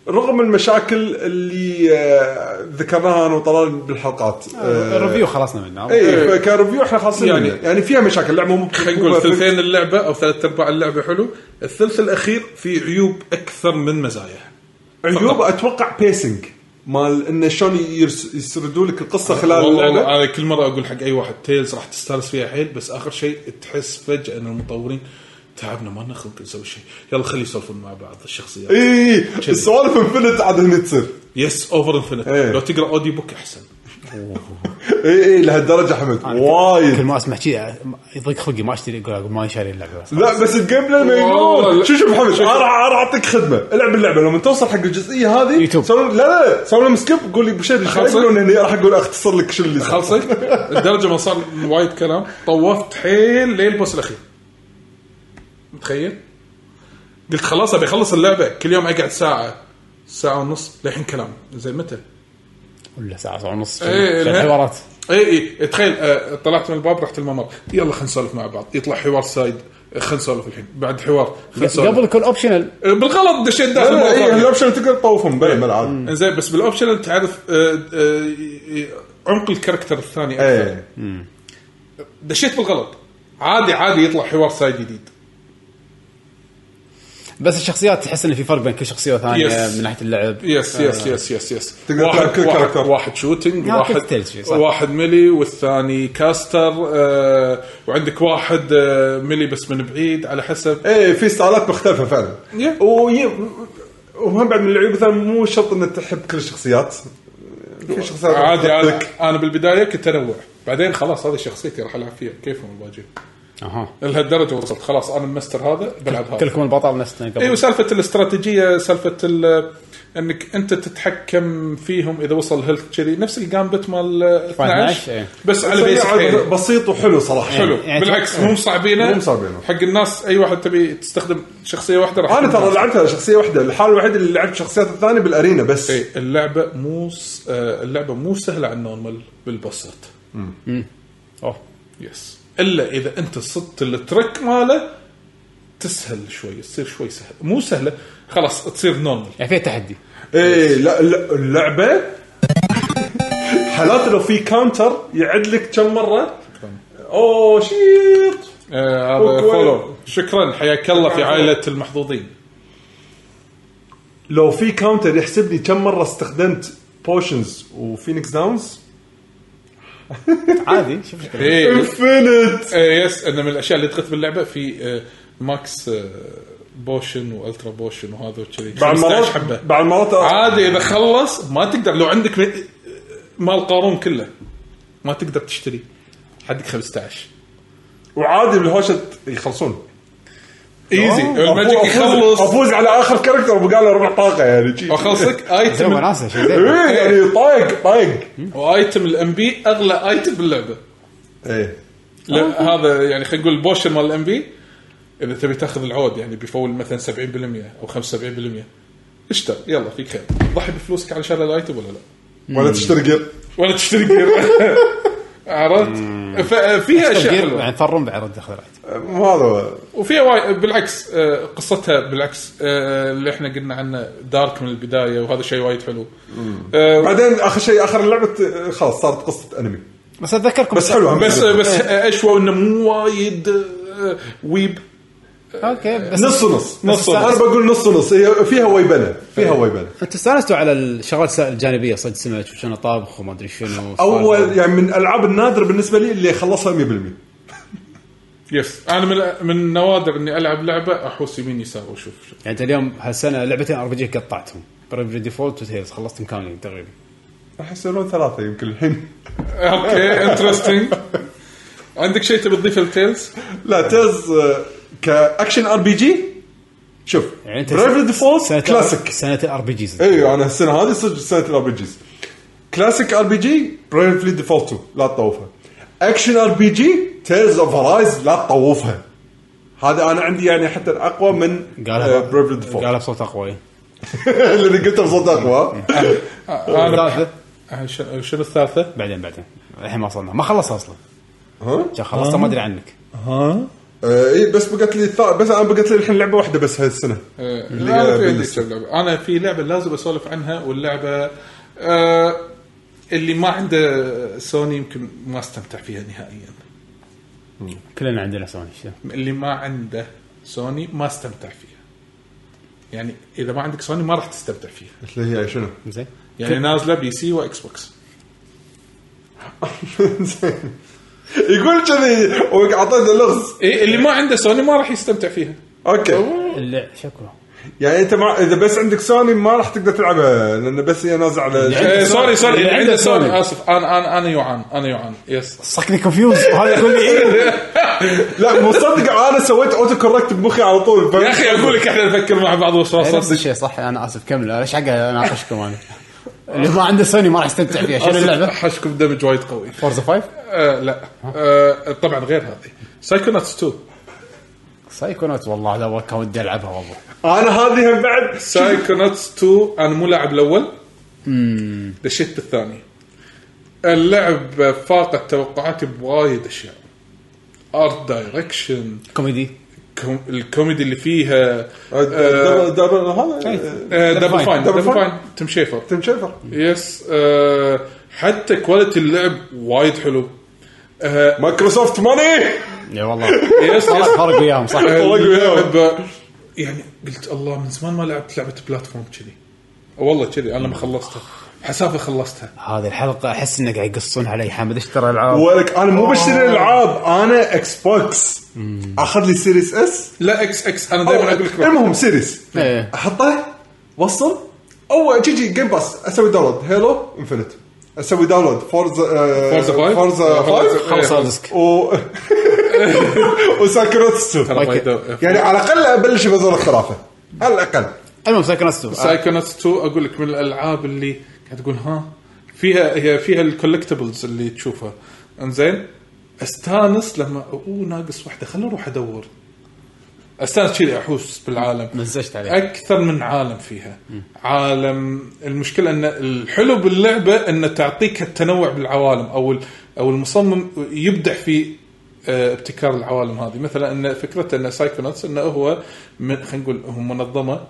S3: رغم المشاكل اللي آه، ذكرناها انا وطلال بالحلقات آه، إيه،
S2: الريفيو خلصنا منه
S4: إيه.
S3: اي كريفيو احنا خلاصين
S4: يعني-
S3: يعني يعني فيها مشاكل اللعبه مو
S4: خلينا نقول ثلثين اللعبه او ثلاث ارباع اللعبه حلو الثلث الاخير في عيوب اكثر من مزايا
S3: عيوب اتوقع بيسنج مال انه شلون يرس- يسردوا لك القصه خلال
S4: والله
S3: اللعبه
S4: انا كل مره اقول حق اي واحد تيلز راح تستانس فيها حيل بس اخر شيء تحس فجاه ان المطورين تعبنا ما لنا خلق نسوي شيء يلا خلي يسولفون مع بعض الشخصيات
S3: اي إي، إيه، السوالف انفنت عاد هنا تصير
S4: يس اوفر انفنت
S3: إيه.
S4: لو تقرا اوديو بوك احسن
S3: اي اي لهالدرجه إيه، حمد وايد
S2: كل ما اسمع شيء يضيق خلقي ما اشتري اقول أقول ما شاري اللعبه
S3: لا بس الجيم بلاي
S4: والله لا.
S3: مجنون شوف شوف محمد
S4: شوف.
S3: انا انا اعطيك خدمه العب اللعبه لما توصل حق الجزئيه هذه
S2: يوتيوب.
S3: سوي لا لا سوي لهم سكيب قول لي بشيء
S4: خلصت؟
S3: يقولون هني راح اقول اختصر لك شو اللي صار.
S4: خلصت لدرجه ما صار وايد كلام طوفت حيل لين البوس الاخير متخيل؟ قلت خلاص ابي اخلص اللعبه كل يوم اقعد ساعه ساعه ونص للحين كلام زين متى؟
S2: ولا ساعه ساعه ونص
S4: إيه، لا.
S2: حوارات
S4: اي اي تخيل آه، طلعت من الباب رحت الممر يلا خلينا نسولف مع بعض يطلع حوار سايد خلينا نسولف الحين بعد حوار خلينا نسولف
S2: قبل كل اوبشنال
S4: آه، بالغلط دشيت
S3: لا
S4: داخل
S3: لا إيه، اي
S4: مرة ثانية.
S3: الاوبشن تقدر تطوفهم بلا بلا عادي
S4: زين بس بالاوبشن انت عارف آه، آه، ي- ي- عمق الكاركتر الثاني اكثر
S3: ايه
S4: دشيت بالغلط عادي عادي يطلع حوار سايد جديد
S2: بس الشخصيات تحس ان في فرق بين كل شخصيه وثانيه
S4: Yes.
S2: من ناحيه اللعب
S4: يس يس يس يس يس
S3: آه. تقدر تلعب كل
S4: واحد,
S3: كاركتر.
S4: واحد شوتنج
S2: نعم،
S4: واحد
S2: تختلف شوي، صح.
S4: واحد ملي والثاني كاستر آه وعندك واحد آه ملي بس من بعيد على حسب
S3: ايه في ستايلات مختلفه فعلا
S4: Yeah.
S3: وي- وهم بعد من العيوب مثلا مو شرط انك تحب كل الشخصيات في شخصيات
S4: عادي
S3: تحبك.
S4: انا انا بالبدايه كنت انوع بعدين خلاص هذه شخصيتي راح العب فيها كيفهم الباجين
S2: اها
S4: لهالدرجه وصلت خلاص انا المستر هذا بلعب هذا إيه،
S2: كلكم البطل نفسنا قبل
S4: اي وسالفه الاستراتيجيه سالفه ال- انك انت تتحكم فيهم اذا وصل هيلث كذي نفس الجامبت مال
S2: 12
S4: 12
S2: إيه.
S4: بس على
S3: بس
S4: بيس
S3: يعني
S4: حيل.
S3: بسيط وحلو صراحه
S4: حلو
S2: يعني
S4: بالعكس
S2: تحس-
S4: مو مصعبينه
S3: مو مصعبينه.
S4: حق الناس اي واحد تبي تستخدم شخصيه واحده راح
S3: انا ترى
S4: تكون-
S3: لعبتها شخصيه واحده الحاله الوحيده اللي لعبت شخصيات الثانيه بالارينا بس
S4: إي، اللعبه إيه، مو س... آه، اللعبه مو سهله على النورمال بالبسط
S2: أوه.
S4: يس الا اذا انت صدت الترك ماله تسهل شوي تصير شوي سهل مو سهله خلاص تصير نورمال
S2: يعني فيها تحدي
S3: ايه لا لا اللعبه حالات لو في كاونتر يعد لك كم مره اوه شيط
S4: آه، هذا
S3: وكويس.
S4: فولو شكرا حياك الله في عائله المحظوظين
S3: لو في كاونتر يحسب لي كم مره استخدمت بوشنز وفينيكس داونز
S2: عادي شوف ايش كثير.
S4: إيه.
S3: انفنت
S4: إيه، يس انا من الاشياء اللي دخلت باللعبه في آه، ماكس آه، بوشن والترا بوشن وهذا وكذي
S3: بعد
S4: 15
S3: مرات
S4: حبه
S3: بعد مرات
S4: عادي اذا خلص ما تقدر لو عندك م- مال قارون كله ما تقدر تشتري حدك 15
S3: وعادي بالهوشه يخلصون أه.
S4: ايزي الماجيك
S3: أفوز-
S4: يخلص
S3: افوز على اخر كاركتر وبقى له ربع طاقه يعني شي.
S4: اخلصك
S2: زي
S4: ايتم
S2: وناسه شيء زين
S3: ايه يعني طايق طايق
S4: وايتم الام بي اغلى ايتم باللعبه
S3: ايه
S4: لا هذا يعني خلينا نقول البوشن مال الام بي اذا تبي تاخذ العود يعني بيفول مثلا 70% او 75% اشتر يلا فيك خير ضحي بفلوسك على شراء الايتم ولا لا
S3: ولا تشتري جير
S4: ولا تشتري جير عرفت؟ ف- فيها اشياء
S2: تفكير،
S4: حلوه
S2: يعني ثرم بعد رد اخذ رايت
S3: مو هذا هو.
S4: وفيها واي... بالعكس آه، قصتها بالعكس آه، اللي احنا قلنا عنه دارك من البدايه وهذا شيء وايد حلو آه،
S3: بعدين اخر شيء اخر لعبه آه، خلاص صارت قصه انمي
S2: بس إيه، اتذكركم
S3: بس حلوه هم.
S4: بس بس اشوى انه مو وايد آه، ويب
S2: اوكي بس
S3: نص ونص
S4: نص ونص.
S3: انا بقول نص ونص هي فيها ويبنه فيها ويبنه
S2: انتم استانستوا على الشغلات الجانبيه صيد سمك وشنو طابخ وما ادري شنو
S3: اول يعني من الالعاب النادره بالنسبه لي اللي خلصها 100%
S4: يس انا من من نوادر اني العب لعبه احوس يمين يسار واشوف شو.
S2: يعني انت اليوم هالسنه لعبتين ار بي جي قطعتهم بريفري ديفولت وتيلز خلصتهم كاملين تقريبا
S3: راح يصيرون ثلاثه يمكن الحين
S4: اوكي انترستنج عندك شيء تبي تضيفه لتيلز؟
S3: لا تيز آه، كاكشن ار بي جي شوف
S2: يعني انت
S3: بريفري ديفولت
S2: سنة-
S3: كلاسيك
S2: سنه الار بي جيز
S3: ايوه انا السنه هذه صدق سنه الار بي جيز كلاسيك ار بي جي بريفلي ديفولت 2 لا تطوفها اكشن ار بي جي تيلز اوف رايز لا تطوفها هذا انا عندي يعني حتى اقوى من
S2: قالها
S3: بريفلي ديفولت
S2: قالها بصوت اقوى
S3: اللي قلته بصوت اقوى
S4: انا آه، شنو شنو الثالثه؟
S2: بعدين بعدين الحين ما وصلنا ما خلص اصلا
S3: ها؟
S2: عشان خلصت ما ادري عنك
S3: آه، اي بس بقت لي الثا- بس انا بقت لي الحين لعبه واحده بس هالسنه
S4: آه،
S3: اللي
S4: لا، أنا في عندي
S3: بالنسبة.
S4: كم لعبة. انا في لعبه لازم اسولف عنها واللعبه آه، اللي ما عنده سوني يمكن ما استمتع فيها نهائيا
S2: كلنا عندنا سوني شو.
S4: اللي ما عنده سوني ما استمتع فيها يعني اذا ما عندك سوني ما راح تستمتع فيها
S3: اللي هي شنو؟
S2: زين
S4: يعني نازله بي سي واكس بوكس
S3: يقول كذي واعطيته لغز
S4: إيه اللي ما عنده سوني ما راح يستمتع فيها
S3: اوكي
S2: Oh. اللي شكله
S3: يعني انت مع... اذا بس عندك سوني ما راح تقدر تلعبها لان بس هي نازله على
S4: إيه سوري سوري
S2: اللي
S4: اللي
S2: عنده
S4: عنده سوني
S2: سوني.
S4: اسف انا انا انا يوعان انا يوعان يس
S2: صكني كونفيوز وهذا يقول لي إيه.
S3: لا مو صدق انا سويت اوتو كوركت بمخي على طول
S4: يا اخي اقول لك احنا نفكر مع بعض وصلنا
S2: نفس الشيء صح انا اسف كمل ايش حق اناقشكم انا اللي ما عنده سوني ما راح يستمتع فيها شنو اللعبه؟
S4: حشكم دمج وايد قوي
S2: فورزا 5
S4: آه لا آه طبعا غير هذه سايكوناتس 2
S2: سايكونوت والله هذا اول كان ودي العبها والله
S3: انا هذه هم
S4: أه.
S3: بعد
S4: سايكوناتس 2 انا مو لاعب الاول دشيت بالثاني اللعب فاقت توقعاتي بوايد اشياء ارت دايركشن
S2: كوميدي
S4: كوم- الكوميدي اللي فيها
S3: دبل- دبل- أه، هذا
S4: آه، دبل
S2: فاين.
S4: فاين
S3: دبل
S4: دبل
S3: فاين.
S4: فاين تم شيفر
S3: تم شيفر
S4: يس آه، حتى كواليتي اللعب وايد حلو آه،
S3: مايكروسوفت ماني
S2: يا إيه، والله
S4: يس يس
S2: فرق فرق وياهم صح إيه،
S3: طلق وياه.
S4: اللعبة- يعني قلت الله من زمان ما لعبت لعبه بلاتفورم كذي والله كذي انا ما خلصتها حسافه خلصتها
S2: هذه الحلقه احس انه قاعد يقصون علي حامد اشترى العاب
S3: ولك انا مو بشتري العاب انا اكس بوكس اخذ لي سيريس اس
S4: لا اكس اكس انا
S3: أو-
S4: دائما اقول لك
S3: المهم سيريس
S2: إيه.
S3: احطه وصل او جيجي جيم باس اسوي داونلود هيلو انفنت اسوي داونلود فورزا
S4: فورزا فايف.
S3: فورزا
S4: فورزا-
S3: 5
S2: خمسة ديسك
S3: و وساكروتس 2
S4: ترى
S2: أوكي.
S4: وايد-
S3: يعني على الاقل ابلش بزور الخرافه على الاقل
S2: المهم سايكونوت 2
S4: سايكونوتس 2 اقول لك من الالعاب اللي قاعد تقول ها فيها هي فيها الكولكتبلز اللي تشوفها انزين استانس لما اوه ناقص واحده خليني اروح ادور استانس كذي احوس بالعالم
S2: مزجت عليه.
S4: اكثر من عالم فيها عالم المشكله ان الحلو باللعبه ان تعطيك التنوع بالعوالم او ال- او المصمم يبدع في آه، ابتكار العوالم هذه مثلا ان فكرته ان سايكوناتس انه هو من خلينا نقول هم منظمه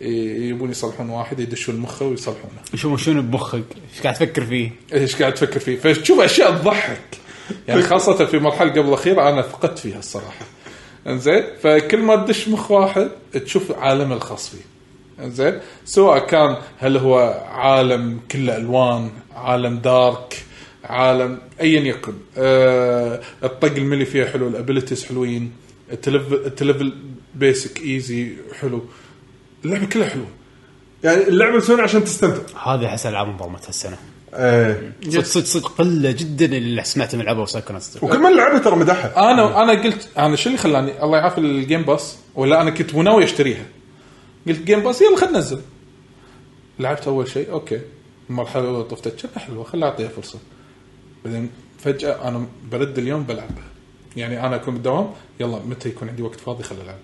S4: ي- يبون يصلحون واحد يدشون مخه ويصلحونه
S2: آه، شو شنو بمخك؟ ايش قاعد تفكر فيه؟
S4: ايش قاعد تفكر فيه فتشوف اشياء تضحك يعني خاصه في مرحله قبل الاخيره انا فقدت فيها الصراحه انزين فكل ما تدش مخ واحد تشوف عالمه الخاص فيه زين سواء كان هل هو عالم كله الوان عالم دارك عالم ايا يكن أه الطق الملي فيها حلو الابيلتيز حلوين التلفل التلفل بيسك ايزي حلو اللعبه كلها حلوه
S3: يعني اللعبه مسوينها عشان تستمتع
S2: هذه احس العاب انظلمت هالسنه
S3: ايه
S2: صدق صدق صدق قله جدا اللي سمعت من لعبه وسايكونات صدق
S3: وكل من لعبه ترى مدحها
S4: انا انا قلت انا شو اللي خلاني الله يعافي الجيم باس ولا انا كنت ناوي اشتريها قلت جيم باس يلا خلينا ننزل لعبت اول شيء اوكي المرحله الاولى طفت شنو حلوه خليني اعطيها فرصه بعدين فجاه انا برد اليوم بلعبها يعني انا اكون بالدوام يلا متى يكون عندي وقت فاضي خل العب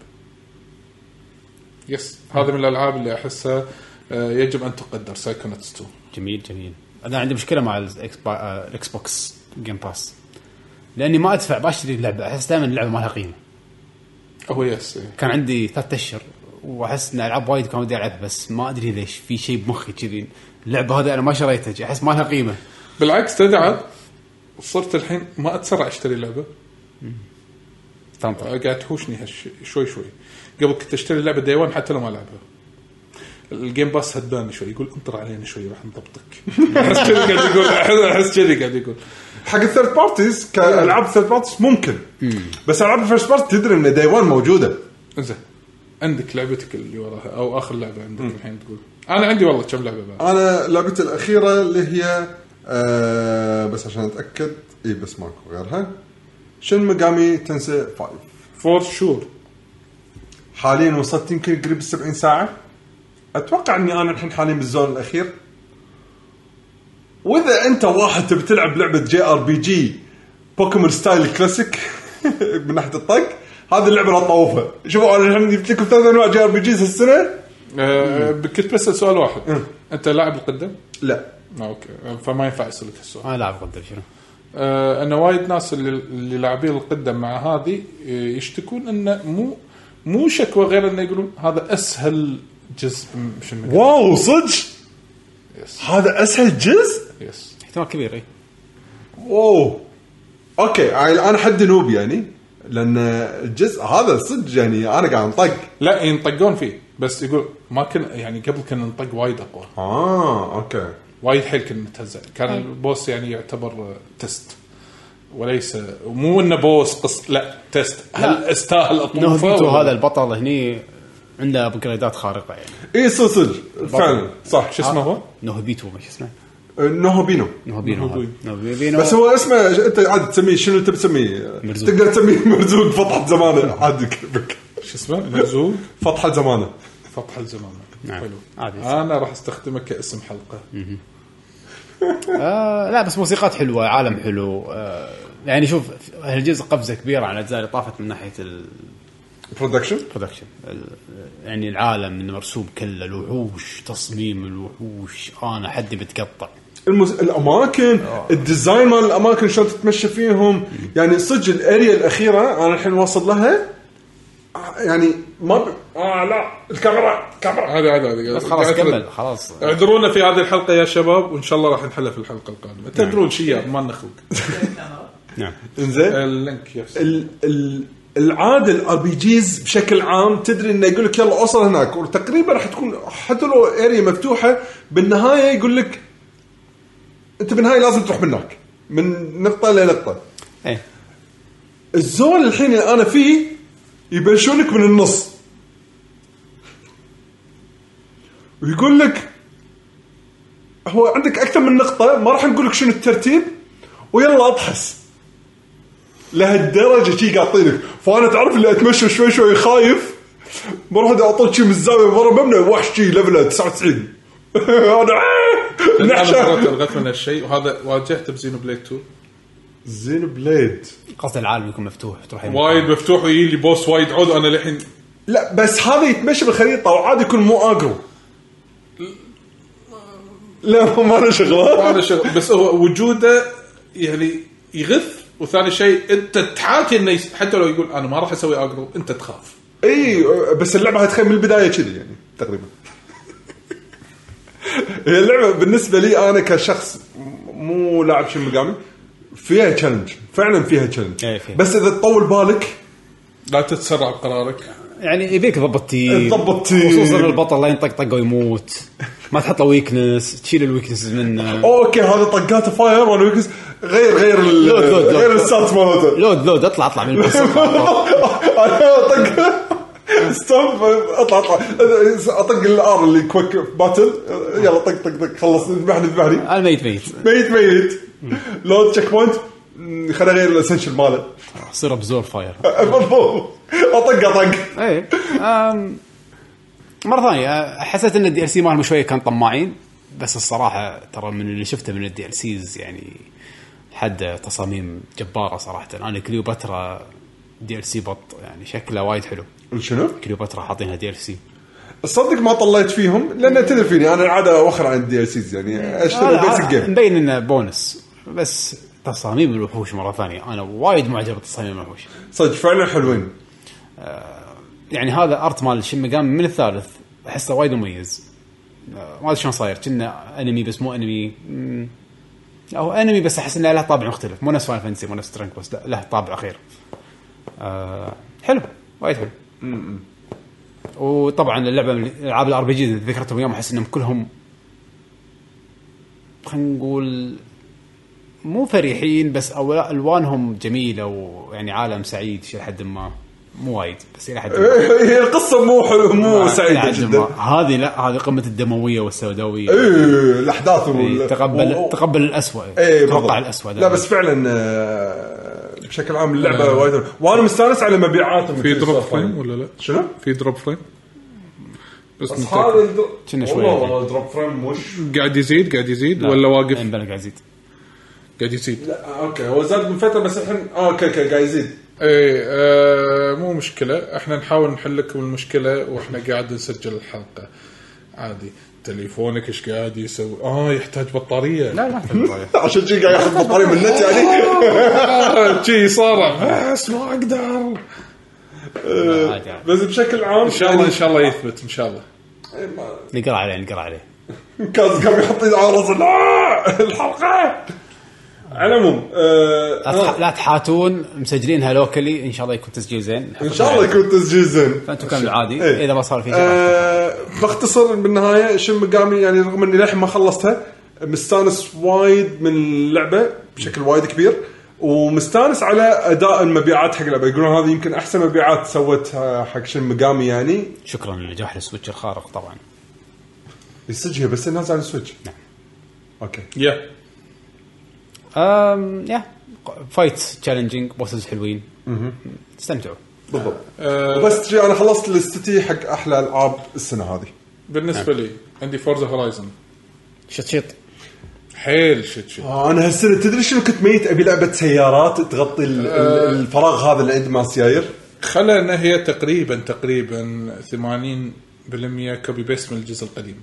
S4: يس هذا من الالعاب اللي احسها آه، يجب ان تقدر سايكونتس 2
S2: جميل جميل انا عندي مشكله مع الإكس با- آه، الاكس بوكس جيم باس لاني ما ادفع بشتري اللعبه احس دائما اللعبه ما لها قيمه
S4: هو يس إيه.
S2: كان عندي ثلاثة اشهر واحس ان العاب وايد كان ودي العبها بس ما ادري ليش في شيء بمخي كذي اللعبه هذه انا ما شريتها احس ما لها قيمه
S4: بالعكس تدعى صرت الحين ما اتسرع اشتري لعبه
S2: تنطر
S4: قاعد تحوشني هالشي شوي شوي قبل كنت اشتري لعبه داي 1 حتى لو ما العبها الجيم باس هداني شوي يقول انطر علينا شوي راح نضبطك احس كذي قاعد يقول أحس- احس كذي قاعد يقول
S3: حق الثيرد بارتيز كالعاب ثيرد بارتيز ممكن بس العاب الفيرست بارتي تدري من داي 1 موجوده
S4: زين عندك لعبتك اللي وراها او اخر لعبه عندك الحين تقول انا عندي والله كم لعبه بعد
S3: انا لعبتي الاخيره اللي هي آه بس عشان اتاكد اي بس ماكو غيرها شن ميجامي تنسي 5
S4: فور شور
S3: حاليا وصلت يمكن قريب ال 70 ساعه اتوقع اني انا الحين حاليا بالزون الاخير واذا انت واحد تبي تلعب لعبه جي ار بي جي بوكيمون ستايل كلاسيك من ناحيه الطق هذه اللعبه لا تطوفها شوفوا انا الحين جبت لكم ثلاث انواع جي ار بي جيز هالسنه
S4: أه كنت بسال سؤال واحد انت لاعب القدم؟
S3: لا
S4: آه، اوكي أه، فما ينفع اسالك هالسؤال
S2: انا لاعب قدر شنو
S4: آه، ان وايد ناس اللي, اللي لاعبين القدم مع هذه آه، يشتكون انه مو مو شكوى غير انه يقولون هذا اسهل جزء مش المجال
S3: واو صدق
S4: يس.
S3: هذا اسهل جزء
S4: يس
S2: احتمال كبير اي
S3: واو اوكي هاي الان حد نوب يعني لان الجزء هذا صدق يعني انا قاعد انطق
S4: لا ينطقون فيه بس يقول ما كنا يعني قبل كنا نطق وايد اقوى
S3: اه اوكي
S4: وايد حيل كنا نتهزأ كان
S2: طيب.
S4: البوس يعني يعتبر آه، تست وليس مو انه بوس قص لا تست هل
S2: لا.
S4: استاهل اطوفه
S2: نهبيتو
S4: ولا-
S2: هذا البطل هني عنده ابجريدات خارقه يعني
S3: اي صدق صدق فعلا صح
S4: شو
S2: آه.
S4: اسمه هو؟
S2: نهبيتو ما شو اسمه
S3: نوهوبينو
S2: نهبينو هذا. نهبينو
S3: بس هو اسمه انت عاد تسميه شنو تبي تسميه؟
S2: مرزوق.
S3: تقدر تسميه مرزوق فطحه زمانه عادي كيفك
S4: شو اسمه؟ مرزوق
S3: فطحه زمانه
S4: فطح الزمان
S2: نعم.
S4: حلو
S2: عادي.
S4: انا راح استخدمه كاسم حلقه
S2: آه لا بس موسيقات حلوه عالم حلو آه يعني شوف هالجزء قفزه كبيره على الاجزاء اللي طافت من ناحيه
S3: برودكشن
S2: البرودكشن يعني العالم المرسوم كله الوحوش تصميم الوحوش انا حدي بتقطع
S3: المز... الاماكن الديزاين مال الاماكن شلون تتمشى فيهم يعني صدق الاريا الاخيره انا الحين واصل لها آه، يعني ما ب... اه لا الكاميرا الكاميرا
S4: هذا هذا هذا
S2: بس خلاص كمل خلاص
S4: اعذرونا في هذه الحلقه يا شباب وان شاء الله راح نحلها في الحلقه القادمه تدرون شياب ما نخلق
S2: نعم
S3: انزين
S4: اللينك يس
S3: ال... ال... العاده الار بي جيز بشكل عام تدري انه يقول لك يلا اوصل هناك وتقريبا راح تكون حتى لو اريا مفتوحه بالنهايه يقول لك انت بالنهايه لازم تروح من هناك من نقطه لنقطه
S2: ايه
S3: الزون الحين اللي انا فيه يبلشونك من النص ويقول لك هو عندك اكثر من نقطه ما راح نقول لك شنو الترتيب ويلا ابحث لهالدرجه شي قاطينك فانا تعرف اللي اتمشى شوي شوي خايف بروح أدي اعطيك شي من الزاويه مره مبنى وحش شي ليفله 99 انا
S2: نعم.
S4: انا مرات
S3: نحشى
S4: الغيت من هالشيء وهذا واجهته بزينو بليد 2
S3: زين بليد
S2: قصد العالم يكون مفتوح تروح أي مكان.
S4: وايد مفتوح ويجي لي بوس وايد عود انا للحين
S3: لا بس هذا يتمشى بالخريطه وعادي يكون مو اجرو لا ما له شغله
S4: هذا شغل بس هو وجوده يعني يغث وثاني شيء انت تحاكي انه يس- حتى لو يقول انا ما راح اسوي اجرو انت تخاف
S3: اي بس اللعبه هتخيل من البدايه كذي يعني تقريبا هي اللعبه بالنسبه لي انا كشخص م- مو لاعب شن مقامي فيها تشالنج فعلا فيها تشالنج
S2: إيه، فيها.
S3: بس اذا تطول بالك
S4: لا تتسرع بقرارك
S2: يعني يبيك تضبط تيم
S3: تضبط تيم.
S2: خصوصا البطل لا ينطقطق ويموت ما تحط له ويكنس تشيل الويكنس منه
S3: اوكي هذا طقاته فاير وانا ويكس غير غير ال-
S2: لا، لا، لا.
S3: غير السات مالته
S2: لود لود اطلع اطلع من القصه
S3: انا اطق ستوب اطلع اطلع اطق الار اللي كويك باتل يلا طق طق طق خلص ذبحني ذبحني
S2: انا ميت ميت
S3: ميت ميت لود تشيك بوينت مم، خلنا غير الاسنشل ماله
S2: صير ابزور فاير
S3: بالضبط اطق اطق
S2: اي إيه. أم، مره ثانيه أه، حسيت ان الدي ال سي مالهم شويه كان طماعين بس الصراحه ترى من اللي شفته من الدي ال سيز يعني حد تصاميم جباره صراحه انا كليوباترا دي ال سي بط يعني شكله وايد حلو
S3: شنو؟
S2: كليوباترا حاطينها دي ال سي
S3: صدق ما طليت فيهم لان تدري فيني انا العاده اوخر عن الدي ال سيز يعني اشتري بيسك جيم
S2: مبين انه بونس بس تصاميم الوحوش مره ثانيه انا وايد معجب بتصاميم الوحوش
S3: صدق فعلا حلوين
S2: يعني هذا ارت مال شن ميجامي من الثالث احسه وايد مميز آه، ما ادري شلون صاير كنا انمي بس مو انمي مم، او انمي بس احس انه له طابع مختلف مو نفس فاين فانسي مو نفس ترنك بس لا له طابع غير آه، حلو وايد حلو وطبعا اللعبه من العاب الار بي جي اللي ذكرتهم اليوم احس انهم كلهم خلينا نقول مو فرحين بس أو لا، الوانهم جميله ويعني عالم سعيد شيء لحد ما مو وايد بس الى حد ما
S3: هي القصه مو حلو مو
S2: آه،
S3: سعيده
S2: نعم،
S3: جدا
S2: ما- هذه لا هذه قمه الدمويه والسوداويه
S3: ايه الاحداث
S2: إيه،
S3: وال-
S2: تقبل
S3: و- و-
S2: تقبل الاسوء
S3: ايه بالضبط.
S2: توقع الاسوء
S3: لا بس فعلا آه، بشكل عام اللعبه وايد حلوة. وانا مستانس على مبيعاتهم
S4: في دروب فريم ولا لا؟
S3: شنو؟
S4: في دروب فريم بس,
S3: بس
S4: متأكد.
S3: هذا الدر-
S2: كنا شوية.
S3: والله والله الدروب فريم مش
S4: قاعد يزيد قاعد يزيد ولا واقف
S2: إيه، بلا قاعد يزيد
S4: قاعد يزيد
S3: لا آه، اوكي هو زاد من فتره بس الحين آه، اوكي اوكي قاعد يزيد
S4: اي آه مو مشكله احنا نحاول نحل لكم المشكله واحنا قاعد نسجل الحلقه عادي تليفونك ايش قاعد يسوي؟ اه يحتاج بطاريه
S2: لا لا
S3: عشان شي قاعد ياخذ بطاريه من النت يعني
S4: آه، شي صارع بس ما اقدر
S2: عادي، عادي.
S3: بس بشكل عام
S4: ان شاء الله ان شاء الله يثبت ان شاء الله
S2: نقرا عليه نقرا عليه
S3: يعني كاز قام يحط ايده على راسه لا، الحلقه على العموم آه،
S2: لا تح- لا تحاتون مسجلينها لوكلي ان شاء الله يكون تسجيل زين
S3: ان شاء الله يكون تسجيل زين
S2: فانتم كملوا عادي
S3: إيه.
S2: اذا ما صار في شيء راح-
S3: آه، بختصر بالنهايه شن مقامي يعني رغم اني للحين ما خلصتها مستانس وايد من اللعبه بشكل وايد كبير ومستانس على اداء المبيعات حق اللعبه يقولون هذه يمكن احسن مبيعات سوتها حق شن مقامي يعني
S2: شكرا لنجاح السويتش الخارق طبعا
S3: السجيه بس الناس على السويتش نعم اوكي
S4: يا
S2: أم يا فايت تشالنجينج بوسز حلوين استمتعوا
S3: بالضبط
S4: آه
S3: بس شي انا خلصت الاستتي حق احلى العاب السنه هذه
S4: بالنسبه
S2: نعم.
S4: لي عندي فورزا هورايزن
S2: شط شط
S4: حيل شت شت
S3: آه، انا هالسنه تدري شنو كنت ميت ابي لعبه سيارات تغطي ال- ال- الفراغ هذا اللي عند ما سياير
S4: خلى ان هي تقريبا تقريبا 80% كوبي بيست من الجزء القديم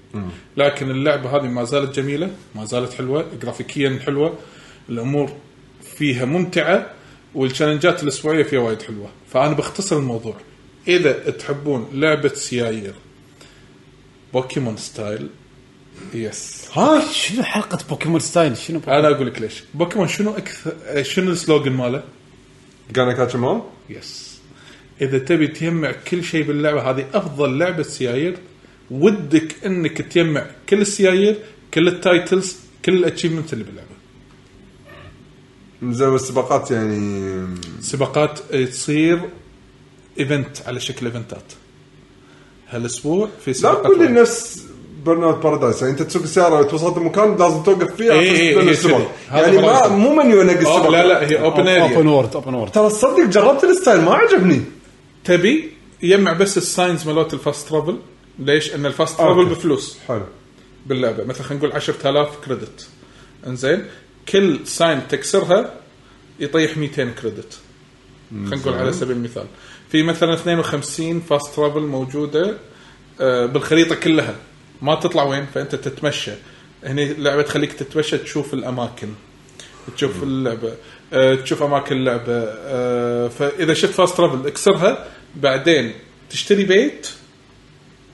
S4: لكن اللعبه هذه ما زالت جميله ما زالت حلوه جرافيكيا حلوه الامور فيها ممتعه والتشالنجات الاسبوعيه فيها وايد حلوه فانا بختصر الموضوع اذا تحبون لعبه سيايير بوكيمون ستايل يس
S3: ها
S2: شنو حلقه بوكيمون ستايل شنو بوكيمون؟
S4: انا اقول لك ليش بوكيمون شنو اكثر شنو السلوجن ماله
S3: جانا كاتشمان
S4: يس اذا تبي تجمع كل شيء باللعبه هذه افضل لعبه سيايير ودك انك تجمع كل السيايير كل التايتلز كل الاتشيفمنت اللي باللعبه
S3: زين والسباقات يعني
S4: سباقات تصير ايفنت على شكل ايفنتات هالاسبوع في
S3: لا
S4: سباقات
S3: تقول لي نفس برن اوت بارادايس يعني انت تسوق السياره لو توصلت مكان لازم توقف فيه
S4: إيه، إيه،
S3: تستنى
S4: إيه،
S3: السباق.
S4: كذي. هذا
S3: يعني ما
S4: Paradise.
S3: مو منيو نق السباق
S4: أوب- لا لا هي
S2: اوبن
S4: اوبن اريا
S2: وورد اوبن وورد
S3: ترى تصدق جربت الستايل ما عجبني
S4: تبي يجمع بس الساينز مالت الفاست ترافل ليش؟ ان الفاست ترافل
S3: أوكي.
S4: بفلوس
S3: حلو
S4: باللعبه مثلا خلينا نقول 10000 كريدت انزين كل ساين تكسرها يطيح 200 كريدت خلينا نقول على سبيل المثال في مثلا 52 فاست ترافل موجوده آه، بالخريطه كلها ما تطلع وين فانت تتمشى هنا اللعبه تخليك تتمشى تشوف الاماكن تشوف اللعبه آه، تشوف اماكن اللعبه آه، فاذا شفت فاست ترافل اكسرها بعدين تشتري بيت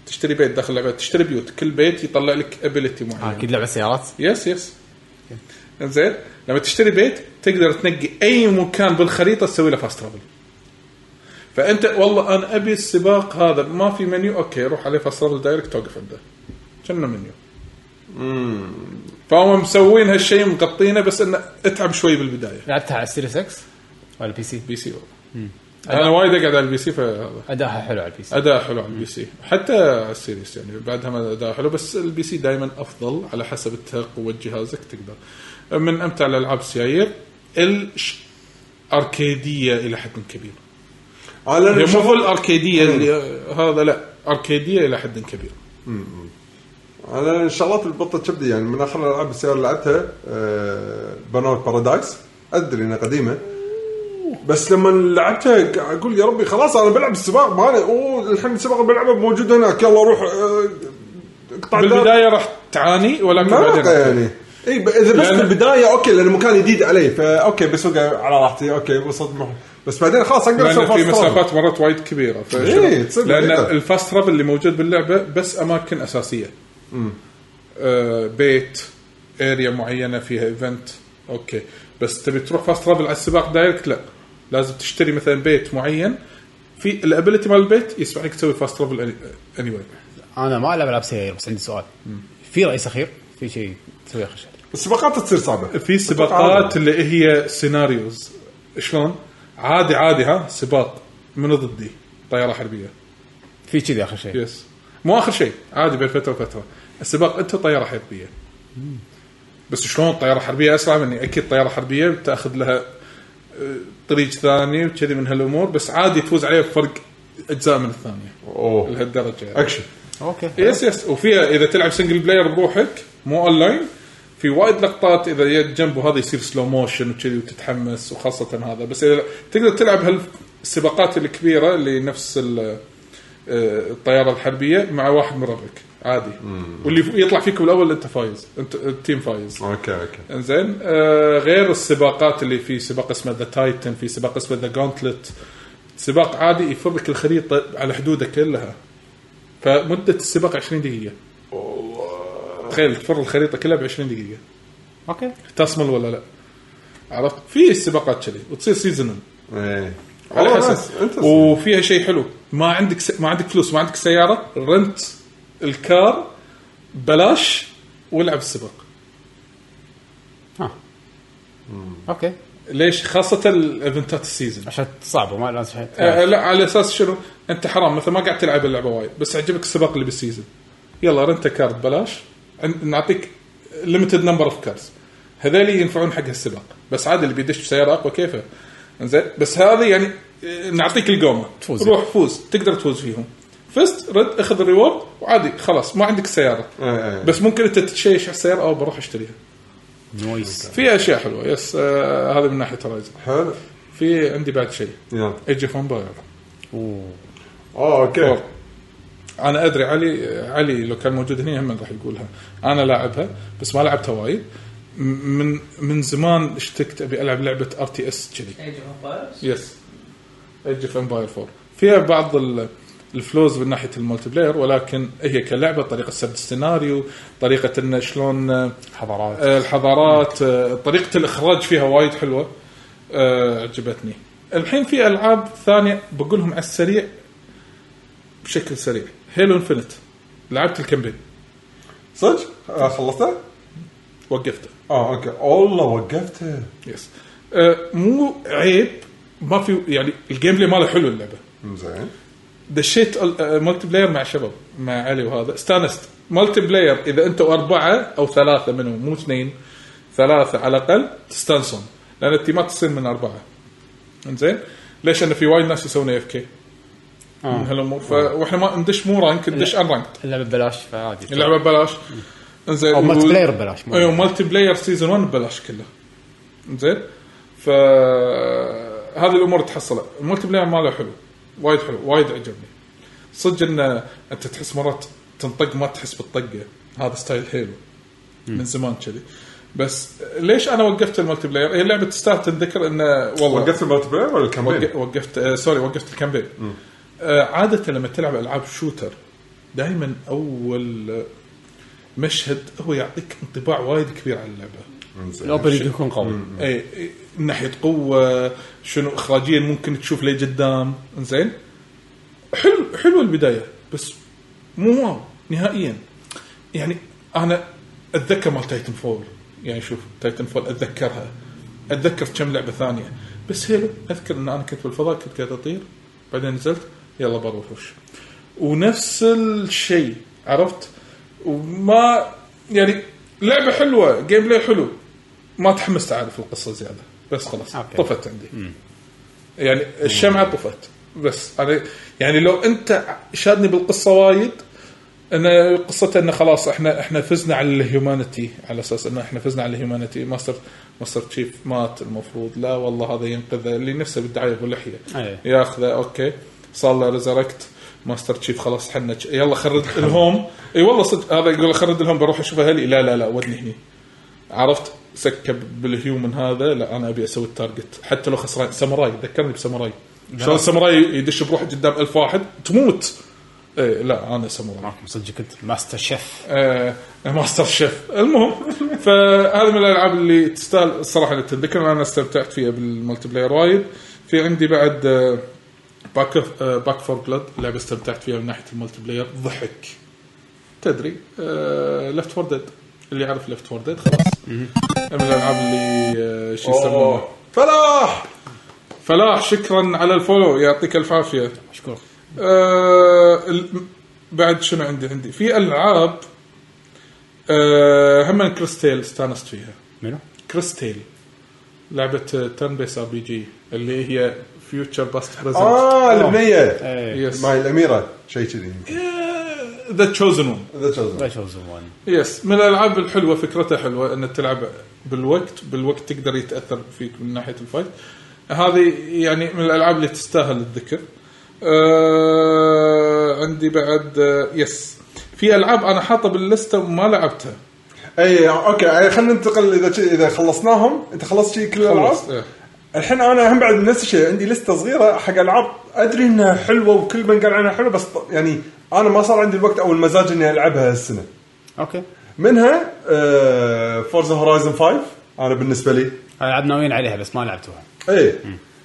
S4: تشتري بيت داخل اللعبه تشتري بيوت كل بيت يطلع لك ابيلتي معين
S2: آه، اكيد لعبه سيارات
S4: يس يس زين لما تشتري بيت تقدر تنقي اي مكان بالخريطه تسوي له فاست ترافل فانت والله انا ابي السباق هذا ما في منيو اوكي روح عليه فصل الدايركت توقف عنده كنا منيو فهم مسوين هالشيء مغطينه بس انه اتعب شوي بالبدايه
S5: لعبتها على السيريس اكس وعلى البي سي
S4: بي سي انا وايد اقعد على البي سي فهذا
S5: اداها حلو على البي سي
S4: اداء حلو على البي سي حتى على السيريس يعني بعدها ما اداء حلو بس البي سي دائما افضل على حسب انت قوه جهازك تقدر من امتع الالعاب السيارير الاركيديه الى حد كبير
S3: على
S4: هي مو الاركيديه اللي هذا لا اركيديه الى حد كبير
S3: انا الشغلات اللي بطت كبدي يعني من اخر العاب السيارة اللي لعبتها آه، بانوت بارادايس ادري انها قديمه بس لما لعبتها قاعد اقول يا ربي خلاص انا بلعب السباق ما أنا- اوه الحين السباق اللي بلعبه موجود هناك يلا روح آه، اقطع الدار.
S4: بالبدايه راح تعاني ولكن بعدين
S3: ما يعني اي ب- اذا بس
S4: لأن-
S3: في البدايه اوكي لان المكان جديد علي فا اوكي بسوق على راحتي اوكي وصلت مح... بس بعدين خلاص اقدر
S4: لان في
S3: fast travel.
S4: مسافات مرات وايد كبيره ف-
S3: إيه، تصير
S4: لان
S3: بعيدة.
S4: الفاست ترافل اللي موجود باللعبه بس اماكن اساسيه آه بيت اريا معينه فيها ايفنت اوكي بس تبي تروح فاست ترافل على السباق دايركت لا لازم تشتري مثلا بيت معين في الابيلتي مال البيت يسمح لك تسوي فاست ترافل اني واي
S2: انا ما العب العاب سيارة بس عندي سؤال في راي سخير في شيء تسويه اخر شيء
S3: السباقات تصير صعبه
S4: في سباقات اللي هي سيناريوز شلون؟ عادي عادي ها سباق من ضدي طياره حربيه
S2: في كذي اخر شيء
S4: يس مو اخر شيء عادي بين فتره وفتره السباق انت طياره حربيه بس شلون طياره حربيه اسرع مني اكيد طياره حربيه بتاخذ لها آه، طريق ثاني وكذي من هالامور بس عادي تفوز عليه بفرق اجزاء من الثانيه
S3: اوه
S4: لهالدرجه يعني.
S3: اكشن
S2: اوكي
S4: يس يس وفيها اذا تلعب سنجل بلاير بروحك مو اونلاين في وايد لقطات اذا جت جنبه هذا يصير سلو موشن وكذي وتتحمس وخاصه هذا بس اذا تقدر تلعب هالسباقات الكبيره اللي نفس ال- آه، الطياره الحربيه مع واحد من ربعك عادي واللي ف- يطلع فيك بالاول انت فايز انت التيم فايز
S3: اوكي اوكي
S4: انزين آه غير السباقات اللي في سباق اسمه ذا تايتن في سباق اسمه ذا جونتلت سباق عادي يفرك الخريطه على حدوده كلها فمده السباق 20 دقيقه تخيل تفر الخريطه كلها ب 20 دقيقه
S2: اوكي
S4: تصمل ولا لا عرفت في سباقات كذي وتصير سيزونال
S3: ايه
S4: على
S3: والله
S4: حسب
S3: نايس. Interesting.
S4: وفيها شيء حلو ما عندك س... ما عندك فلوس ما عندك سياره رنت الكار بلاش والعب السباق
S2: ها اوكي
S4: ليش خاصه الايفنتات السيزون
S2: عشان صعبه ما لازم
S3: أه،
S2: شيء
S4: آه لا على اساس شنو؟ انت حرام مثلا ما قاعد تلعب اللعبه وايد بس عجبك السباق اللي بالسيزون يلا رنت كارد ببلاش عن- نعطيك ليمتد نمبر اوف كارز هذول ينفعون حق السباق بس عادي اللي بيدش بسياره اقوى كيفه زين بس هذا يعني آه، نعطيك القومه
S2: تفوز.
S4: روح فوز تقدر تفوز فيهم فزت رد اخذ الريورد وعادي خلاص ما عندك سياره
S3: إيه، إيه.
S4: بس ممكن انت تتشيش على السياره او بروح اشتريها
S2: نويس
S4: في اشياء حلوه يس آه هذا من ناحيه هورايزن
S3: حلو
S4: في عندي بعد شيء
S3: يلا
S4: ايج اوف امباير
S3: اوه اوكي
S4: فور. انا ادري علي علي لو كان موجود هنا هم راح يقولها انا لاعبها بس ما لعبتها وايد م- من من زمان اشتقت ابي العب لعبه ار تي اس كذي
S6: ايج اوف امبايرز
S4: يس ايج اوف امباير 4 فيها بعض ال- الفلوز من ناحيه المولتي بلاير ولكن هي كلعبه طريقه سرد السيناريو طريقه انه شلون آه،
S2: حضارات
S3: أه.
S4: آه، الحضارات آه، طريقه الاخراج فيها وايد حلوه آه، عجبتني الحين في العاب ثانيه بقولهم على السريع بشكل سريع هيلو انفنت لعبت الكامبين
S3: صدق آه، خلصته؟
S4: وقفته
S3: اه اوكي والله وقفته
S4: يس آه، مو عيب ما في يعني الجيم بلاي ماله حلو اللعبه
S3: زين
S4: دشيت مالتي بلاير uh, مع شباب مع علي وهذا استانست مالتي بلاير اذا انتم اربعه او ثلاثه منهم مو اثنين ثلاثه على الاقل تستانسون لان التيمات تصير من اربعه انزين ليش انا في وايد ناس يسوون اف كي من هالامور ف... واحنا ما ندش مو رانك ندش ان رانك
S5: اللعبه ببلاش فعادي
S4: اللعبه ببلاش انزين
S2: او مالتي
S4: وال-
S2: بلاير ببلاش مو-
S3: أه.
S4: ايوه مالتي بلاير سيزون 1 ببلاش كله زين ف هذه الامور تحصلها المالتي بلاير ماله حلو وايد حلو وايد عجبني صدق ان انت تحس مرات تنطق ما تحس بالطقه هذا ستايل حلو من زمان كذي بس ليش انا وقفت المالتي بلاير؟ هي لعبه ستار تنذكر انه والله
S3: وقفت المالتي بلاير ولا
S4: وقف-
S3: الكامبين؟
S4: وقفت آه سوري وقفت الكامبين آه عاده لما تلعب العاب شوتر دائما اول آه، مشهد هو يعطيك انطباع وايد كبير عن اللعبه
S5: الاوبننج يكون قوي
S4: اي إي، من ناحيه قوه شنو اخراجيا ممكن تشوف لي قدام زين حلو حلوه البدايه بس مو واو نهائيا يعني انا اتذكر مال تايتن فول يعني شوف تايتن فول اتذكرها اتذكر كم لعبه ثانيه بس هيلو اذكر ان انا كنت بالفضاء كنت قاعد اطير بعدين نزلت يلا بروح ونفس الشيء عرفت وما يعني لعبه حلوه جيم بلاي حلو ما تحمست اعرف القصه زياده بس خلاص
S2: أوكي.
S4: طفت عندي يعني الشمعه طفت بس انا يعني لو انت شادني بالقصه وايد ان قصته انه خلاص احنا احنا فزنا على الهيومانيتي على اساس انه احنا فزنا على الهيومانيتي ماستر ماستر تشيف مات المفروض لا والله هذا ينقذه اللي نفسه بالدعايه ابو لحيه
S2: أي.
S4: ياخذه اوكي صار له ريزركت ماستر تشيف خلاص حنا يلا خرد الهوم اي والله صدق هذا يقول خرد الهوم بروح اشوف اهلي لا لا لا ودني هني عرفت سكه بالهيومن هذا لا انا ابي اسوي التارجت حتى لو خسران ساموراي ذكرني بساموراي شلون ساموراي يدش بروحه قدام ألف واحد تموت ايه لا انا ساموراي
S2: معكم صدق كنت ماستر شيف
S4: آه، ماستر شيف المهم فهذه من الالعاب اللي تستاهل الصراحه اللي تتذكر انا استمتعت فيها بالملتي بلاير وايد في عندي بعد آه، باك باك فور بلاد لعبه استمتعت فيها من ناحيه الملتي بلاير ضحك تدري آه، ليفت فور ديد اللي يعرف ليفت فور ديد خلاص من الالعاب اللي آه، شو يسمونها
S3: فلاح
S4: فلاح شكرا على الفولو يعطيك الف عافيه
S2: مشكور
S4: آه، ال- بعد شنو عندي عندي في العاب آه، هم كريستيل استانست فيها
S2: منو؟
S4: كريستيل لعبه ترن بيس ار بي جي اللي هي فيوتشر باست بريزنت
S3: اه البنيه
S2: ايه
S4: آه، يس
S3: ماي الاميره شيء كذي
S4: ذا تشوزن ون
S3: إذا شو
S2: لا زمان
S4: يس من الالعاب الحلوه فكرتها حلوه ان تلعب بالوقت بالوقت تقدر يتاثر فيك من ناحيه الفايت هذه يعني من الالعاب اللي تستاهل الذكر آه عندي بعد آه يس في العاب انا حاطه باللسته وما لعبتها
S3: اي اوكي أي، خلينا ننتقل اذا شي- اذا خلصناهم انت خلصت شيء كل الالعاب
S4: خلص إيه.
S3: الحين انا هم بعد نفس الشيء عندي لسته صغيره حق العاب ادري انها حلوه وكل من قال عنها حلوه بس ط- يعني انا ما صار عندي الوقت او المزاج اني العبها هالسنه
S2: اوكي
S3: منها آه، فورزا هورايزن 5 انا بالنسبه لي إيه.
S2: العاب ناويين عليها بس ما لعبتوها
S3: اي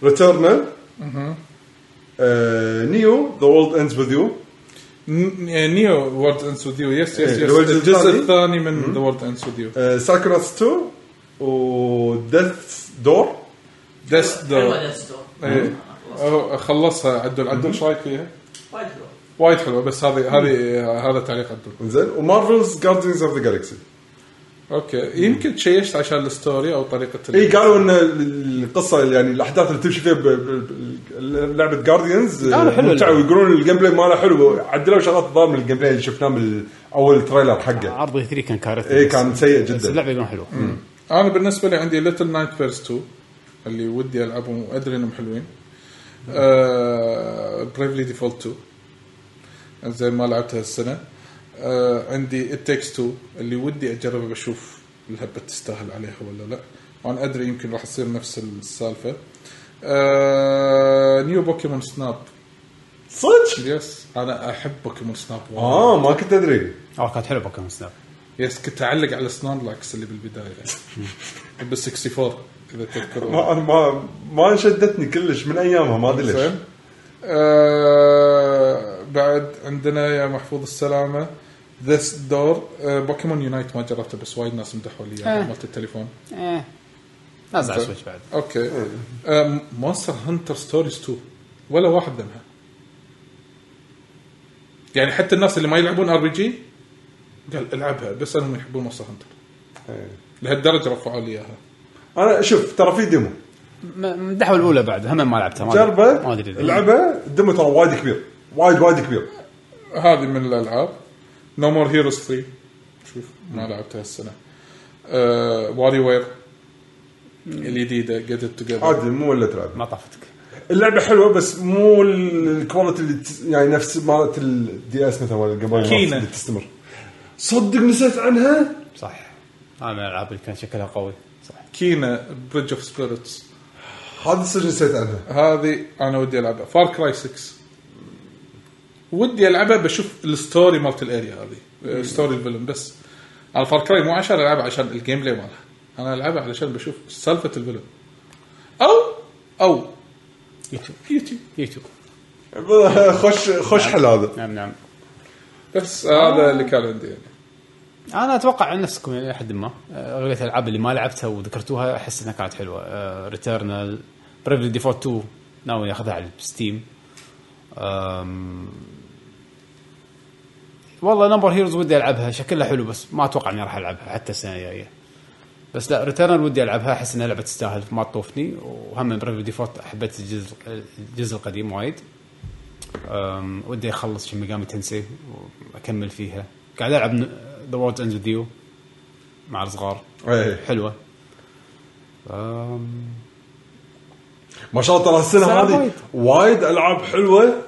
S3: ريتيرنال نيو ذا وولد اندز وذ يو
S4: ن- إيه، نيو وورد اندز وذ يو يس يس
S3: إيه،
S4: يس
S3: الوجه
S4: الجزء
S3: الثاني.
S4: الثاني من ذا وورد اندز وذ يو
S3: آه، ساكراتس 2 وديث دور
S4: ديس
S6: حلوه
S4: دور
S6: ديث دور
S4: خلصها إيه. عدل عدل ايش رايك فيها؟
S6: وايد حلوه
S4: وايد حلوه بس هذه هذه هذا تعليق عدل
S3: زين ومارفلز جاردنز اوف ذا جالكسي
S4: اوكي يمكن شيشت عشان الستوري او طريقه ال-
S3: اي إيه، قالوا ان ال- القصه يعني الاحداث اللي تمشي فيها ب- ب- ب- لعبه جارديانز
S2: قالوا حلو
S3: ممتعه
S2: اللعبة.
S3: ويقولون الجيم بلاي ماله حلو عدلوا شغلات ضار من الجيم بلاي اللي شفناه من اول تريلر حقه
S2: عرض 3 كان كارثه
S3: اي
S2: بس-
S3: إيه، كان سيء
S2: بس
S3: جدا
S2: اللعبه يقولون حلوه
S4: انا بالنسبه لي عندي ليتل نايت فيرس 2 اللي ودي العبهم وادري انهم حلوين آه، بريفلي ديفولت 2 زين ما لعبتها السنه آه عندي التكس 2 اللي ودي اجربه بشوف الهبه تستاهل عليها ولا لا وانا ادري يمكن راح تصير نفس السالفه آه نيو بوكيمون سناب
S3: صدق
S4: يس انا احب بوكيمون سناب وايد.
S3: اه ما كنت ادري
S2: اه كانت حلوه بوكيمون سناب
S4: يس كنت اعلق على سنارلاكس اللي بالبدايه بال 64 اذا تذكرون
S3: ما ما ما شدتني كلش من ايامها ما ادري ليش
S4: زين آه بعد عندنا يا محفوظ السلامه ذس دور آه بوكيمون يونايت ما جربته بس وايد ناس مدحوا لي إياه،
S2: آه.
S4: مالت التليفون
S2: ايه نازل على سويتش بعد
S4: اوكي آه، مونستر هانتر ستوريز 2 ولا واحد دمها يعني حتى الناس اللي ما يلعبون ار بي جي قال العبها بس انهم يحبون مونستر هانتر
S3: إيه.
S4: لهالدرجه رفعوا لي اياها
S3: انا شوف ترى في ديمو
S2: م- مدحوا الاولى بعد هم ما لعبتها ما أدري-
S3: جربه
S2: ما ادري ليه.
S3: لعبه الديمو ترى وايد كبير وايد وايد كبير
S4: هذه من الالعاب نو مور هيروز 3 شوف ما لعبتها السنه آه واري وير الجديده جيت توجذر
S3: عادي مو ولا تلعب
S2: ما طافتك
S3: اللعبه حلوه بس مو ال- الكواليتي اللي تس- يعني نفس مالت الدي اس مثلا ولا قبل
S4: كينة.
S3: اللي تستمر صدق نسيت عنها
S2: صح هذا من الالعاب اللي كان شكلها قوي صح
S4: كينا بريدج اوف سبيرتس
S3: هذا صدق نسيت عنها
S4: هذه انا ودي العبها فار كراي 6 ودي العبها بشوف الستوري آه، مالت الاريا هذه ستوري الفيلم بس على فار كراي مو عشان العبها عشان الجيم بلاي مالها انا العبها علشان بشوف سالفه الفيلم او او
S5: يوتيوب
S4: يوتيوب
S5: يوتيوب
S3: خوش خوش حل هذا
S2: نعم نعم
S4: بس هذا اللي كان عندي يعني
S2: انا اتوقع عن نفسكم الى حد ما آه، اغلبيه الالعاب اللي ما لعبتها وذكرتوها احس انها كانت آه، حلوه ريتيرنال بريفلي ديفولت 2 ناوي اخذها على الستيم أم... والله نمبر هيروز ودي العبها شكلها حلو بس ما اتوقع اني راح العبها حتى السنه الجايه بس لا ريتيرنال ودي العبها احس انها لعبه تستاهل ما تطوفني وهم بريفلي ديفولت حبيت الجزء الجزء القديم وايد أم... ودي اخلص شن ميجامي تنسي واكمل فيها قاعد العب ذا وورد اند ديو مع الصغار
S3: إيه.
S2: حلوه أم...
S3: ما شاء الله ترى السنه
S2: سنة
S3: هذه
S2: وايد.
S3: وايد العاب حلوه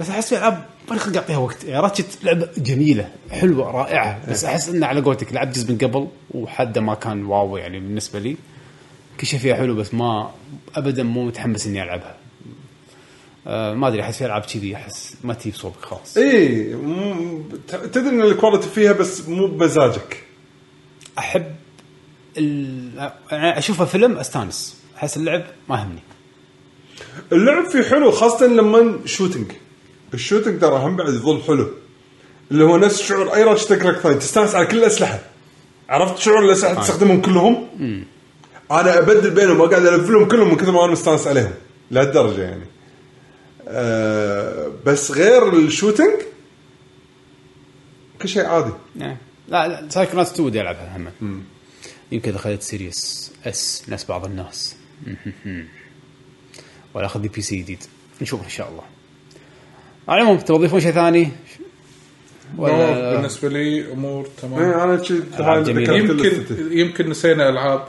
S2: بس احس في العاب ما خلق اعطيها وقت يعني راتشت لعبه جميله حلوه رائعه بس احس انه على قولتك لعبت جزء من قبل وحده ما كان واو يعني بالنسبه لي كل شيء فيها حلو بس ما ابدا مو متحمس اني العبها أه ما ادري احس في العاب كذي احس ما تجيب صوبك خلاص
S3: اي مم، ت- إيه. تدري ان الكواليتي فيها بس مو بمزاجك
S2: احب ال... يعني اشوفها فيلم استانس احس اللعب ما همني
S3: اللعب فيه حلو خاصه لما شوتنج الشوتنج ترى هم بعد يظل حلو اللي هو نفس شعور اي راتش تكرك ثاني تستانس على كل الاسلحه عرفت شعور الاسلحه
S4: آه.
S3: تستخدمهم كلهم انا ابدل بينهم واقعد الفلهم كلهم من كثر ما انا مستانس عليهم لهالدرجه يعني أه بس غير الشوتنج كل شيء عادي
S2: نعم. لا لا سايكوناتس 2 ودي العبها هم يمكن اذا خذيت سيريس اس ناس بعض الناس ولا اخذ لي بي سي جديد نشوف ان شاء الله على العموم توظيفون شيء ثاني
S4: ولا
S2: ولا
S4: بالنسبه لي امور تمام
S3: إيه، انا شي- هاي اللي
S2: جميلة.
S3: ذكرت
S4: يمكن
S3: لستي.
S4: يمكن نسينا العاب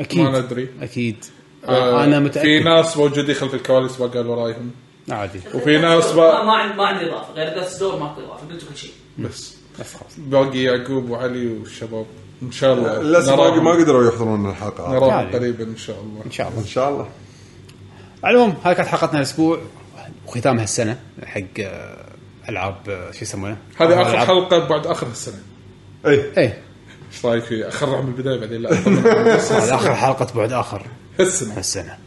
S2: اكيد
S4: ما ندري.
S2: اكيد
S4: آه،
S2: انا
S4: في
S2: متاكد
S4: ناس موجودين خلف الكواليس بقال ورايهم
S2: عادي
S4: وفي ناس
S6: ما
S4: با...
S6: ما عندي ما عندي اضافه غير ديث دور ماكو اضافه قلت كل شيء
S4: بس
S2: بس خلاص
S4: باقي يعقوب وعلي والشباب ان شاء الله
S3: للاسف ما-
S4: نراهم-
S3: ما قدروا يحضرون الحلقه هذه.
S4: نراهم
S2: يعني.
S4: قريبا ان شاء الله
S2: ان شاء الله
S3: ان شاء الله
S2: على العموم هذه كانت حلقتنا الاسبوع وختام هالسنه حق آه، العاب آه، شو يسمونه؟
S4: هذه اخر
S2: ألعاب-
S4: حلقه بعد اخر السنه
S3: اي
S2: ايه
S4: ايش رايك فيها؟ خلنا من البدايه بعدين لا أطمن.
S2: هذه اخر حلقه بعد اخر
S4: هالسنه
S2: هالسنه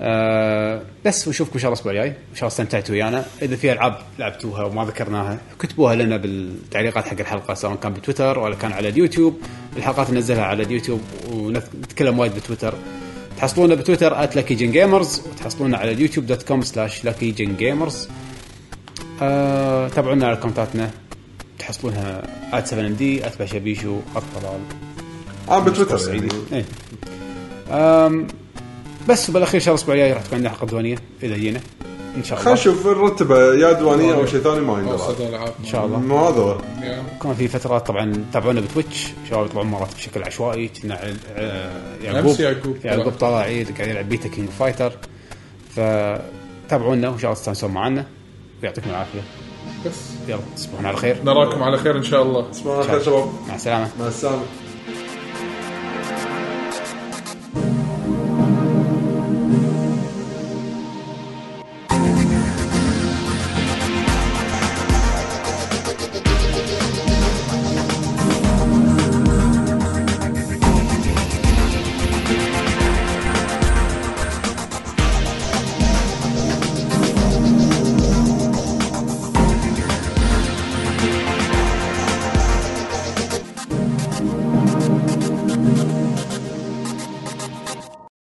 S2: آه بس ونشوفكم ان شاء الله الاسبوع الجاي ان شاء الله استمتعتوا ويانا اذا في العاب لعبتوها وما ذكرناها كتبوها لنا بالتعليقات حق الحلقه سواء كان بتويتر ولا كان على اليوتيوب الحلقات ننزلها على اليوتيوب ونتكلم وايد بتويتر تحصلونا بتويتر @lucky جيمرز وتحصلونا على اليوتيوب دوت كوم سلاش لاكي جن جيمرز آه، تابعونا على كونتاتنا تحصلونها ات 7 دي ات بشبيشو الطلال
S3: انا بتويتر يعني.
S2: سعيد ايه أم، بس وبالاخير ان شاء الله الاسبوع الجاي راح تكون عندنا حلقه ديوانيه اذا جينا ان شاء
S3: خلينا
S2: الله
S3: نشوف نرتبه يا ديوانيه او شيء ثاني ما
S4: اوسط
S3: يندرى
S4: الالعاب
S2: ان شاء الله
S3: مو هذا هو.
S2: كان في فترات طبعا تابعونا بتويتش شباب يطلعون مرات بشكل عشوائي كنا عل- آه، يعقوب
S4: أمس يعقوب
S2: يعقوب
S4: طلع.
S2: طلع عيد قاعد يلعب بيتا كينج فايتر فتابعونا وان شاء الله تستانسون معنا ويعطيكم العافيه
S4: بس
S2: يلا تصبحون على خير
S4: نعم. نراكم على خير ان شاء الله
S3: تصبحون على خير شباب
S2: مع السلامه
S3: مع السلامه